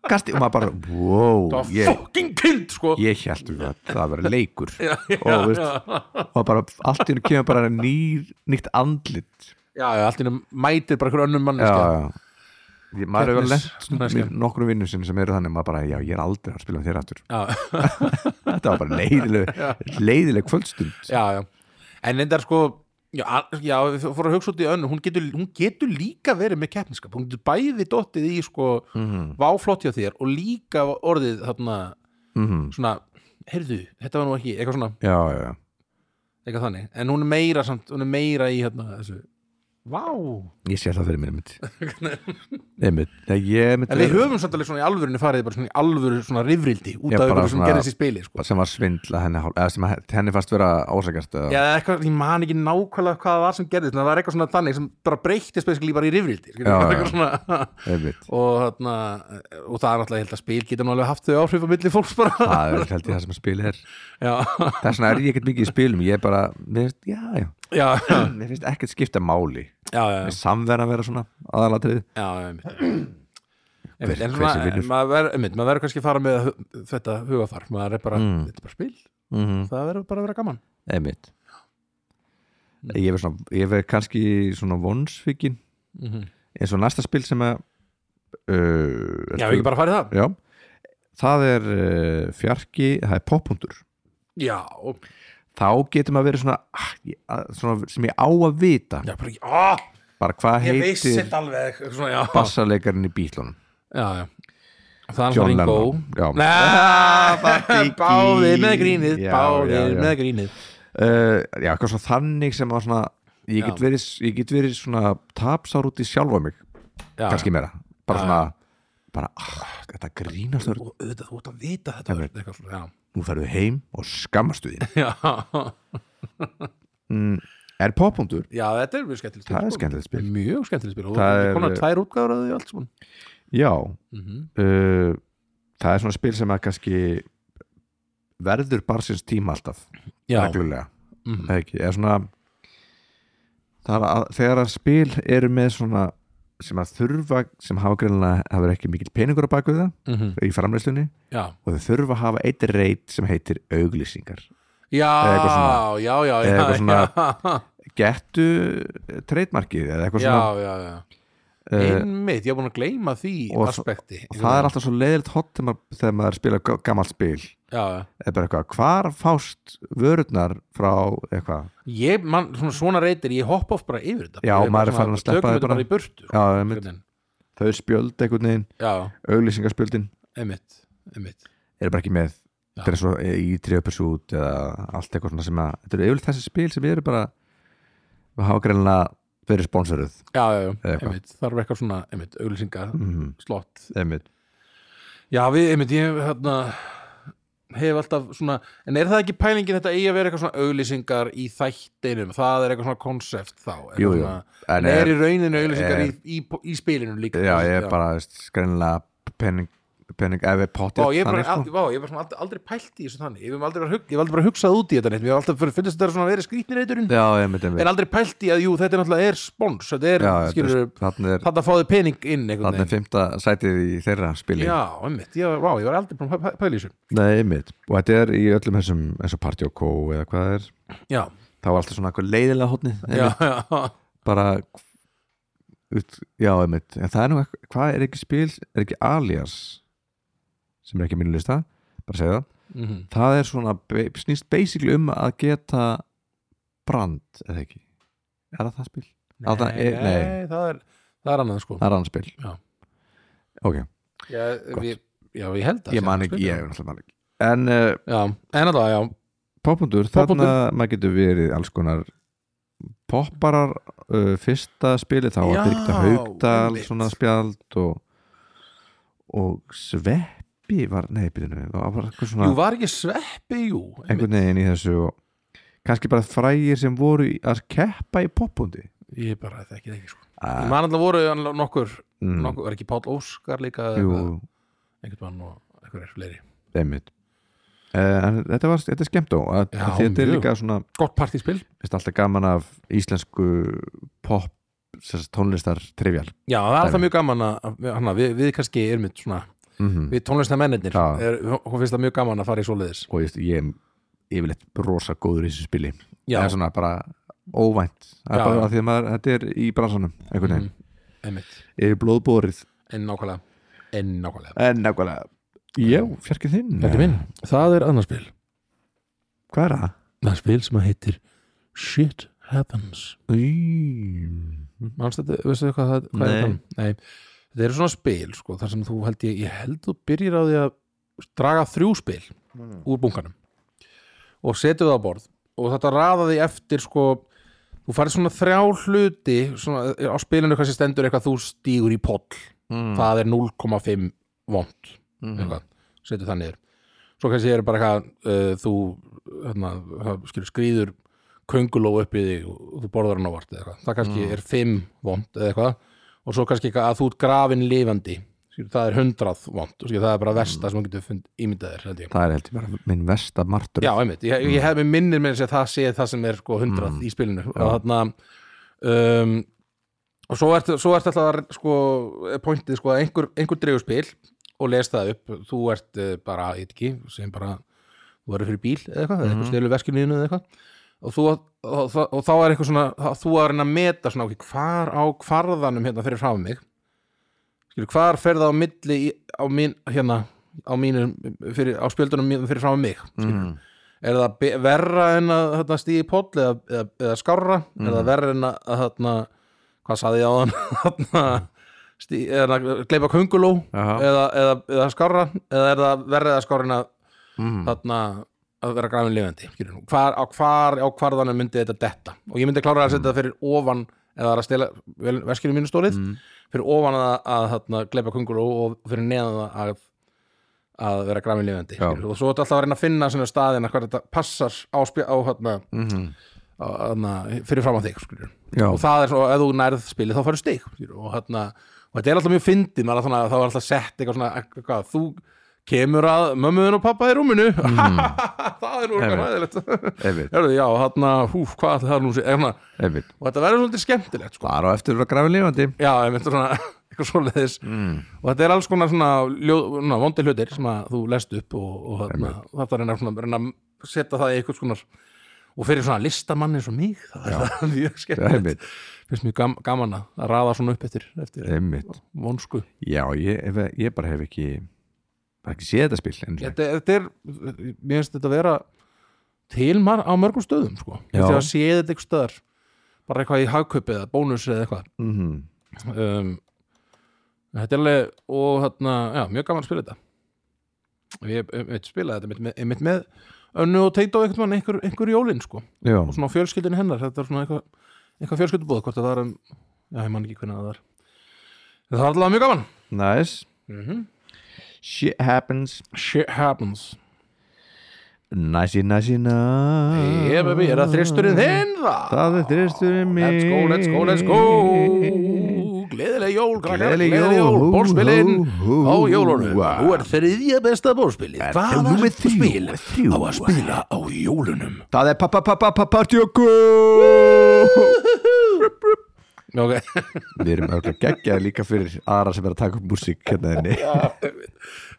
Speaker 1: Kasti, og maður bara, wow
Speaker 2: það var
Speaker 1: ég,
Speaker 2: fucking kind sko
Speaker 1: ég held við að það verið leikur
Speaker 2: já, já,
Speaker 1: og, veist,
Speaker 2: já.
Speaker 1: og bara allt í hennu kemur bara nýr, nýtt andlit
Speaker 2: já, já, allt í einu mætir bara hverju önnum manneska
Speaker 1: já, já. Ég- maður hefur
Speaker 2: Hvernig- hvernig
Speaker 1: lent nokkrum vinnum sinni sem eru þannig maður bara, já, ég er aldrei að spila með þér
Speaker 2: [laughs]
Speaker 1: aftur
Speaker 2: já,
Speaker 1: þetta var bara leiðileg leiðileg
Speaker 2: [laughs]
Speaker 1: kvöldstund
Speaker 2: já, já. en þetta er sko já, a- já, við fórum að hugsa út í önnu hún getur, hún getur líka verið með keppniskap hún getur bæði dottið í sko váflott hjá þér og líka orðið þarna,
Speaker 1: Mhm.
Speaker 2: svona heyrðu, þetta var nú ekki, eitthvað svona
Speaker 1: já, já, já.
Speaker 2: eitthvað þannig, en hún er meira samt, hún er meira í hérna, þessu Vá
Speaker 1: Ég sé það fyrir mér
Speaker 2: [laughs]
Speaker 1: einmitt Einmitt Nei, ég einmitt
Speaker 2: En við höfum samt alveg svona í alvörunni farið bara svona í alvöru svona rifrildi út
Speaker 1: Já,
Speaker 2: af
Speaker 1: bara
Speaker 2: ykkur sem
Speaker 1: svona-
Speaker 2: gerðist í spili sko.
Speaker 1: sem var svindla henni hál- eða sem henni fast vera ásakast
Speaker 2: Já, eitthvað, ég man ekki nákvæmlega hvað það var sem gerðist en það var eitthvað svona þannig sem bara breytti spesiklí bara í rifrildi skilur,
Speaker 1: Já,
Speaker 2: bara
Speaker 1: já.
Speaker 2: eitthvað svona, [laughs]
Speaker 1: einmitt
Speaker 2: og, þarna, og það er náttúrulega ég held að spil geta nú alveg haft þau áhrif á milli fólks bara
Speaker 1: það er held ég það sem að spila er
Speaker 2: [laughs] Já,
Speaker 1: þess vegna er ég ekkert mikið í spilum ég er bara, mér finnst, já, já
Speaker 2: já, já,
Speaker 1: mér finnst ekkert skipta máli
Speaker 2: já, já.
Speaker 1: Mér finnst samverðan vera svona aðalatrið
Speaker 2: Já, já, einmitt Einmitt, en
Speaker 1: hver
Speaker 2: svona,
Speaker 1: sem vinnur.
Speaker 2: en maður verður- einmitt, maður verður kannski að fara með hu- þetta hugafar maður er bara,
Speaker 1: Mm.
Speaker 2: þetta er bara spil
Speaker 1: mm -hmm.
Speaker 2: það verður bara að vera gaman
Speaker 1: einmitt ég verð svona, ég verð kannski svona vonsvikin
Speaker 2: Mhm.
Speaker 1: eins og næsta spil sem að uh,
Speaker 2: Já, við ekki bara farið það
Speaker 1: já, það er uh, fjarki, það er poppundur
Speaker 2: Já, og,
Speaker 1: þá getur maður verið svona, ah, ég- að- svona sem ég á að vita
Speaker 2: já, bara ekki Ó,
Speaker 1: bara hvað
Speaker 2: ég veist
Speaker 1: heitir
Speaker 2: þetta alveg eitthvað svona, já.
Speaker 1: bassarleikarinn í bítlunum
Speaker 2: já, já Það er
Speaker 1: John
Speaker 2: hann Ringo
Speaker 1: Lennon já.
Speaker 2: Nei,
Speaker 1: bara [laughs] ekki.
Speaker 2: Báðir með grínið,
Speaker 1: Já, já,
Speaker 2: báðir
Speaker 1: já.
Speaker 2: með grínið
Speaker 1: Uh, já, eitthvað svona þannig sem var svona ég get,
Speaker 2: Já.
Speaker 1: verið, ég get verið svona tapsár út í sjálfa mig
Speaker 2: já,
Speaker 1: kannski meira, bara
Speaker 2: Já,
Speaker 1: svona bara, ah, þetta grínast þér
Speaker 2: Og auðvitað, þú ert að vita þetta
Speaker 1: Einmitt.
Speaker 2: eitthvað svona, já. [laughs]
Speaker 1: nú ferðu heim og skammastu þín
Speaker 2: Já,
Speaker 1: mm, er poppundur,
Speaker 2: já, þetta er mjög skemmtilegt
Speaker 1: það er
Speaker 2: sko.
Speaker 1: skemmtilegt spil
Speaker 2: Mjög skemmtilegt spil og
Speaker 1: Það er-
Speaker 2: það er konar tvær útgáður að því allt svona
Speaker 1: já,
Speaker 2: Mhm.
Speaker 1: uh, það er svona spil sem að kannski verður barsins tíma alltaf
Speaker 2: Já,
Speaker 1: reglulega,
Speaker 2: Mhm.
Speaker 1: eða ekki, eða svona það er að, þegar að spil eru með svona sem að þurfa, sem hafa greinlega hafa ekki mikill peningur á baku það
Speaker 2: Mhm.
Speaker 1: í framleyslunni
Speaker 2: já,
Speaker 1: og þau þurfa að hafa eitt reit sem heitir auglýsingar eitthvað
Speaker 2: já,
Speaker 1: svona.
Speaker 2: já,
Speaker 1: Eða
Speaker 2: já,
Speaker 1: eitthvað
Speaker 2: já,
Speaker 1: svona-
Speaker 2: já,
Speaker 1: gettu treytmarkið eða eitthvað svona
Speaker 2: já, já, já.
Speaker 1: uh,
Speaker 2: einmitt, ég er búin að gleyma því
Speaker 1: og svo-
Speaker 2: aspekti
Speaker 1: og það er alltaf svo leiðilegt hot þegar maður, þegar maður spila g- gamalt spil
Speaker 2: já, já.
Speaker 1: eða bara eitthvað, hvar fást vörurnar frá eitthvað
Speaker 2: ég, man, svona, svona reytir, ég hoppa oft bara yfir þetta
Speaker 1: Já,
Speaker 2: Ég er bara
Speaker 1: maður er
Speaker 2: svona,
Speaker 1: farinn að sleppa
Speaker 2: tökum
Speaker 1: því
Speaker 2: þetta
Speaker 1: bara.
Speaker 2: bara í burtu
Speaker 1: já, einmitt,
Speaker 2: einmitt.
Speaker 1: þau spjöld einhvern veginn,
Speaker 2: já,
Speaker 1: auglýsingarspjöldin
Speaker 2: einmitt, einmitt
Speaker 1: eru bara ekki með
Speaker 2: Já.
Speaker 1: þetta er svo í triðupesút eða allt eitthvað svona sem að þetta eru yfirleitt þessi spil sem eru bara við hafa greinlega verið sponsoruð
Speaker 2: já, já, já,
Speaker 1: Eða eitthvað.
Speaker 2: einmitt, þarf eitthvað svona einmitt, auglýsinga,
Speaker 1: mm,
Speaker 2: slott
Speaker 1: einmitt
Speaker 2: já, við, einmitt, ég hérna hef alltaf svona, en er það ekki pælingin þetta eigi að vera eitthvað svona auglýsingar í þættinum, það er eitthvað svona konsept þá, eitthvað
Speaker 1: Jú, jú.
Speaker 2: svona-
Speaker 1: En
Speaker 2: Nei, er
Speaker 1: er-
Speaker 2: í rauninu auðlýsingar
Speaker 1: er-
Speaker 2: í, í, í spilinu líka
Speaker 1: Já, ég er bara skrænlega penning, penning ef við
Speaker 2: Vá,
Speaker 1: pottið
Speaker 2: ég er bara,
Speaker 1: sko.
Speaker 2: aldrei, vá, ég er bara svona aldrei, aldrei pælt í þessu þannig Ég hef aldrei, verið að hug- ég hef aldrei bara hugsað út í þetta neitt Mér hef alltaf fyrir- finnst þetta svona að vera skrýtnir eiturinn
Speaker 1: Já, ég myndi
Speaker 2: En aldrei pælt í að, jú, þetta er náttúrulega er spons Þetta er, skilur,
Speaker 1: Þannig er,
Speaker 2: þetta fáði pening inn einhvern
Speaker 1: þannig er
Speaker 2: veginn
Speaker 1: fymta sætið í þeirra spili
Speaker 2: Já, einmitt, ég, vá, ég var aldrei búin að pæ- pæla í þessu
Speaker 1: Nei, einmitt Og þetta er í öllum þessum eins og Party og Co eða hvað það er
Speaker 2: Já,
Speaker 1: þá er alltaf svona eitthvað leiðilega hótni
Speaker 2: já, já,
Speaker 1: bara ut, Já, einmitt En það er nú eitthvað, hvað er ekki spil er ekki alias sem er ekki á mínu lista bara segja það
Speaker 2: mhm.
Speaker 1: Það er svona, be- snýst basically um að geta brand eða ekki Er það það spil? Að það er- nei.
Speaker 2: það er, það er annað sko
Speaker 1: Það er annað spil
Speaker 2: Já.
Speaker 1: Ok,
Speaker 2: Já, við, já, ég held að
Speaker 1: ég
Speaker 2: sé
Speaker 1: man
Speaker 2: annað
Speaker 1: ekki,
Speaker 2: spil.
Speaker 1: ég er náttúrulega man ekki En uh,
Speaker 2: Já, en alltaf, já,
Speaker 1: poppundur,
Speaker 2: Poppundur.
Speaker 1: þarna maður getur verið alls konar popparar uh, fyrsta spili þá
Speaker 2: Já,
Speaker 1: að byrja haugdal
Speaker 2: einmitt.
Speaker 1: svona spjald og, og sveppi var, nei, byrjunum það var eitthvað svona
Speaker 2: jú, var ekki sveppi, jú einmitt.
Speaker 1: einhvern veginn í þessu og kannski bara frægir sem voru í- að keppa í poppundi
Speaker 2: Ég bara, það ekki, ekki sko Ég
Speaker 1: Ah,
Speaker 2: man alltaf voru hann nokkur,
Speaker 1: mm,
Speaker 2: nokkur var ekki Páll Óskar líka eða
Speaker 1: Jú,
Speaker 2: eitthvað, einhvern mann og einhverjir fleiri
Speaker 1: einmitt Uh, en þetta, var, þetta er skemmt á að,
Speaker 2: Já,
Speaker 1: að þetta er
Speaker 2: mjög.
Speaker 1: líka svona
Speaker 2: Gott partíspil
Speaker 1: finnst alltaf gaman af íslensku pop sem sagt, tónlistar trivial
Speaker 2: Já, það er alltaf
Speaker 1: Dæmi.
Speaker 2: mjög gaman að, að- hana, við, við kannski erum mitt svona
Speaker 1: mm
Speaker 2: við tónlistamennirnir,
Speaker 1: Já.
Speaker 2: er- hún finnst það mjög gaman að fara í svoleiðis
Speaker 1: og ég, ég er yfirleitt rosa góður í þessu spili
Speaker 2: Já,
Speaker 1: það er svona bara óvænt það
Speaker 2: Já,
Speaker 1: er bara
Speaker 2: já.
Speaker 1: að því að maður, þetta er í bransanum einhvern veginn,
Speaker 2: einmitt,
Speaker 1: mm. er blóðbórið
Speaker 2: en nákvæmlega en nákvæmlega
Speaker 1: en nákvæmlega, já, fjarkið þinn
Speaker 2: Þetta er minn, það er annarspil
Speaker 1: hvað er það?
Speaker 2: Það er spil sem að heitir Shit Happens
Speaker 1: Mm.
Speaker 2: Manst þetta, veistu hvað það hvað
Speaker 1: Nei.
Speaker 2: er? það? Nei, þetta eru svona spil sko, þar sem þú held ég, ég held þú byrjir á því að draga þrjú spil úr bunkanum og setja það á borð og þetta raðaði eftir sko þú farið svona þrjá hluti svona, á spilinu eitthvað sem stendur eitthvað þú stígur í poll
Speaker 1: Mm.
Speaker 2: það er 0,5 vond mm. setur það niður svo kannski er bara eitthvað uh, þú hérna, það skilur, skrýður könguló upp í þig og þú borðar hann ávart eða eitthvað. það kannski er 5 vond eða eitthvað og svo kannski eitthvað að þú ert grafin lifandi skilur, það er 100 vond skilur, það er bara versta sem þú getur fund, ímyndað þér held ég.
Speaker 1: það er heldur bara minn versta martur
Speaker 2: Já, einmitt, ég, ég hef mér minnir með þess að það sé það sem er sko hundrað í spilinu og þarna um, og svo ert, svo ert alltaf að, sko, er pointið sko að einhver, einhver dreigur spil og les það upp þú ert eh, bara, ég veit ekki, sem bara þú verður fyrir bíl eða eitthvað, mm. eitthvað stelur veskinu eða eitthvað og, þú, og, og, og þá er eitthvað svona þá- þú að reyna að meta svona ok, hvar á kvarðanum hérna fyrir frá mig skilur, hvar fer það á milli í, á mín, hérna á mínum, fyrir, á spjöldunum mínum fyrir frá mig skilur er það be- verra en að hérna, stíði í poll eða, eða, eða skárra er það verra en að, að hérna, hvað saði ég á þann [laughs] hérna, stí, eða að gleypa kunguló
Speaker 1: Jaha.
Speaker 2: eða, eða, eða skárra eða er það verra eða skárra en að þarna að vera grafin lifandi skilur nú. hvar, á, hvar, á hvarðanum myndi þetta detta og ég myndi klára að setja það fyrir ofan eða það er að stela vel- veskinu mínu stólið fyrir ofan að, að þarna, gleipa kunguló og fyrir neðan það að að vera grafin lifandi
Speaker 1: Já.
Speaker 2: skilur. og svo ertu alltaf að reyna að finna svona staðina hvað þetta passar á, spjá, á þarna,
Speaker 1: Mhm.
Speaker 2: á, þarna, fyrir fram á þig skilur.
Speaker 1: Já.
Speaker 2: og það er svo, ef þú nærð spilið þá færðu stig skilur, og, þarna, og þetta er alltaf mjög fyndið maður er alltaf- þá er alltaf sett eitthvað svona eitthvað, þú kemur að mömmuðin og pappa í rúminu [laughs] það er úr
Speaker 1: Mm. Einmitt.
Speaker 2: hæðilegt [laughs]
Speaker 1: Einmitt.
Speaker 2: Hörðu, já, hann húf, hvað ætli það nú sé eh, svona,
Speaker 1: einmitt
Speaker 2: og þetta verður svolítið skemmtilegt sko.
Speaker 1: bara á eftir að vera grafin lífandi
Speaker 2: já, ég myndi svona [laughs] eitthvað svoleiðis mm. og þetta er alls konar svona, ljó, svona vondi hlutir sem að þú lest upp og, og þarna, þetta reyna, svona, reyna að setja það í eitthvað skonar og fyrir svona listamann eins og mig það er það [laughs] mjög
Speaker 1: Einmitt.
Speaker 2: skemmtilegt finnst mjög gam, gaman að að raða svona upp eftir, eftir
Speaker 1: einmitt
Speaker 2: vonsku
Speaker 1: já ég, ef- ég bara hef ekki bara ekki séð þetta spil enn svo.
Speaker 2: þetta, þetta er, mér finnst þetta að vera til mar á mörgum stöðum sko.
Speaker 1: Já.
Speaker 2: þegar sé þetta eitthvað stöðar bara eitthvað í hagkaupi eða bónus eða eitthvað
Speaker 1: Mhm.
Speaker 2: um, þetta er alveg og þarna, já, mjög gaman að spila þetta ég veit spila þetta mitt með, einmitt með önnu og teit á einhvern mann einhver, einhver jólin sko og
Speaker 1: já
Speaker 2: svona fjölskyldin hennar, þetta er svona eitthvað eitthvað fjölskyldubóð, hvort það var um, já, ég man ekki hvernig það var En það var allavega mjög gaman
Speaker 1: nice
Speaker 2: Mhm.
Speaker 1: shit happens
Speaker 2: shit happens
Speaker 1: nicey nicey nice
Speaker 2: Ég, baby, er það þristurinn þinn það?
Speaker 1: Það er þristurinn minn.
Speaker 2: Let's go, let's go, let's go Gleðileg jól, krakkar,
Speaker 1: Gleðileg
Speaker 2: gleðileg
Speaker 1: jól,
Speaker 2: jól
Speaker 1: hú,
Speaker 2: Bórspilin
Speaker 1: hú, hú,
Speaker 2: á jólunum
Speaker 1: hú.
Speaker 2: Nú er þriðja besta bórspilið Hvaða
Speaker 1: númer þrjú,
Speaker 2: spil
Speaker 1: þrjú.
Speaker 2: á að spila á jólunum?
Speaker 1: það er pappa pappa pappa partjóku [laughs]
Speaker 2: Ok,
Speaker 1: við erum auðvitað geggjað líka fyrir aðra sem er að taka upp músík hérna þenni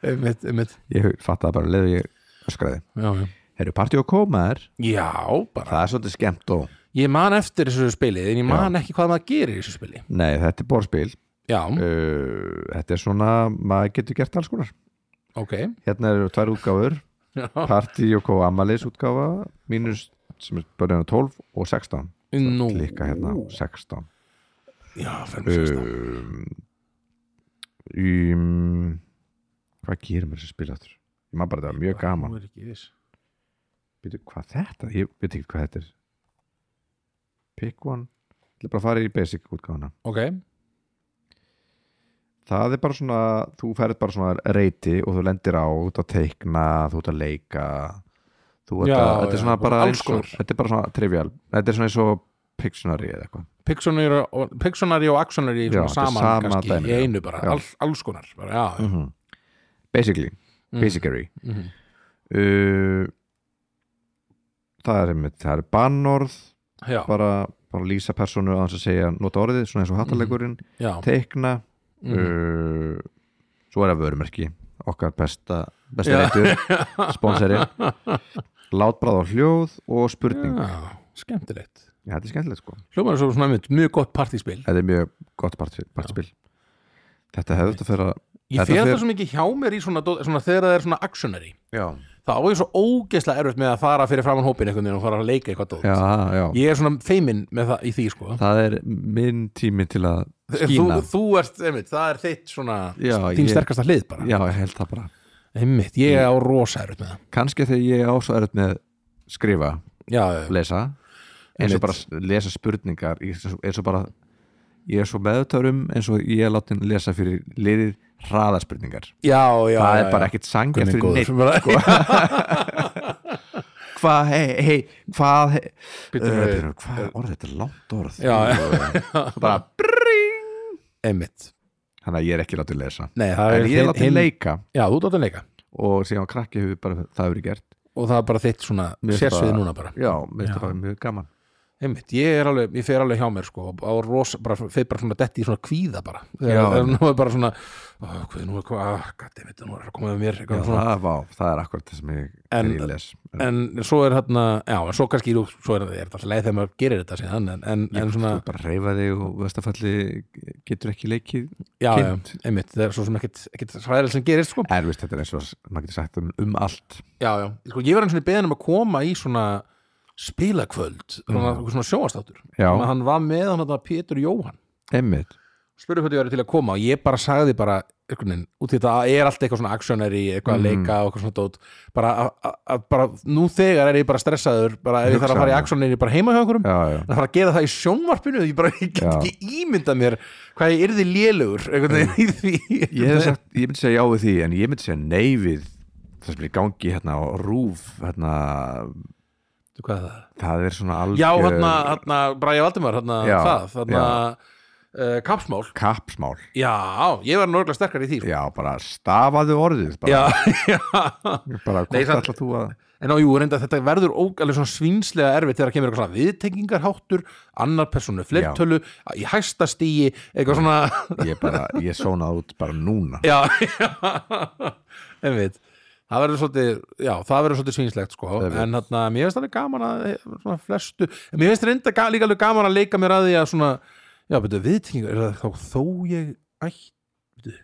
Speaker 2: einmitt, einmitt
Speaker 1: ég fatt það bara leðu ég öskraði
Speaker 2: Já, já
Speaker 1: Herru, partjóku maður
Speaker 2: Já, bara
Speaker 1: það er svolítið skemmt og
Speaker 2: Ég man eftir þessu spilið En ég man ekki hvað maður gerir í þessu spili
Speaker 1: nei þetta er borðspil
Speaker 2: Já,
Speaker 1: uh, þetta er svona maður getur gert alls konar
Speaker 2: ok
Speaker 1: hérna eru tvær útgáfur
Speaker 2: Já.
Speaker 1: Party og Kó Amalis útgáfa mínus sem er början á 12 og 16
Speaker 2: Nú,
Speaker 1: líka hérna Eh, 16
Speaker 2: já, fyrir sérst það
Speaker 1: um, hvað gerir mér þessi spil aftur ég maður bara þetta var mjög gaman
Speaker 2: Nú er ekki viss
Speaker 1: Býtu, hvað þetta, ég veit ekki hvað þetta er pick one ég ætla bara að fara í basic útgáfuna
Speaker 2: Ok,
Speaker 1: það er bara svona, þú ferð bara svona reyti og þú lendir á, þú ert að teikna þú ert að leika þú ert
Speaker 2: Já,
Speaker 1: að, þetta er
Speaker 2: já,
Speaker 1: svona bara
Speaker 2: alls
Speaker 1: eins og,
Speaker 2: konar.
Speaker 1: þetta er bara svona trivial, þetta er svona eins og Pictionary eða eitthvað
Speaker 2: Pictionary og, Pictionary og
Speaker 1: Já,
Speaker 2: Actionary svona
Speaker 1: þetta er
Speaker 2: saman
Speaker 1: sama
Speaker 2: kannski
Speaker 1: dæmi, já.
Speaker 2: í einu bara,
Speaker 1: Já.
Speaker 2: all, alls konar bara, já, mm
Speaker 1: -hmm. basically, basically
Speaker 2: Mhm.
Speaker 1: uh, það er einmitt, það er bannorð
Speaker 2: já,
Speaker 1: bara, bara lýsa personu að hans að segja nota orðið, svona
Speaker 2: Mhm.
Speaker 1: eins og hattalegurinn
Speaker 2: já,
Speaker 1: teikna
Speaker 2: Mhm.
Speaker 1: uh, svo er það vörumerki okkar besta, besta
Speaker 2: [laughs]
Speaker 1: reytur sponsori látbráð á hljóð og spurning
Speaker 2: já skemmtilegt
Speaker 1: Já, þetta er skemmtilegt sko,
Speaker 2: hljómar er svo svona mynd, mjög gott partíspil
Speaker 1: þetta er mjög gott part, partspil þetta hefði þetta fyrir að
Speaker 2: ég
Speaker 1: Þetta
Speaker 2: fer
Speaker 1: fer-
Speaker 2: það svo mikið hjá mér í svona, dó- svona þegar það er svona Actionary
Speaker 1: já,
Speaker 2: þá á ég svo ógeðslega erfitt með að fara fyrir framan hópin einhvern veginn og fara að leika eitthvað dót
Speaker 1: já, já.
Speaker 2: ég er svona feiminn með það í því sko
Speaker 1: það er minn tími til að
Speaker 2: þú,
Speaker 1: skína
Speaker 2: þú ert, einmitt, það er þitt svona
Speaker 1: Já,
Speaker 2: þín
Speaker 1: ég-
Speaker 2: sterkasta hlið bara
Speaker 1: já, Mm. ég held það bara
Speaker 2: einmitt, ég er á rosa erfitt með það
Speaker 1: kannski þegar ég á svo erut með skrifa,
Speaker 2: já, já, já.
Speaker 1: lesa eins
Speaker 2: Einmitt.
Speaker 1: og bara s- lesa spurningar ég- eins og bara ég er svo meðutöður um eins og ég er látin lesa fyrir liðir hraðaspurningar
Speaker 2: já, já
Speaker 1: það
Speaker 2: já,
Speaker 1: er bara
Speaker 2: já.
Speaker 1: ekkert sangjart
Speaker 2: Guð
Speaker 1: fyrir
Speaker 2: minn
Speaker 1: neitt
Speaker 2: góður.
Speaker 1: sko.
Speaker 2: Bara-
Speaker 1: hvað, hei, hei, hvað hei,
Speaker 2: Bíddu,
Speaker 1: uh,
Speaker 2: hei.
Speaker 1: bíddu, hvað orð, þetta er langt orð
Speaker 2: Já, já. [laughs]
Speaker 1: Svo bara,
Speaker 2: [laughs] einmitt
Speaker 1: þannig að ég er ekki látið lesa
Speaker 2: Nei, það
Speaker 1: en
Speaker 2: er
Speaker 1: ég er
Speaker 2: þinn-
Speaker 1: látið
Speaker 2: hinn-
Speaker 1: leika
Speaker 2: Já, þú dáttu leika
Speaker 1: og síðan krakki hefur bara það verið gert
Speaker 2: og það er bara þitt svona
Speaker 1: Mér
Speaker 2: sérsvið
Speaker 1: bara-
Speaker 2: núna bara
Speaker 1: já, mér
Speaker 2: Já.
Speaker 1: finnst það mjög gaman
Speaker 2: einmitt, ég er alveg, ég fer alveg hjá mér sko og- og rosa, bara, fer bara svona detti í svona kvíða bara,
Speaker 1: Já.
Speaker 2: þegar þegar nú er bara svona ó, hvað, nú er hvað, gæti, veit, nú er að koma með mér
Speaker 1: já,
Speaker 2: eitthvað svona,
Speaker 1: það, vá, það er akkurat það sem ég,
Speaker 2: En-
Speaker 1: en, ég les en,
Speaker 2: en svo er hérna já, en svo kannski, þú- svo er, er þetta alltaf leið þegar maður gerir þetta síðan, en, en, en svona
Speaker 1: þú bara reyfa þig og vestafalli getur ekki leikið
Speaker 2: já, já,
Speaker 1: kynnt.
Speaker 2: einmitt, það er svo sem ekkit, ekkit hræðilega sem gerist sko,
Speaker 1: en veist, þetta er eins og maður getur sagt um, um allt
Speaker 2: já, já, sko, ég var eins og beðin um að koma í svona spilakvöld, svona, svona sjóastáttur
Speaker 1: Já.
Speaker 2: Sem að hann var með hann þetta Pétur Jóhann
Speaker 1: einmitt,
Speaker 2: spurði hvað ég verið til að koma og ég bara sagði bara einhvern veginn, út í þetta er allt eitthvað svona actionary, eitthvað að leika og eitthvað svona dót bara, að- að- að bara nú þegar er ég bara stressaður, bara ef ég þarf að fara í
Speaker 1: Hugsaðu.
Speaker 2: action er ég bara heima hjá einhverjum
Speaker 1: já, já
Speaker 2: að fara að gera það í sjónvarpinu, ég bara ég get
Speaker 1: Já.
Speaker 2: ekki ímyndað mér hvað ég yrði lélugur einhvern veginn í því
Speaker 1: ég, hef sagt, ég myndi segja já við því en ég myndi segja nei við það sem er í gangi hérna á rúf hérna,
Speaker 2: Veitu hvað er það?
Speaker 1: það er svona algjör
Speaker 2: Já, hérna, hérna, Bræja Valdimar hérna,
Speaker 1: eh, Já,
Speaker 2: það, hérna uh, kapsmál,
Speaker 1: kappsmál
Speaker 2: já, ég var nörglega sterkar í því sko.
Speaker 1: já, bara stafaðu orðið bara,
Speaker 2: Já, já
Speaker 1: bara
Speaker 2: Nei,
Speaker 1: hvort
Speaker 2: samt-
Speaker 1: ætla þú að
Speaker 2: En á jú, reynda þetta verður ógælega svona svínslega erfitt þegar kemur eitthvað svona viðtengingarháttur, annar personu flertölu, í hæsta stíi, eitthvað svona,
Speaker 1: ég bara, ég sónaði út bara núna
Speaker 2: já, já, hérna. [laughs] einmitt. Það verður svolítið, já, það verður svolítið svínslegt sko,
Speaker 1: Einmitt.
Speaker 2: en þarna, mér finnst alveg gaman að, eh, svona flestu, en mér finnst reynda ga- líka alveg gaman að leika mér að því að svona, já, betur, viðtengingar, er það þá þó ég ætti, betur,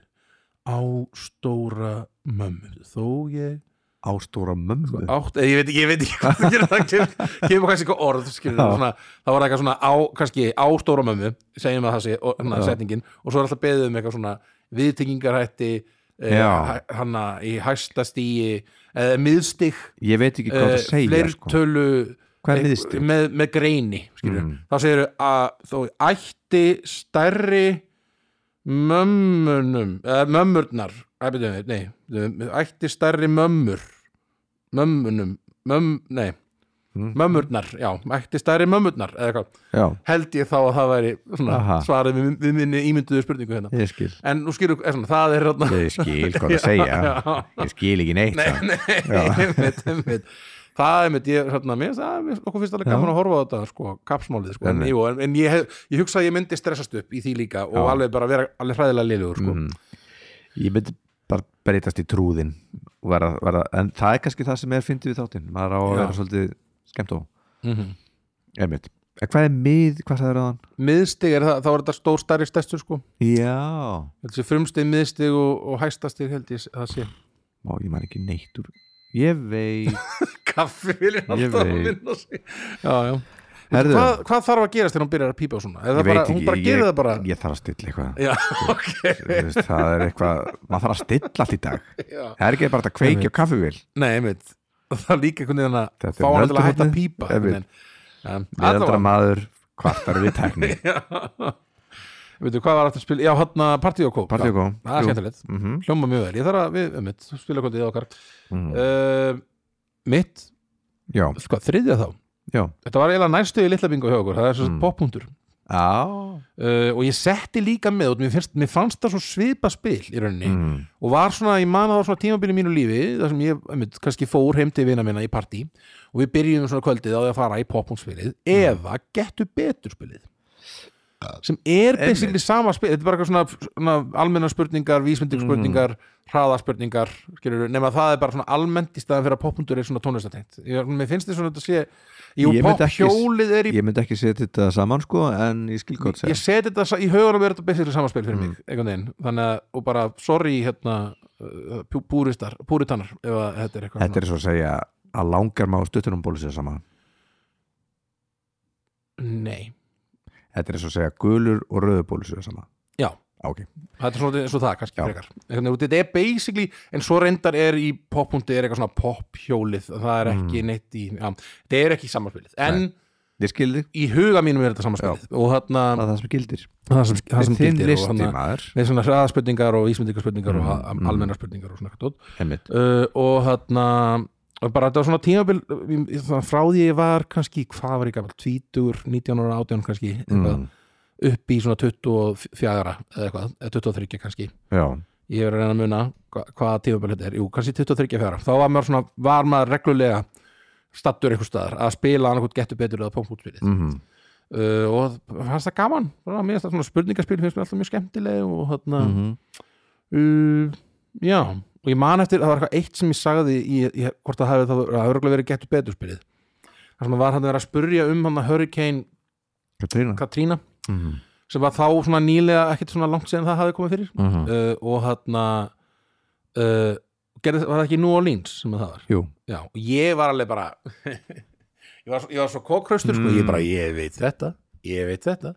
Speaker 2: á stóra mömmu, þó ég
Speaker 1: ástóra mömmu
Speaker 2: átt, eða ég veit, ég veit ekki [laughs] hvað það gerir það kemur, kemur kannski eitthvað orð skilur,
Speaker 1: Já.
Speaker 2: svona, það var eitthvað svona á, kannski á stóra mömmu, segjum að það sé og, hana,
Speaker 1: Já.
Speaker 2: setningin, og svo er alltaf beðið um eitthvað svona viðtengingarhætti
Speaker 1: Já.
Speaker 2: eh, hana í hæsta stíi eða miðstig
Speaker 1: ég veit ekki hvað
Speaker 2: eh,
Speaker 1: það segja sko.
Speaker 2: fleirtölu
Speaker 1: Hvað er
Speaker 2: eh,
Speaker 1: miðstig?
Speaker 2: með, með greini skilur,
Speaker 1: Mm.
Speaker 2: þá segir að þó ætti stærri mömmunum eða mömmurnar Æ, byrju, nei, byrju, ætti stærri mömmur mömmunum mömm, nei,
Speaker 1: Mm.
Speaker 2: mömmurnar já, ætti stærri mömmurnar eða eitthvað,
Speaker 1: já,
Speaker 2: held ég þá að það væri svona,
Speaker 1: Aha.
Speaker 2: svarið við, við minni ímynduðu spurningu hérna
Speaker 1: ég skil
Speaker 2: en nú skilur, er svona, það er hérna
Speaker 1: ég skil
Speaker 2: [laughs]
Speaker 1: hvað það segja ég skil ekki neitt
Speaker 2: Nei,
Speaker 1: samt.
Speaker 2: nei, [laughs] einmitt, einmitt Það er mitt, ég, hérna, mér finnst það, mér- okkur finnst alveg gaman að horfa á þetta, sko, kapsmálið, sko, en,
Speaker 1: Einmitt.
Speaker 2: jú, en, en ég, hef, ég hugsa að ég myndi stressast upp í því líka og
Speaker 1: Já.
Speaker 2: alveg bara vera alveg hræðilega liðugur, sko.
Speaker 1: Mm. ég myndi bara breytast í trúðin og vera, vera, en það er kannski það sem er fyndið við þáttinn, maður á að
Speaker 2: Já.
Speaker 1: vera svolítið skemmt á,
Speaker 2: Mm -hmm.
Speaker 1: einmitt en hvað er mið, hvað sagður það hann?
Speaker 2: Miðstig, er það, þá er þetta stór stærri stærstu, sko,
Speaker 1: já,
Speaker 2: þessi frumstig, miðstig og, og hæstastig, held ég, það sé.
Speaker 1: má ég maður ekki neitt úr ég veit,
Speaker 2: Kaffi vil ég
Speaker 1: Ég
Speaker 2: alltaf að
Speaker 1: veit.
Speaker 2: vinna sig. Já, já.
Speaker 1: herðu
Speaker 2: Hvað, hvað þarf að gerast þegar hún byrjar að pípa og svona? Eða
Speaker 1: ég
Speaker 2: bara,
Speaker 1: veit ekki,
Speaker 2: hún bara
Speaker 1: ég,
Speaker 2: gerir það bara.
Speaker 1: ég, þarf að stilla eitthvað
Speaker 2: Já, ok,
Speaker 1: Þú veist, það er eitthvað, maður þarf að stilla allt í dag
Speaker 2: já.
Speaker 1: það er ekki bara að kveiki á kaffivil
Speaker 2: Nei, einmitt [laughs] Það er líka einhvern veginn að
Speaker 1: Þetta
Speaker 2: fá
Speaker 1: er
Speaker 2: hann til að hætta
Speaker 1: nölduhornið.
Speaker 2: að pípa
Speaker 1: Einmitt. meðaldra
Speaker 2: Allavega
Speaker 1: maður kvartar við tækni
Speaker 2: [laughs] Veitu, hvað var aftur spil? Já, hérna, hann að partíokó
Speaker 1: partíkó,
Speaker 2: Það er skemmtilegt
Speaker 1: mm -hmm.
Speaker 2: Hljóma mjög vel Ég þarf að við, einmitt, spila kvöldið okkar
Speaker 1: Mm.
Speaker 2: uh, Mitt,
Speaker 1: já,
Speaker 2: hvað, þriðja þá
Speaker 1: já
Speaker 2: Þetta var eiginlega næstu í litla bingo hjá okkur Það er svo mm.
Speaker 1: Mm.
Speaker 2: poppuntur
Speaker 1: á,
Speaker 2: uh, Og ég setti líka með út Mér, finnst, mér fannst það svo svipa spil í rauninni
Speaker 1: mm.
Speaker 2: og var svona, ég man að það var svona tímabili mínu lífi þar sem ég, einmitt, kannski fór heim til vina minna í partí og við byrjum svona kvöldið á því að fara í poppunspilið eða getur betur spilið sem er basically sama spil þetta er bara eitthvað svona, svona almennar spurningar vísmyndir spurningar, hraðaspurningar skilur, nema það er bara svona almennt í staðan fyrir að poppundur er svona tónlistatengt Ég- mér finnst þið svona að þetta sé jú,
Speaker 1: Ég myndi ekki-
Speaker 2: popphjólið er í
Speaker 1: ég myndi ekki setja þetta saman sko en ég skil gott Mm. segja
Speaker 2: ég seti þetta sa- í hugunum er þetta basically samanspil fyrir mig einhvern veginn, þannig að, og bara sorry hérna, uh, pú- púristar púritanar, ef að þetta er eitthvað
Speaker 1: þetta er svo að segja að langar um maður stuttunum bólu sér saman
Speaker 2: svona, nei,
Speaker 1: þetta er svo að segja gulur og rauður bólu sér saman
Speaker 2: Já.
Speaker 1: Ah, ok,
Speaker 2: þetta er svona eins og það kannski
Speaker 1: Já.
Speaker 2: frekar, einhvern veginn, og þetta er basically en svo reyndar er í
Speaker 1: Mm.
Speaker 2: poppundi er eitthvað svona pophjólið, það er ekki neitt í, já, þetta er ekki samanspilið, en
Speaker 1: ég skil þig,
Speaker 2: í huga mínum er þetta samanspil og
Speaker 1: það
Speaker 2: þarna
Speaker 1: er það sem gildir
Speaker 2: það sem, það sem
Speaker 1: þinn
Speaker 2: gildir og
Speaker 1: listi
Speaker 2: þarna
Speaker 1: maður
Speaker 2: með svona hraðaspurningar og ísmyndingarspurningar
Speaker 1: Mm,
Speaker 2: og
Speaker 1: mm.
Speaker 2: almennar spurningar og svona eitthvað dót.
Speaker 1: einmitt,
Speaker 2: uh, og þarna og bara þetta var svona tímabil ég- ég- svona frá því ég var kannski, hvað var ég gamall 20, 19 ára, 18 kannski eitthvað,
Speaker 1: Mm,
Speaker 2: upp í svona 24 eða eitthvað, eða 23 kannski
Speaker 1: já,
Speaker 2: ég er að reyna að muna hva, hvaða tímabil þetta er, jú, kannski 23 ára þá var maður svona, var maður reglulega stattur einhvers staðar að spila annarkot getur betur eða pómpútspilið
Speaker 1: mhm,
Speaker 2: uh, og fannst það gaman svona, mér finnst það svona spurningaspil finnst mér alltaf mjög skemmtileg og þarna
Speaker 1: mhm
Speaker 2: uh, já, og ég man eftir að það var eitthvað eitt sem ég sagði í, í, hvort það hefði það það hefur verið getur betur spilið þar sem var hann að vera að spurja um hann að Hurricane
Speaker 1: Katrína
Speaker 2: Katrína
Speaker 1: mhm,
Speaker 2: sem var þá svona nýlega ekkert svona langt síðan það hafði komið fyrir
Speaker 1: mhm,
Speaker 2: uh, og hann að uh, gerði, var það ekki New Orleans sem það var
Speaker 1: jú,
Speaker 2: já, og ég var alveg bara [laughs] ég var, svo- ég var svo kókraustur sko,
Speaker 1: Mm.
Speaker 2: ég bara, ég veit þetta ég veit þetta,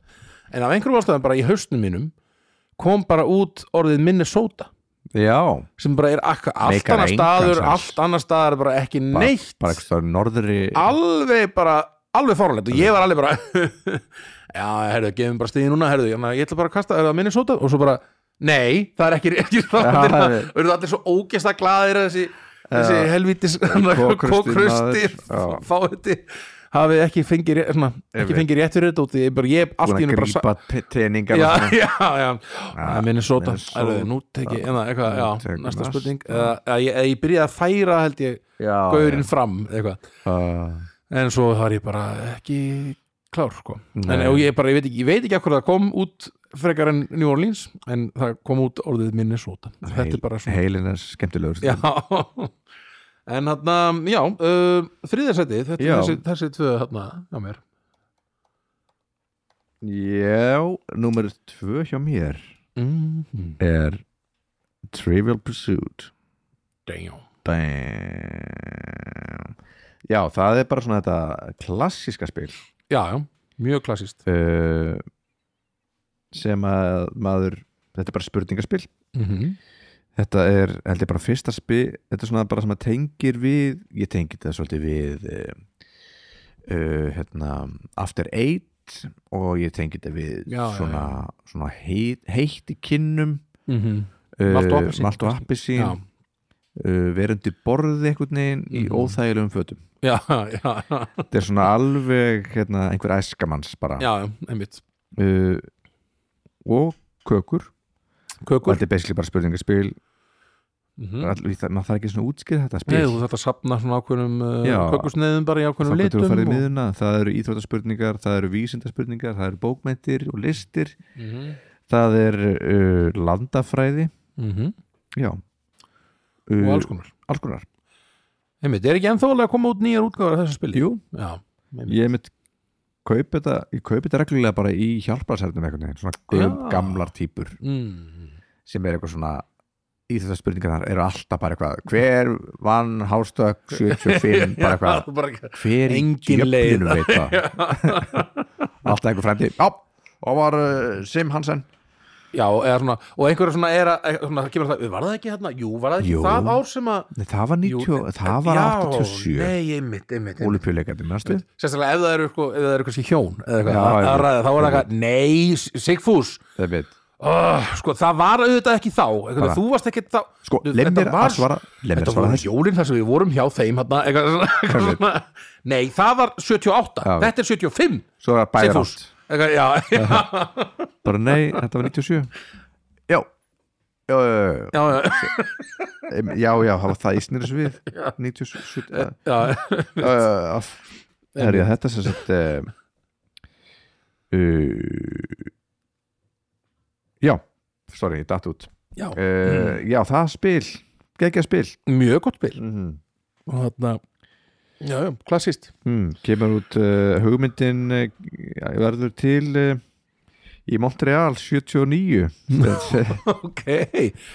Speaker 2: en af einhverjum ástæðum bara í haustnum mínum kom bara út orðið Minnesota
Speaker 1: já
Speaker 2: sem bara er akka, allt
Speaker 1: Meikar
Speaker 2: annar
Speaker 1: engan
Speaker 2: staður
Speaker 1: sens.
Speaker 2: allt annar staður er bara ekki neitt
Speaker 1: bara eitthvað staðar í norðri
Speaker 2: alveg bara, alveg fórlætt og ég var alveg bara
Speaker 1: [laughs]
Speaker 2: já, herðu, gefum bara stíði núna, herðu, ég ætla bara að kasta er það Minnesota og svo bara, nei það er ekki, ekki það
Speaker 1: Já,
Speaker 2: er
Speaker 1: það
Speaker 2: það
Speaker 1: er-
Speaker 2: verður allir svo ógesta glaðir að þessi, þessi helvítis [laughs]
Speaker 1: Kokhraustir
Speaker 2: kókrustir
Speaker 1: maður, já.
Speaker 2: fáiði hafi ekki fengið ré- svona, ekki
Speaker 1: Einmitt.
Speaker 2: fengið rétt fyrir þetta út því ég bara, ég allt
Speaker 1: búin
Speaker 2: í
Speaker 1: að
Speaker 2: hennu bara sa-
Speaker 1: grípa treiningar
Speaker 2: já, [laughs] já, já, já Minnesota,
Speaker 1: Minnesota.
Speaker 2: Minnesota. nú teki hérna, eitthvað,
Speaker 1: Nú
Speaker 2: já,
Speaker 1: tek ég
Speaker 2: næsta
Speaker 1: næsta.
Speaker 2: spurning eða eða ég, eða ég byrjaði að færa held ég gaurinn fram, eitthvað
Speaker 1: Ah,
Speaker 2: en svo var ég bara ekki klár, sko en,
Speaker 1: Nei.
Speaker 2: og ég, bara, ég, veit ekki, ég veit ekki akkur það kom út frekar en New Orleans en það kom út orðið Minnesota þetta er bara svona
Speaker 1: heilin er skemmtilegur
Speaker 2: já. [laughs] en hann, já, uh, þriðarsætið þetta
Speaker 1: Já.
Speaker 2: er þessi, þessi tvö hann á mér
Speaker 1: já númer tvö hjá mér
Speaker 2: mm -hmm.
Speaker 1: er Trivial Pursuit
Speaker 2: damn
Speaker 1: Damn. já það er bara svona þetta klassíska spil
Speaker 2: já, já, mjög klassist
Speaker 1: uh, sem að maður þetta er bara spurningaspil
Speaker 2: mm
Speaker 1: Þetta er, held ég bara fyrsta spil Þetta er svona bara sem að tengir við Ég tengi þetta svolítið við uh, uh, hérna, After Eight og ég tengi þetta við
Speaker 2: Já, já,
Speaker 1: svona, svona heit, heitt í kinnum
Speaker 2: Malt og appelsín.
Speaker 1: Malt og appisín
Speaker 2: Mhm. já,
Speaker 1: uh, Verandi borðið einhvern veginn í
Speaker 2: Mhm.
Speaker 1: óþægilegum
Speaker 2: [laughs]
Speaker 1: fötum
Speaker 2: já, já, já,
Speaker 1: Þetta er svona alveg hérna, einhver æskamanns bara
Speaker 2: já, einmitt
Speaker 1: uh, Og kökur Og
Speaker 2: kökur
Speaker 1: Þetta er basically bara spurningaspil
Speaker 2: mm
Speaker 1: mm. Maður þarf ekki svona að útskýra þetta spil
Speaker 2: Nei, þú þarft að sapna svona ákveðnum uh,
Speaker 1: Já.
Speaker 2: kökusneiðum bara í ákveðnum
Speaker 1: Þangað til þú
Speaker 2: litum
Speaker 1: ferð í miðuna, það eru íþróttaspurningar, það eru vísindaspurningar, það eru bókmyndir og listir,
Speaker 2: Mhm.
Speaker 1: það er uh, landafræði,
Speaker 2: Mhm.
Speaker 1: já. Uh,
Speaker 2: og alls konar
Speaker 1: alls konar.
Speaker 2: Einmitt, er ekki ennþá alveg að koma út nýjar útgáður af þessu spili?
Speaker 1: Jú.
Speaker 2: Já, einmitt.
Speaker 1: Ég mitt kaup þetta, ég kaup þetta reglulega bara í hjálparsæfnum einhvern veginn, svona göm,
Speaker 2: Já.
Speaker 1: gamlar típur
Speaker 2: Mm.
Speaker 1: sem er eitthvað svona íþróttaspurningarnar eru alltaf bara eitthvað, hver vann hástökk 75, bara
Speaker 2: [laughs] Já,
Speaker 1: eitthvað,
Speaker 2: þú bara ekki
Speaker 1: hver í
Speaker 2: Engin leið.
Speaker 1: djöflinu veit
Speaker 2: [laughs]
Speaker 1: það. alltaf einhver fremdi, já, og var uh, Sim Hansen.
Speaker 2: Já, eða svona, og einhverja svona er að eitthvað svona, það kemur það, var það ekki hérna, jú, var það ekki
Speaker 1: Jú.
Speaker 2: það ár sem að
Speaker 1: Nei, það var 90,
Speaker 2: Jú, eh,
Speaker 1: það var
Speaker 2: já,
Speaker 1: 87
Speaker 2: Nei, einmitt, einmitt, einmitt.
Speaker 1: Olupjuleikandi, mennstu?
Speaker 2: Sérstaklega ef það eru, sko, ef það eru kannski hjón eða eitthvað,
Speaker 1: Já,
Speaker 2: að- að
Speaker 1: einmitt.
Speaker 2: ræða, þá er það eitthvað, nei, Sigfús
Speaker 1: Það veit
Speaker 2: oh, sko, það var auðvitað ekki þá eitthvað,
Speaker 1: Bara-
Speaker 2: þú varst ekki þá
Speaker 1: Sko,
Speaker 2: Þetta
Speaker 1: leið mér
Speaker 2: var-
Speaker 1: að svara Leið mér
Speaker 2: Þetta
Speaker 1: að svara
Speaker 2: voru
Speaker 1: þessu
Speaker 2: jólinn þar sem við vorum hjá þeim hana, eitthvað, svona- eitthvað
Speaker 1: Einmitt.
Speaker 2: svona Nei, það var 78,
Speaker 1: Já.
Speaker 2: þetta er 75
Speaker 1: Svo er það bæði
Speaker 2: Sigfús
Speaker 1: rátt
Speaker 2: Eitthvað, já, já, [laughs]
Speaker 1: Bara nei, þetta var 97 Já Já, já, já,
Speaker 2: já, já,
Speaker 1: Em, já, já, það var það ísnir þessu
Speaker 2: [laughs]
Speaker 1: við 97 eh,
Speaker 2: já,
Speaker 1: já, já, já, já. Herri, þetta sem sagt um, uh, Já, sorry, ég datt út
Speaker 2: já.
Speaker 1: uh, Já, það spil, geggja spil
Speaker 2: Eh, Mjög gott bil
Speaker 1: mm -hmm.
Speaker 2: og þarna, já, já, klassist
Speaker 1: Hmm, kemur út uh, hugmyndin uh, verður til uh, í Montreal [laughs] 79
Speaker 2: [laughs] Ok,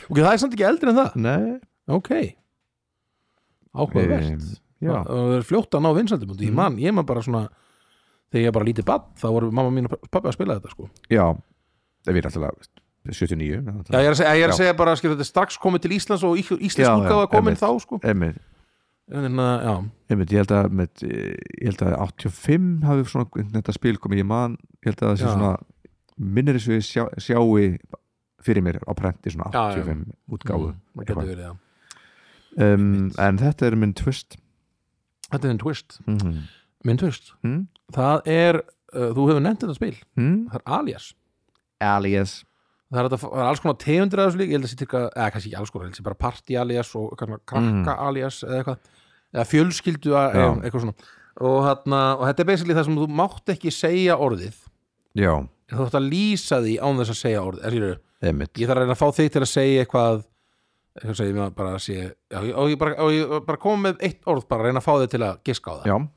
Speaker 2: ok, það er samt ekki eldri en það
Speaker 1: Nei,
Speaker 2: Ok Áhugavert
Speaker 1: Em, eh, já.
Speaker 2: Það það er fljótt að ná vinsaldum Ég man, ég man bara svona Þegar ég var bara lítið bad, þá voru mamma mín og pappi að spila þetta sko
Speaker 1: já það er alltaf 79
Speaker 2: Já, ég er að segja, ég er að
Speaker 1: Já.
Speaker 2: segja bara, skil, þetta er strax komið til Íslands og Íslands
Speaker 1: Já, já,
Speaker 2: útgáfa komin
Speaker 1: einmitt.
Speaker 2: þá, sko
Speaker 1: Emil,
Speaker 2: en, uh, já,
Speaker 1: einmitt, ég held að, einmitt, ég held að 85 hafi svona þetta spil komið í mann, ég held að það sé
Speaker 2: Já.
Speaker 1: svona minnir þessu ég sjá, sjái fyrir mér á prenti svona
Speaker 2: Já, Mm, já.
Speaker 1: 85 útgáfu
Speaker 2: það getur verið það
Speaker 1: um, en þetta er minn twist
Speaker 2: Þetta er minn twist,
Speaker 1: mm -hmm.
Speaker 2: minn twist.
Speaker 1: Mm?
Speaker 2: Það er, uh, þú hefur nefnt þetta spil
Speaker 1: Mm?
Speaker 2: Það er alias
Speaker 1: alias
Speaker 2: það er, hægt að, fá- það er alls konar tegundir af þessu líka ég held að sé til eitthvað, eða kannski ekki alls konar, ég held að sé bara party alias og kannar, krakka alias eða eitthvað, eða fjölskyldu a-
Speaker 1: Mm. Já.
Speaker 2: eða eitthvað svona og, þarna, og þetta er basically það sem þú mátt ekki segja orðið
Speaker 1: já,
Speaker 2: en þú ætti að lýsa því án þess að segja orðið er, ég,
Speaker 1: einmitt
Speaker 2: ég þarf að reyna að fá þig til að segja eitthvað eitthvað segja mér bara að sé já, ég- og ég bara, og ég bara koma með eitt orð bara að reyna að fá þig til að giska á það
Speaker 1: já,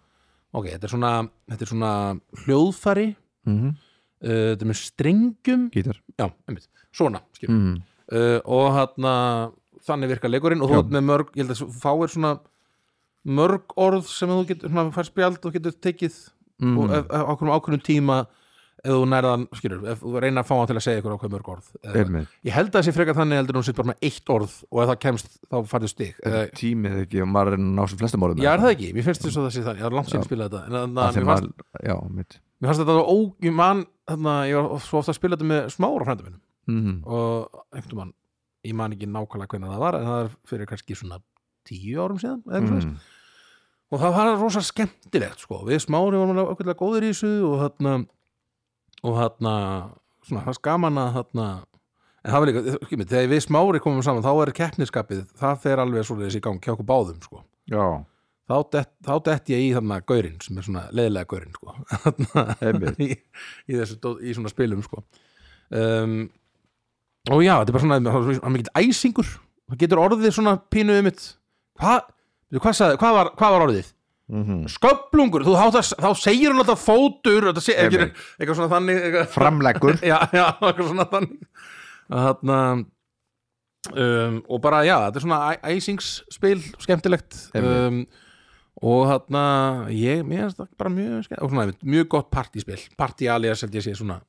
Speaker 2: ok, þetta er svona, þetta er svona hljóðfari,
Speaker 1: mm
Speaker 2: uh, þetta er með strengjum
Speaker 1: gítar
Speaker 2: já, einmitt, svona skil
Speaker 1: mm.
Speaker 2: uh, og þarna, þannig virkar leikurinn og þú
Speaker 1: Já.
Speaker 2: ert með mörg, ég held að þú fáir svona mörg orð sem þú getur svona fær spjald og getur tekið
Speaker 1: Mm.
Speaker 2: og ef, ef, okkur um ákveðnum tíma ef þú nærðan, skilur, ef þú reyna að fá hann til að segja ykkur ákveð mörg orð eða,
Speaker 1: einmitt,
Speaker 2: ég held að það sé frekar þannig heldur en hún sitt bara með eitt orð og ef það kemst þá færðu stig eða,
Speaker 1: tímið ekki og maður er að ná sem flestum orðum
Speaker 2: ég er það ekki, mér finnst þess að það sé þannig ég er langt síðan
Speaker 1: Já.
Speaker 2: að spila þetta en, en,
Speaker 1: Af því
Speaker 2: mér, fannst,
Speaker 1: maður, já, mitt
Speaker 2: mér fannst þetta ó, ég man, þarna, ég var svo ofta að spila þetta með smára frændum minn
Speaker 1: mm.
Speaker 2: og einhvern mann ég man ekki nákvæmlega hvernig það var en það er fyrir kannski svona tíu árum síðan eða eitthvað mm.
Speaker 1: Mm.
Speaker 2: og það var rosa skemmtilegt sko. við smári varum alveg okkurlega góðir í þessu og þarna og þarna, svona, það er gaman að þarna en það var líka, skimmi, þegar við smári komum saman þá er keppniskapið, það fer alveg svoleiðis í gang hjá okkur báðum sko.
Speaker 1: já,
Speaker 2: þá dett, þá dett ég í þarna gaurinn sem er svona leðilega gaurinn sko. [laughs] Þarna- [laughs]
Speaker 1: einmitt
Speaker 2: í, í, þessu, dó- í svona spilum sko. um, og já, þetta er bara svona hann mikill æsingur það getur orðið svona pínu um mitt Hva, veitu, hvað, sagði, hvað, var, hvað var orðið?
Speaker 1: mm
Speaker 2: sköplungur, þú, þá, þá segir hún alltaf fótur þetta sé, eitthvað,
Speaker 1: Einmitt.
Speaker 2: eitthvað svona þannig eitthvað,
Speaker 1: framleggur
Speaker 2: [laughs] já, já, eitthvað svona þannig að þarna um, og bara, já, þetta er svona æ- æsingsspil, skemmtilegt um,
Speaker 1: Einmitt.
Speaker 2: og þarna ég, mér finnst það bara mjög skemmt og svona, einmitt, mjög gott partíspil, partí alias held ég sé svona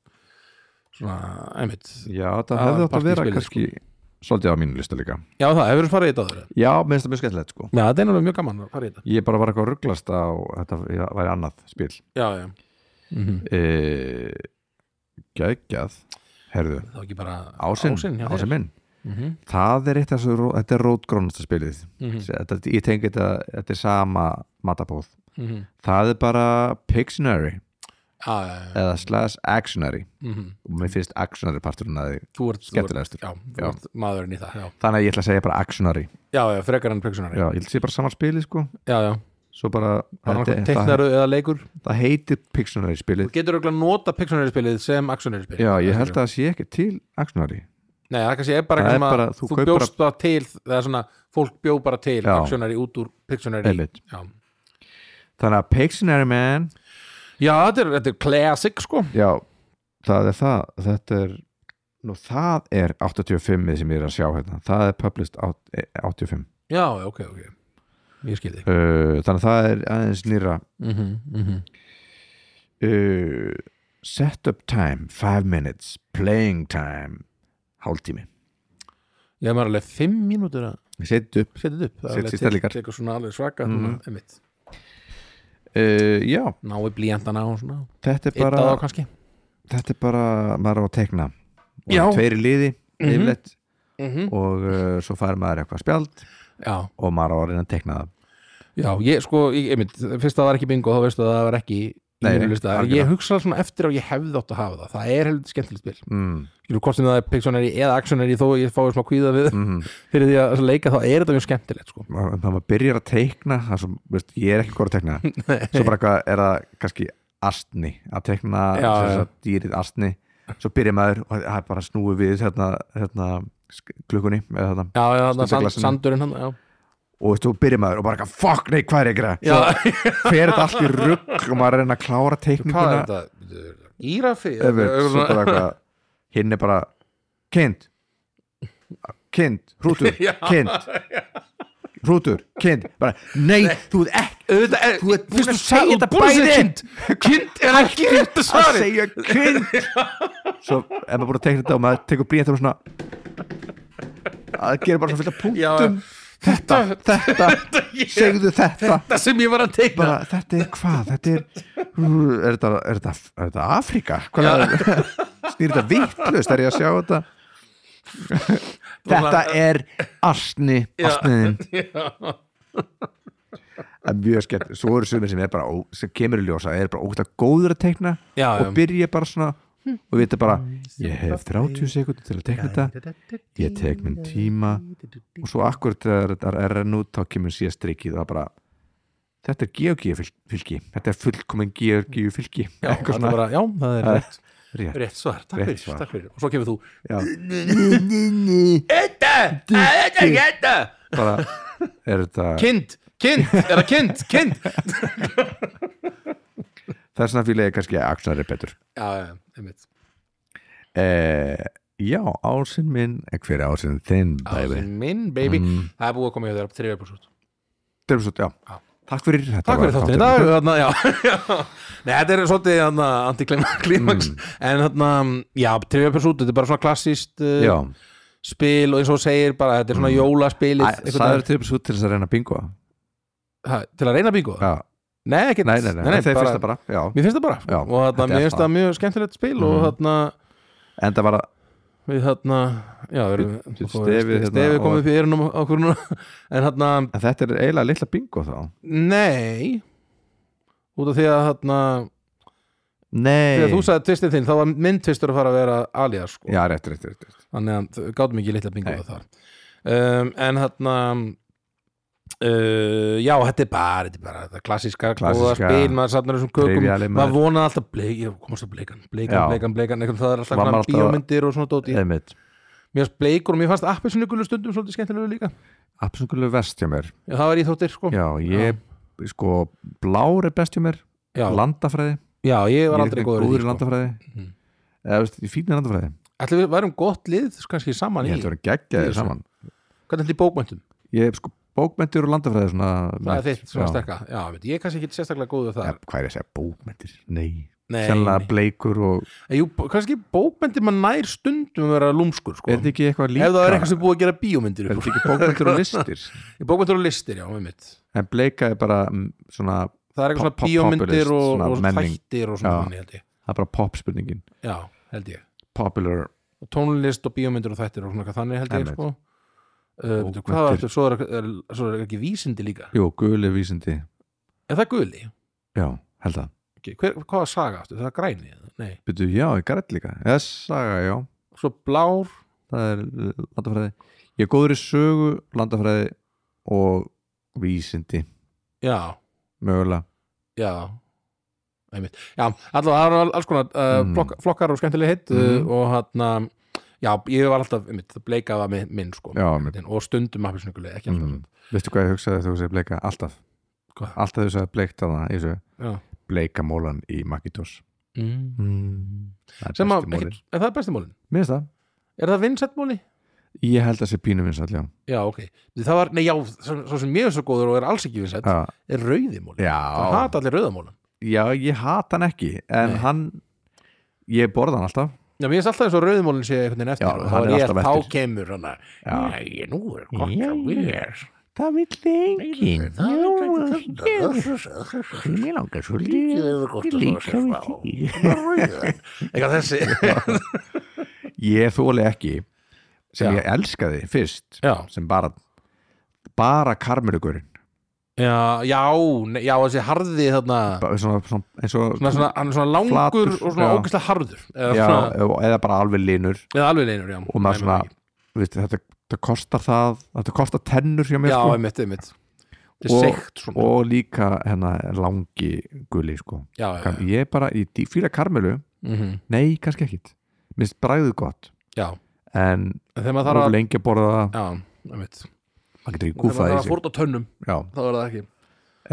Speaker 2: svona, einmitt,
Speaker 1: já, það
Speaker 2: Það
Speaker 1: hefði
Speaker 2: var
Speaker 1: átt að vera
Speaker 2: partíspilið,
Speaker 1: kannski svolítið á mínu lista líka
Speaker 2: já það, hefur farið í þetta áður
Speaker 1: já, minnst það mjög skemmtilegt sko
Speaker 2: já, þetta er náttúrulega mjög gaman að fara í þetta
Speaker 1: ég bara var eitthvað að rugglast á þetta væri annað spil
Speaker 2: já, já,
Speaker 1: e, gægjað herðu,
Speaker 2: það var ekki bara
Speaker 1: ásinn,
Speaker 2: ásinn, já,
Speaker 1: ásinn minn
Speaker 2: Mhm.
Speaker 1: það er eitt af þessu, ró- þetta er rótgrónasta spilið
Speaker 2: Mhm.
Speaker 1: þetta, ég tengi þetta, þetta er sama matabóð,
Speaker 2: mm -hmm.
Speaker 1: það er bara Pictionary
Speaker 2: já, já, já,
Speaker 1: eða slash Actionary
Speaker 2: mm
Speaker 1: og mér finnst Actionary parturinn að því
Speaker 2: þú ert, þú ert
Speaker 1: skemmtilegastur
Speaker 2: já, þú
Speaker 1: Já.
Speaker 2: ert maðurinn í það já,
Speaker 1: þannig að ég ætla að segja bara Actionary
Speaker 2: já, já frekar enn pöksunar
Speaker 1: já, ég ætla að segja bara saman spilið sko
Speaker 2: já, já,
Speaker 1: svo bara,
Speaker 2: bara
Speaker 1: þetta-
Speaker 2: teiknaru eða leikur
Speaker 1: það heitir Pictionary spilið
Speaker 2: þú getur auðvitað nota Pictionary spilið sem Actionary spilið
Speaker 1: já, ég held að það sé ekki til Actionary
Speaker 2: nei, það kannski er bara
Speaker 1: Það
Speaker 2: eitthvað
Speaker 1: er
Speaker 2: sem að
Speaker 1: bara- þú
Speaker 2: þú,
Speaker 1: kaupir
Speaker 2: bjóst það til það er svona, fólk bjó bara til
Speaker 1: Já.
Speaker 2: Actionary út úr Pictionary
Speaker 1: Einmitt.
Speaker 2: já.
Speaker 1: þannig að Pictionary man
Speaker 2: já, þetta er, þetta er classic sko
Speaker 1: Já, það er það þetta er, nú það er 85 sem ég er að sjá hérna það er published át- eh, 85
Speaker 2: já, já, ok, ok, ég skil þig
Speaker 1: uh, þannig að það er aðeins nýra
Speaker 2: mm -hmm, mm -hmm.
Speaker 1: uh, setup time 5 minutes, playing time hálftími
Speaker 2: ég hef maður alveg fimm mínútur að
Speaker 1: set up,
Speaker 2: setja þetta upp Það er
Speaker 1: Setja
Speaker 2: alveg
Speaker 1: sér
Speaker 2: tek-
Speaker 1: stellingar.
Speaker 2: tekur svona alveg svaka mm
Speaker 1: Mhm.
Speaker 2: -hmm. einmitt,
Speaker 1: uh, já,
Speaker 2: nái blíjandana og svona
Speaker 1: þetta er
Speaker 2: eitt
Speaker 1: bara
Speaker 2: að þá kannski
Speaker 1: þetta er bara, maður á að tekna og
Speaker 2: Já.
Speaker 1: tveiri liði
Speaker 2: Mhm.
Speaker 1: yfirleitt
Speaker 2: mm
Speaker 1: og uh, svo fær maður eitthvað spjald
Speaker 2: já,
Speaker 1: og maður á að reyna að tekna það
Speaker 2: Já, ég sko, ég, einmitt, fyrst að það var ekki bingo þá veistu að það var ekki í
Speaker 1: Nei,
Speaker 2: mínum lista
Speaker 1: algjörlega.
Speaker 2: Ég hugsa svona eftir að ég hefði átt að hafa það Það er heldur skemmtilegt spil
Speaker 1: mm,
Speaker 2: Skilur, hvort sem það er Pictionary eða Actionary þó ég fái smá kvíða við [laughs]
Speaker 1: mm.
Speaker 2: fyrir því að leika þá er þetta mjög skemmtilegt sko.
Speaker 1: maður maður byrjar að teikna það sem, veist, ég er ekki góð að teikna
Speaker 2: [laughs]
Speaker 1: svo bara eitthvað er það kannski astni, að teikna
Speaker 2: Já,
Speaker 1: sem
Speaker 2: já.
Speaker 1: sagt dýrið astni, svo byrjar maður og það er bara snúið við hérna, hérna, sk- klukkunni eða þarna.
Speaker 2: Já, já,
Speaker 1: Stundum
Speaker 2: það sand,
Speaker 1: glasinu.
Speaker 2: sandurinn hann Já,
Speaker 1: og þú byrjar maður og bara eitthvað, fuck nei, hvað er ég að gera
Speaker 2: já
Speaker 1: svo fer þetta allt í rugg og maður er að reyna að klára
Speaker 2: hvað [laughs] er
Speaker 1: teikninguna
Speaker 2: þetta? Írafi?
Speaker 1: Ef við- svo
Speaker 2: Svona-
Speaker 1: bara eitthvað, hinn er bara kind kind, [laughs] hrútur,
Speaker 2: Já.
Speaker 1: kind hrútur, kind bara, nei, þú ert ekki
Speaker 2: Auðvitað, er-
Speaker 1: Þú ert búin
Speaker 2: fyrst
Speaker 1: að
Speaker 2: þú
Speaker 1: segja
Speaker 2: sagði
Speaker 1: þetta
Speaker 2: þetta bæði
Speaker 1: bæði.
Speaker 2: kind Kind er ekki rétt að
Speaker 1: að
Speaker 2: svari
Speaker 1: segja kind svo ef maður búin að tekna þetta og maður tekur bríðan þá er maður svona að það gerir bara svona fullt af
Speaker 2: Já,
Speaker 1: punktum þetta, [laughs] þetta, segðu þetta
Speaker 2: það sem ég var að teikna
Speaker 1: bara, þetta er hvað, þetta er er þetta, er þetta, er þetta Afrika hvað er snýr þetta [laughs] vittlust, er ég að sjá
Speaker 2: [laughs]
Speaker 1: þetta þetta er asni, asniðin
Speaker 2: [laughs] Já.
Speaker 1: það er mjög skemmt, svo eru sumir sem er bara ó- sem kemur í ljósa, er bara ógæta góður að teikna
Speaker 2: Já, já.
Speaker 1: og byrja bara svona og vita bara, ég hef 30 sekundir til að teikna þetta ég tek minn tíma og svo akkurat þegar þetta er renn út þá kemur síðan strikið og það bara þetta er georgíu fylg- fylgi þetta er fullkomin georgíu fylgi
Speaker 2: Já,
Speaker 1: Eitthvað
Speaker 2: það er bara, já, það er rétt,
Speaker 1: [laughs] rétt.
Speaker 2: rétt svar, takk
Speaker 1: Rétt
Speaker 2: fyrir,
Speaker 1: svar.
Speaker 2: takk fyrir og svo kemur þú
Speaker 1: Já,
Speaker 2: Þetta, að þetta, þetta
Speaker 1: bara, er þetta
Speaker 2: Kind,
Speaker 1: [laughs]
Speaker 2: kind, er það kind, kind
Speaker 1: það er svona fílega kannski að Axlar er betur
Speaker 2: Já, já, einmitt
Speaker 1: eh, já, ásinn minn eh, hver er ásinn þinn, baby
Speaker 2: Ásinn Minn, baby,
Speaker 1: Mm.
Speaker 2: það er búið að koma hjá þér að þriðja búrsútt
Speaker 1: Drömsut, já.
Speaker 2: Já.
Speaker 1: takk fyrir þetta
Speaker 2: Takk
Speaker 1: var
Speaker 2: fyrir þáttin í dag þarna, já, já. [laughs] Nei, þetta er svolítið þarna, antiklimax
Speaker 1: Mm.
Speaker 2: en þarna, já, trivia persút þetta er bara svona klassíst uh,
Speaker 1: já, Mm.
Speaker 2: spil og eins og þú segir bara, þetta er svona jólaspilið
Speaker 1: Æ,
Speaker 2: einhvern
Speaker 1: það er
Speaker 2: veginn.
Speaker 1: drömsut til þess að reyna bingo
Speaker 2: Ha, til að reyna bingo
Speaker 1: já,
Speaker 2: Nei, ekkert,
Speaker 1: nei, nei, nei, nei, þeir
Speaker 2: bara-
Speaker 1: fyrsta bara já,
Speaker 2: Mér finnst það bara,
Speaker 1: Já,
Speaker 2: og
Speaker 1: þetta
Speaker 2: þarna,
Speaker 1: er
Speaker 2: mér finnst
Speaker 1: það.
Speaker 2: það mjög skemmtilegt spil og
Speaker 1: Mhm.
Speaker 2: þarna,
Speaker 1: en það var að
Speaker 2: við þarna já, við erum,
Speaker 1: Bíddu,
Speaker 2: fór-
Speaker 1: stefið hérna
Speaker 2: stefið
Speaker 1: og-
Speaker 2: komið upp í eyrunum á okkur núna [laughs] en þarna,
Speaker 1: en þetta er eiginlega litla bingo þá
Speaker 2: nei út af því að þarna
Speaker 1: nei,
Speaker 2: þegar þú sagði tvistin þinn, þá var minn tvistur að fara að vera alias, sko,
Speaker 1: já, rétt, rétt, rétt, rétt.
Speaker 2: þannig að þau gátum ekki litla bingo
Speaker 1: Nei.
Speaker 2: þar um, en þarna Uh, já, þetta er bara, þetta er bara þetta klassíska, klassíska
Speaker 1: Klassíska,
Speaker 2: spil, maður safnar þessum kökum
Speaker 1: triviali, maður-
Speaker 2: maður vonaði alltaf bleik, ég komast að bleikan bleikan,
Speaker 1: Já.
Speaker 2: bleikan, bleikan, eitthvað það er alltaf
Speaker 1: Var maður
Speaker 2: svona
Speaker 1: alltaf-
Speaker 2: bíómyndir og svona dóti
Speaker 1: einmitt
Speaker 2: mér fannst bleikur og mér fannst appisnugulu stundum svolítið skemmtilegu líka
Speaker 1: Absolutt vest hjá mér
Speaker 2: já, það var íþróttir sko já,
Speaker 1: Já, ég, sko, blár er best hjá mér
Speaker 2: já,
Speaker 1: Landafræði
Speaker 2: ég
Speaker 1: Ég
Speaker 2: var
Speaker 1: er
Speaker 2: aldrei
Speaker 1: ekki
Speaker 2: góður í
Speaker 1: í
Speaker 2: því sko.
Speaker 1: landafræði
Speaker 2: Mhm.
Speaker 1: Eða, veist, ég fínir landafræði
Speaker 2: ætli við værum gott lið kannski saman
Speaker 1: Ég
Speaker 2: í
Speaker 1: held að vera
Speaker 2: í
Speaker 1: geggjaðir
Speaker 2: þessu.
Speaker 1: saman
Speaker 2: hvernig ætli í bókmöntum,
Speaker 1: Ég hef sko bókmentir og landafræði svona
Speaker 2: það er þitt svona
Speaker 1: Já.
Speaker 2: sterka já, veit, ég er kannski ekki sérstaklega góður
Speaker 1: Ja,
Speaker 2: þar
Speaker 1: Hvað er ég að segja, bókmentir? Nei,
Speaker 2: Nei,
Speaker 1: sennilega
Speaker 2: nei. Sko,
Speaker 1: bleikur og
Speaker 2: En Jú, kannski bókmyndir maður nær stundum að vera lúmskur sko.
Speaker 1: Er þetta ekki eitthvað líka?
Speaker 2: ef það er eitthvað sem er búið að gera bíómyndir
Speaker 1: Er þetta ekki bókmentir og listir?
Speaker 2: bókmyndir og listir, já, með mitt
Speaker 1: En bleika er bara mm, svona
Speaker 2: það er eitthvað
Speaker 1: Pop-
Speaker 2: svona bíómyndir
Speaker 1: populist,
Speaker 2: og,
Speaker 1: svona
Speaker 2: og
Speaker 1: menning.
Speaker 2: þættir og
Speaker 1: Já.
Speaker 2: svona þannig, held ég.
Speaker 1: Það er bara pop spurningin
Speaker 2: já, held ég
Speaker 1: Popular
Speaker 2: og tónlist og bíómyndir og þættir og svona eitthvað þannig held ég
Speaker 1: Einmitt.
Speaker 2: sko Uh,
Speaker 1: Og
Speaker 2: veitu, hvað var
Speaker 1: myndir.
Speaker 2: þetta, svo er, er, svo er ekki vísindi líka
Speaker 1: Jú, guli vísindi
Speaker 2: er það guli?
Speaker 1: Já, held það
Speaker 2: Okay. Hver, hvað var saga aftur? það er græni? Nei.
Speaker 1: Byrju, já, ég grætt líka Eða saga, já
Speaker 2: svo blár
Speaker 1: það er uh, landafræði ég er góður í sögu, landafræði og vísindi
Speaker 2: já,
Speaker 1: mögulega
Speaker 2: já einmitt, já, allavega það var alls konar uh,
Speaker 1: Mhm.
Speaker 2: flokk, flokkar og skemmtileg hitt
Speaker 1: Mhm.
Speaker 2: uh, og hann já, ég var alltaf, einmitt, það bleikað var minn, minn sko,
Speaker 1: já, mér,
Speaker 2: og stundum appisnuguli, ekki alltaf
Speaker 1: mm. veistu hvað ég hugsaði þegar þú segir bleika alltaf,
Speaker 2: Hvað?
Speaker 1: alltaf þegar þú segir bleikt þarna í þessu,
Speaker 2: Já.
Speaker 1: bleika mólan í Makitos
Speaker 2: mm.
Speaker 1: mm. það er
Speaker 2: sem að,
Speaker 1: besti
Speaker 2: ekki,
Speaker 1: mólin
Speaker 2: en það er besti mólin
Speaker 1: mér finnst það,
Speaker 2: er það vinsett móli?
Speaker 1: ég held að sé pínum eins allja
Speaker 2: já, ok, það var, nei já svo, svo sem mjög svo góður og er alls ekki vinsett
Speaker 1: já,
Speaker 2: er rauði mólin það
Speaker 1: já,
Speaker 2: hata allir rauðamólan
Speaker 1: já, ég hata hann ekki en
Speaker 2: Nei.
Speaker 1: hann ég borða hann alltaf
Speaker 2: Já, mér finnst alltaf eins og rauðmólin sé einhvern veginn eftir
Speaker 1: Já,
Speaker 2: og
Speaker 1: hann er
Speaker 2: þá, er ég,
Speaker 1: alltaf
Speaker 2: þá
Speaker 1: eftir.
Speaker 2: kemur hann að
Speaker 1: Já.
Speaker 2: Nei, nú er gott
Speaker 1: Já,
Speaker 2: að vera
Speaker 1: það vill enginn mér langar svo
Speaker 2: Eitthvað þessi
Speaker 1: ég þóli ekki sem
Speaker 2: Já.
Speaker 1: ég elskaði fyrst
Speaker 2: Já,
Speaker 1: sem bara bara karmelugurinn
Speaker 2: já, já, nei, já þessi harði þarna
Speaker 1: Bara svona, svona, eins og
Speaker 2: svona, svona, Hann er svona langur
Speaker 1: Flatur,
Speaker 2: og svona
Speaker 1: já.
Speaker 2: ógeðslega harður eða,
Speaker 1: já,
Speaker 2: svona,
Speaker 1: eða bara alveg linur
Speaker 2: eða alveg leinur, já
Speaker 1: og maður
Speaker 2: Nei,
Speaker 1: svona
Speaker 2: maður ekki.
Speaker 1: veist, þetta, þetta kostar það þetta kostar tennur hjá mér
Speaker 2: Já,
Speaker 1: sko,
Speaker 2: einmitt, einmitt Þetta er
Speaker 1: Og-
Speaker 2: seikt svona
Speaker 1: og líka hérna, langi guli sko.
Speaker 2: Já, já,
Speaker 1: Kar- ég bara, ég dý- fíla karmelu
Speaker 2: mhm,
Speaker 1: nei, kannski ekkit, minnst bragðið gott
Speaker 2: já
Speaker 1: en
Speaker 2: En Þegar maður
Speaker 1: það
Speaker 2: þarf að
Speaker 1: lengi að borða það
Speaker 2: Já, einmitt Þegar
Speaker 1: maður getur ekki
Speaker 2: maður
Speaker 1: gúfað
Speaker 2: þarf
Speaker 1: í
Speaker 2: að
Speaker 1: sig
Speaker 2: fórna tönnum
Speaker 1: já,
Speaker 2: þá er það ekki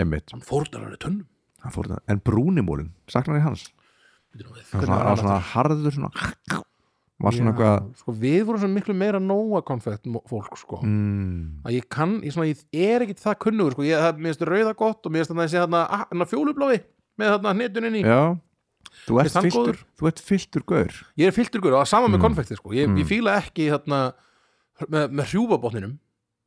Speaker 1: einmitt,
Speaker 2: Hann fórnar hann í tönnum
Speaker 1: hann fórna en brúnimólin, saknar ég hans
Speaker 2: Bíddu nú við,
Speaker 1: Hann svona,
Speaker 2: hvernig var
Speaker 1: hann
Speaker 2: hann
Speaker 1: svona
Speaker 2: aftur?
Speaker 1: harður svona, var svona
Speaker 2: Já,
Speaker 1: eitthvað
Speaker 2: sko, Við vorum svo miklu meira nóa konfett fólk sko.
Speaker 1: mm,
Speaker 2: að ég kann, ég, svona, ég er ekki það kunnugur sko. ég, það, mér finnst rauða gott og mér finnst þarna þessi þarna, ah, þarna fjólubláði með þarna hnetunin í
Speaker 1: já þú
Speaker 2: Finnst
Speaker 1: ert,
Speaker 2: hann
Speaker 1: fylltur,
Speaker 2: góður?
Speaker 1: þú ert fylltur gaur
Speaker 2: ég er filturgur og það sama með
Speaker 1: Mm.
Speaker 2: konfekti sko. ég,
Speaker 1: Mm.
Speaker 2: ég fíla ekki þarna með, með hrjúfabotninum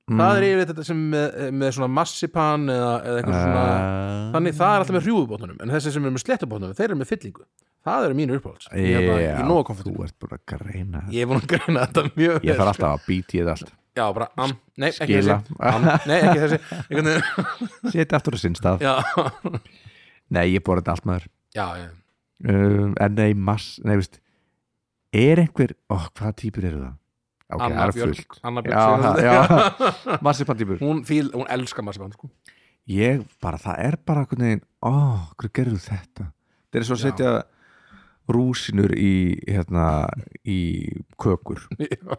Speaker 2: það er yfirleitt þetta sem með, með svona massipan eða, eða eitthvað
Speaker 1: Ah.
Speaker 2: svona
Speaker 1: Eh,
Speaker 2: þannig það er alltaf með hrjúfubotnunum en þessi sem eru með slettubotnunum, þeir eru með fyllingu það eru mínu uppáhalds ég er bara- ég er
Speaker 1: þú
Speaker 2: nóg að komfortabúa
Speaker 1: ert búin að greina þetta.
Speaker 2: ég er búin að greina þetta mjög
Speaker 1: ég
Speaker 2: vel,
Speaker 1: þarf
Speaker 2: sko.
Speaker 1: alltaf að býti þetta allt
Speaker 2: [laughs] já, bara, am, nei, ekki
Speaker 1: Skila.
Speaker 2: þessi am, nei, ekki þessi
Speaker 1: [laughs]
Speaker 2: Einhvern veginn-
Speaker 1: setja aftur á sinn stað
Speaker 2: já,
Speaker 1: nei, ég borði þetta allt maður
Speaker 2: já, já.
Speaker 1: um, en nei, mass, nei, veist er einhver, ó, hvaða týpur eru það? ok, það
Speaker 2: Anna
Speaker 1: er
Speaker 2: Björk,
Speaker 1: fullt
Speaker 2: Anna Björk
Speaker 1: já,
Speaker 2: Sigurðardóttir.
Speaker 1: það-
Speaker 2: [laughs]
Speaker 1: já, massipan týpur
Speaker 2: hún, fíl, hún elskar massipan sko. [laughs]
Speaker 1: ég bara, það er bara einhvern veginn, ó, hverju gerðu þetta það er svo að
Speaker 2: Já.
Speaker 1: setja rúsinur í hérna, í kökur
Speaker 2: já,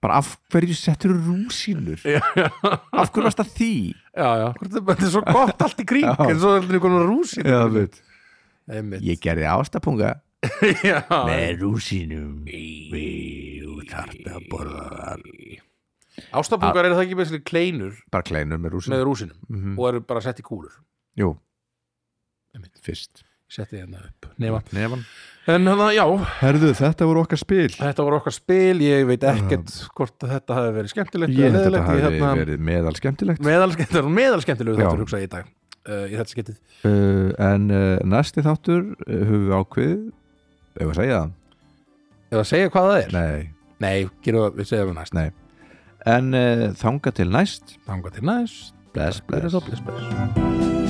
Speaker 1: bara af hverju settur rúsinur
Speaker 2: já, já,
Speaker 1: af hverju varst það því
Speaker 2: já. þetta er svo gott allt í kring
Speaker 1: Já.
Speaker 2: en svo er þetta einhvern rúsin
Speaker 1: já, veit.
Speaker 2: einmitt
Speaker 1: ég gerði ástapunga
Speaker 2: [laughs] já,
Speaker 1: rúsinum við þarft að borða þar Ah.
Speaker 2: ástafbungar eru það ekki með kleinur
Speaker 1: bara kleinur með rúsinum
Speaker 2: með rúsinum
Speaker 1: Mhm.
Speaker 2: og eru bara sett í kúlur
Speaker 1: Jú,
Speaker 2: Einmitt.
Speaker 1: fyrst
Speaker 2: setti hérna upp nema.
Speaker 1: Nefan.
Speaker 2: en hana, já,
Speaker 1: Herðu, þetta voru okkar spil
Speaker 2: þetta voru okkar spil ég veit ekkert hvort að þetta hafi verið skemmtilegt
Speaker 1: Ég held að
Speaker 2: eða
Speaker 1: þetta
Speaker 2: leiðilegt.
Speaker 1: hafi
Speaker 2: Ég hérna-
Speaker 1: verið meðal skemmtilegt
Speaker 2: meðalskemmtilegu meðalskemmtilegu
Speaker 1: Já.
Speaker 2: þáttur hugsa ég í dag uh, í þetta skemmtið
Speaker 1: uh, En uh, næsti þáttur uh, höfum við ákveð Ef að segja það?
Speaker 2: eða segja hvað það er nei,
Speaker 1: Nei
Speaker 2: gerum við, við segjum við næst
Speaker 1: Nei. En uh, þanga til næst
Speaker 2: þanga til næst
Speaker 1: Bless, bless
Speaker 2: bless, bless.
Speaker 1: Thank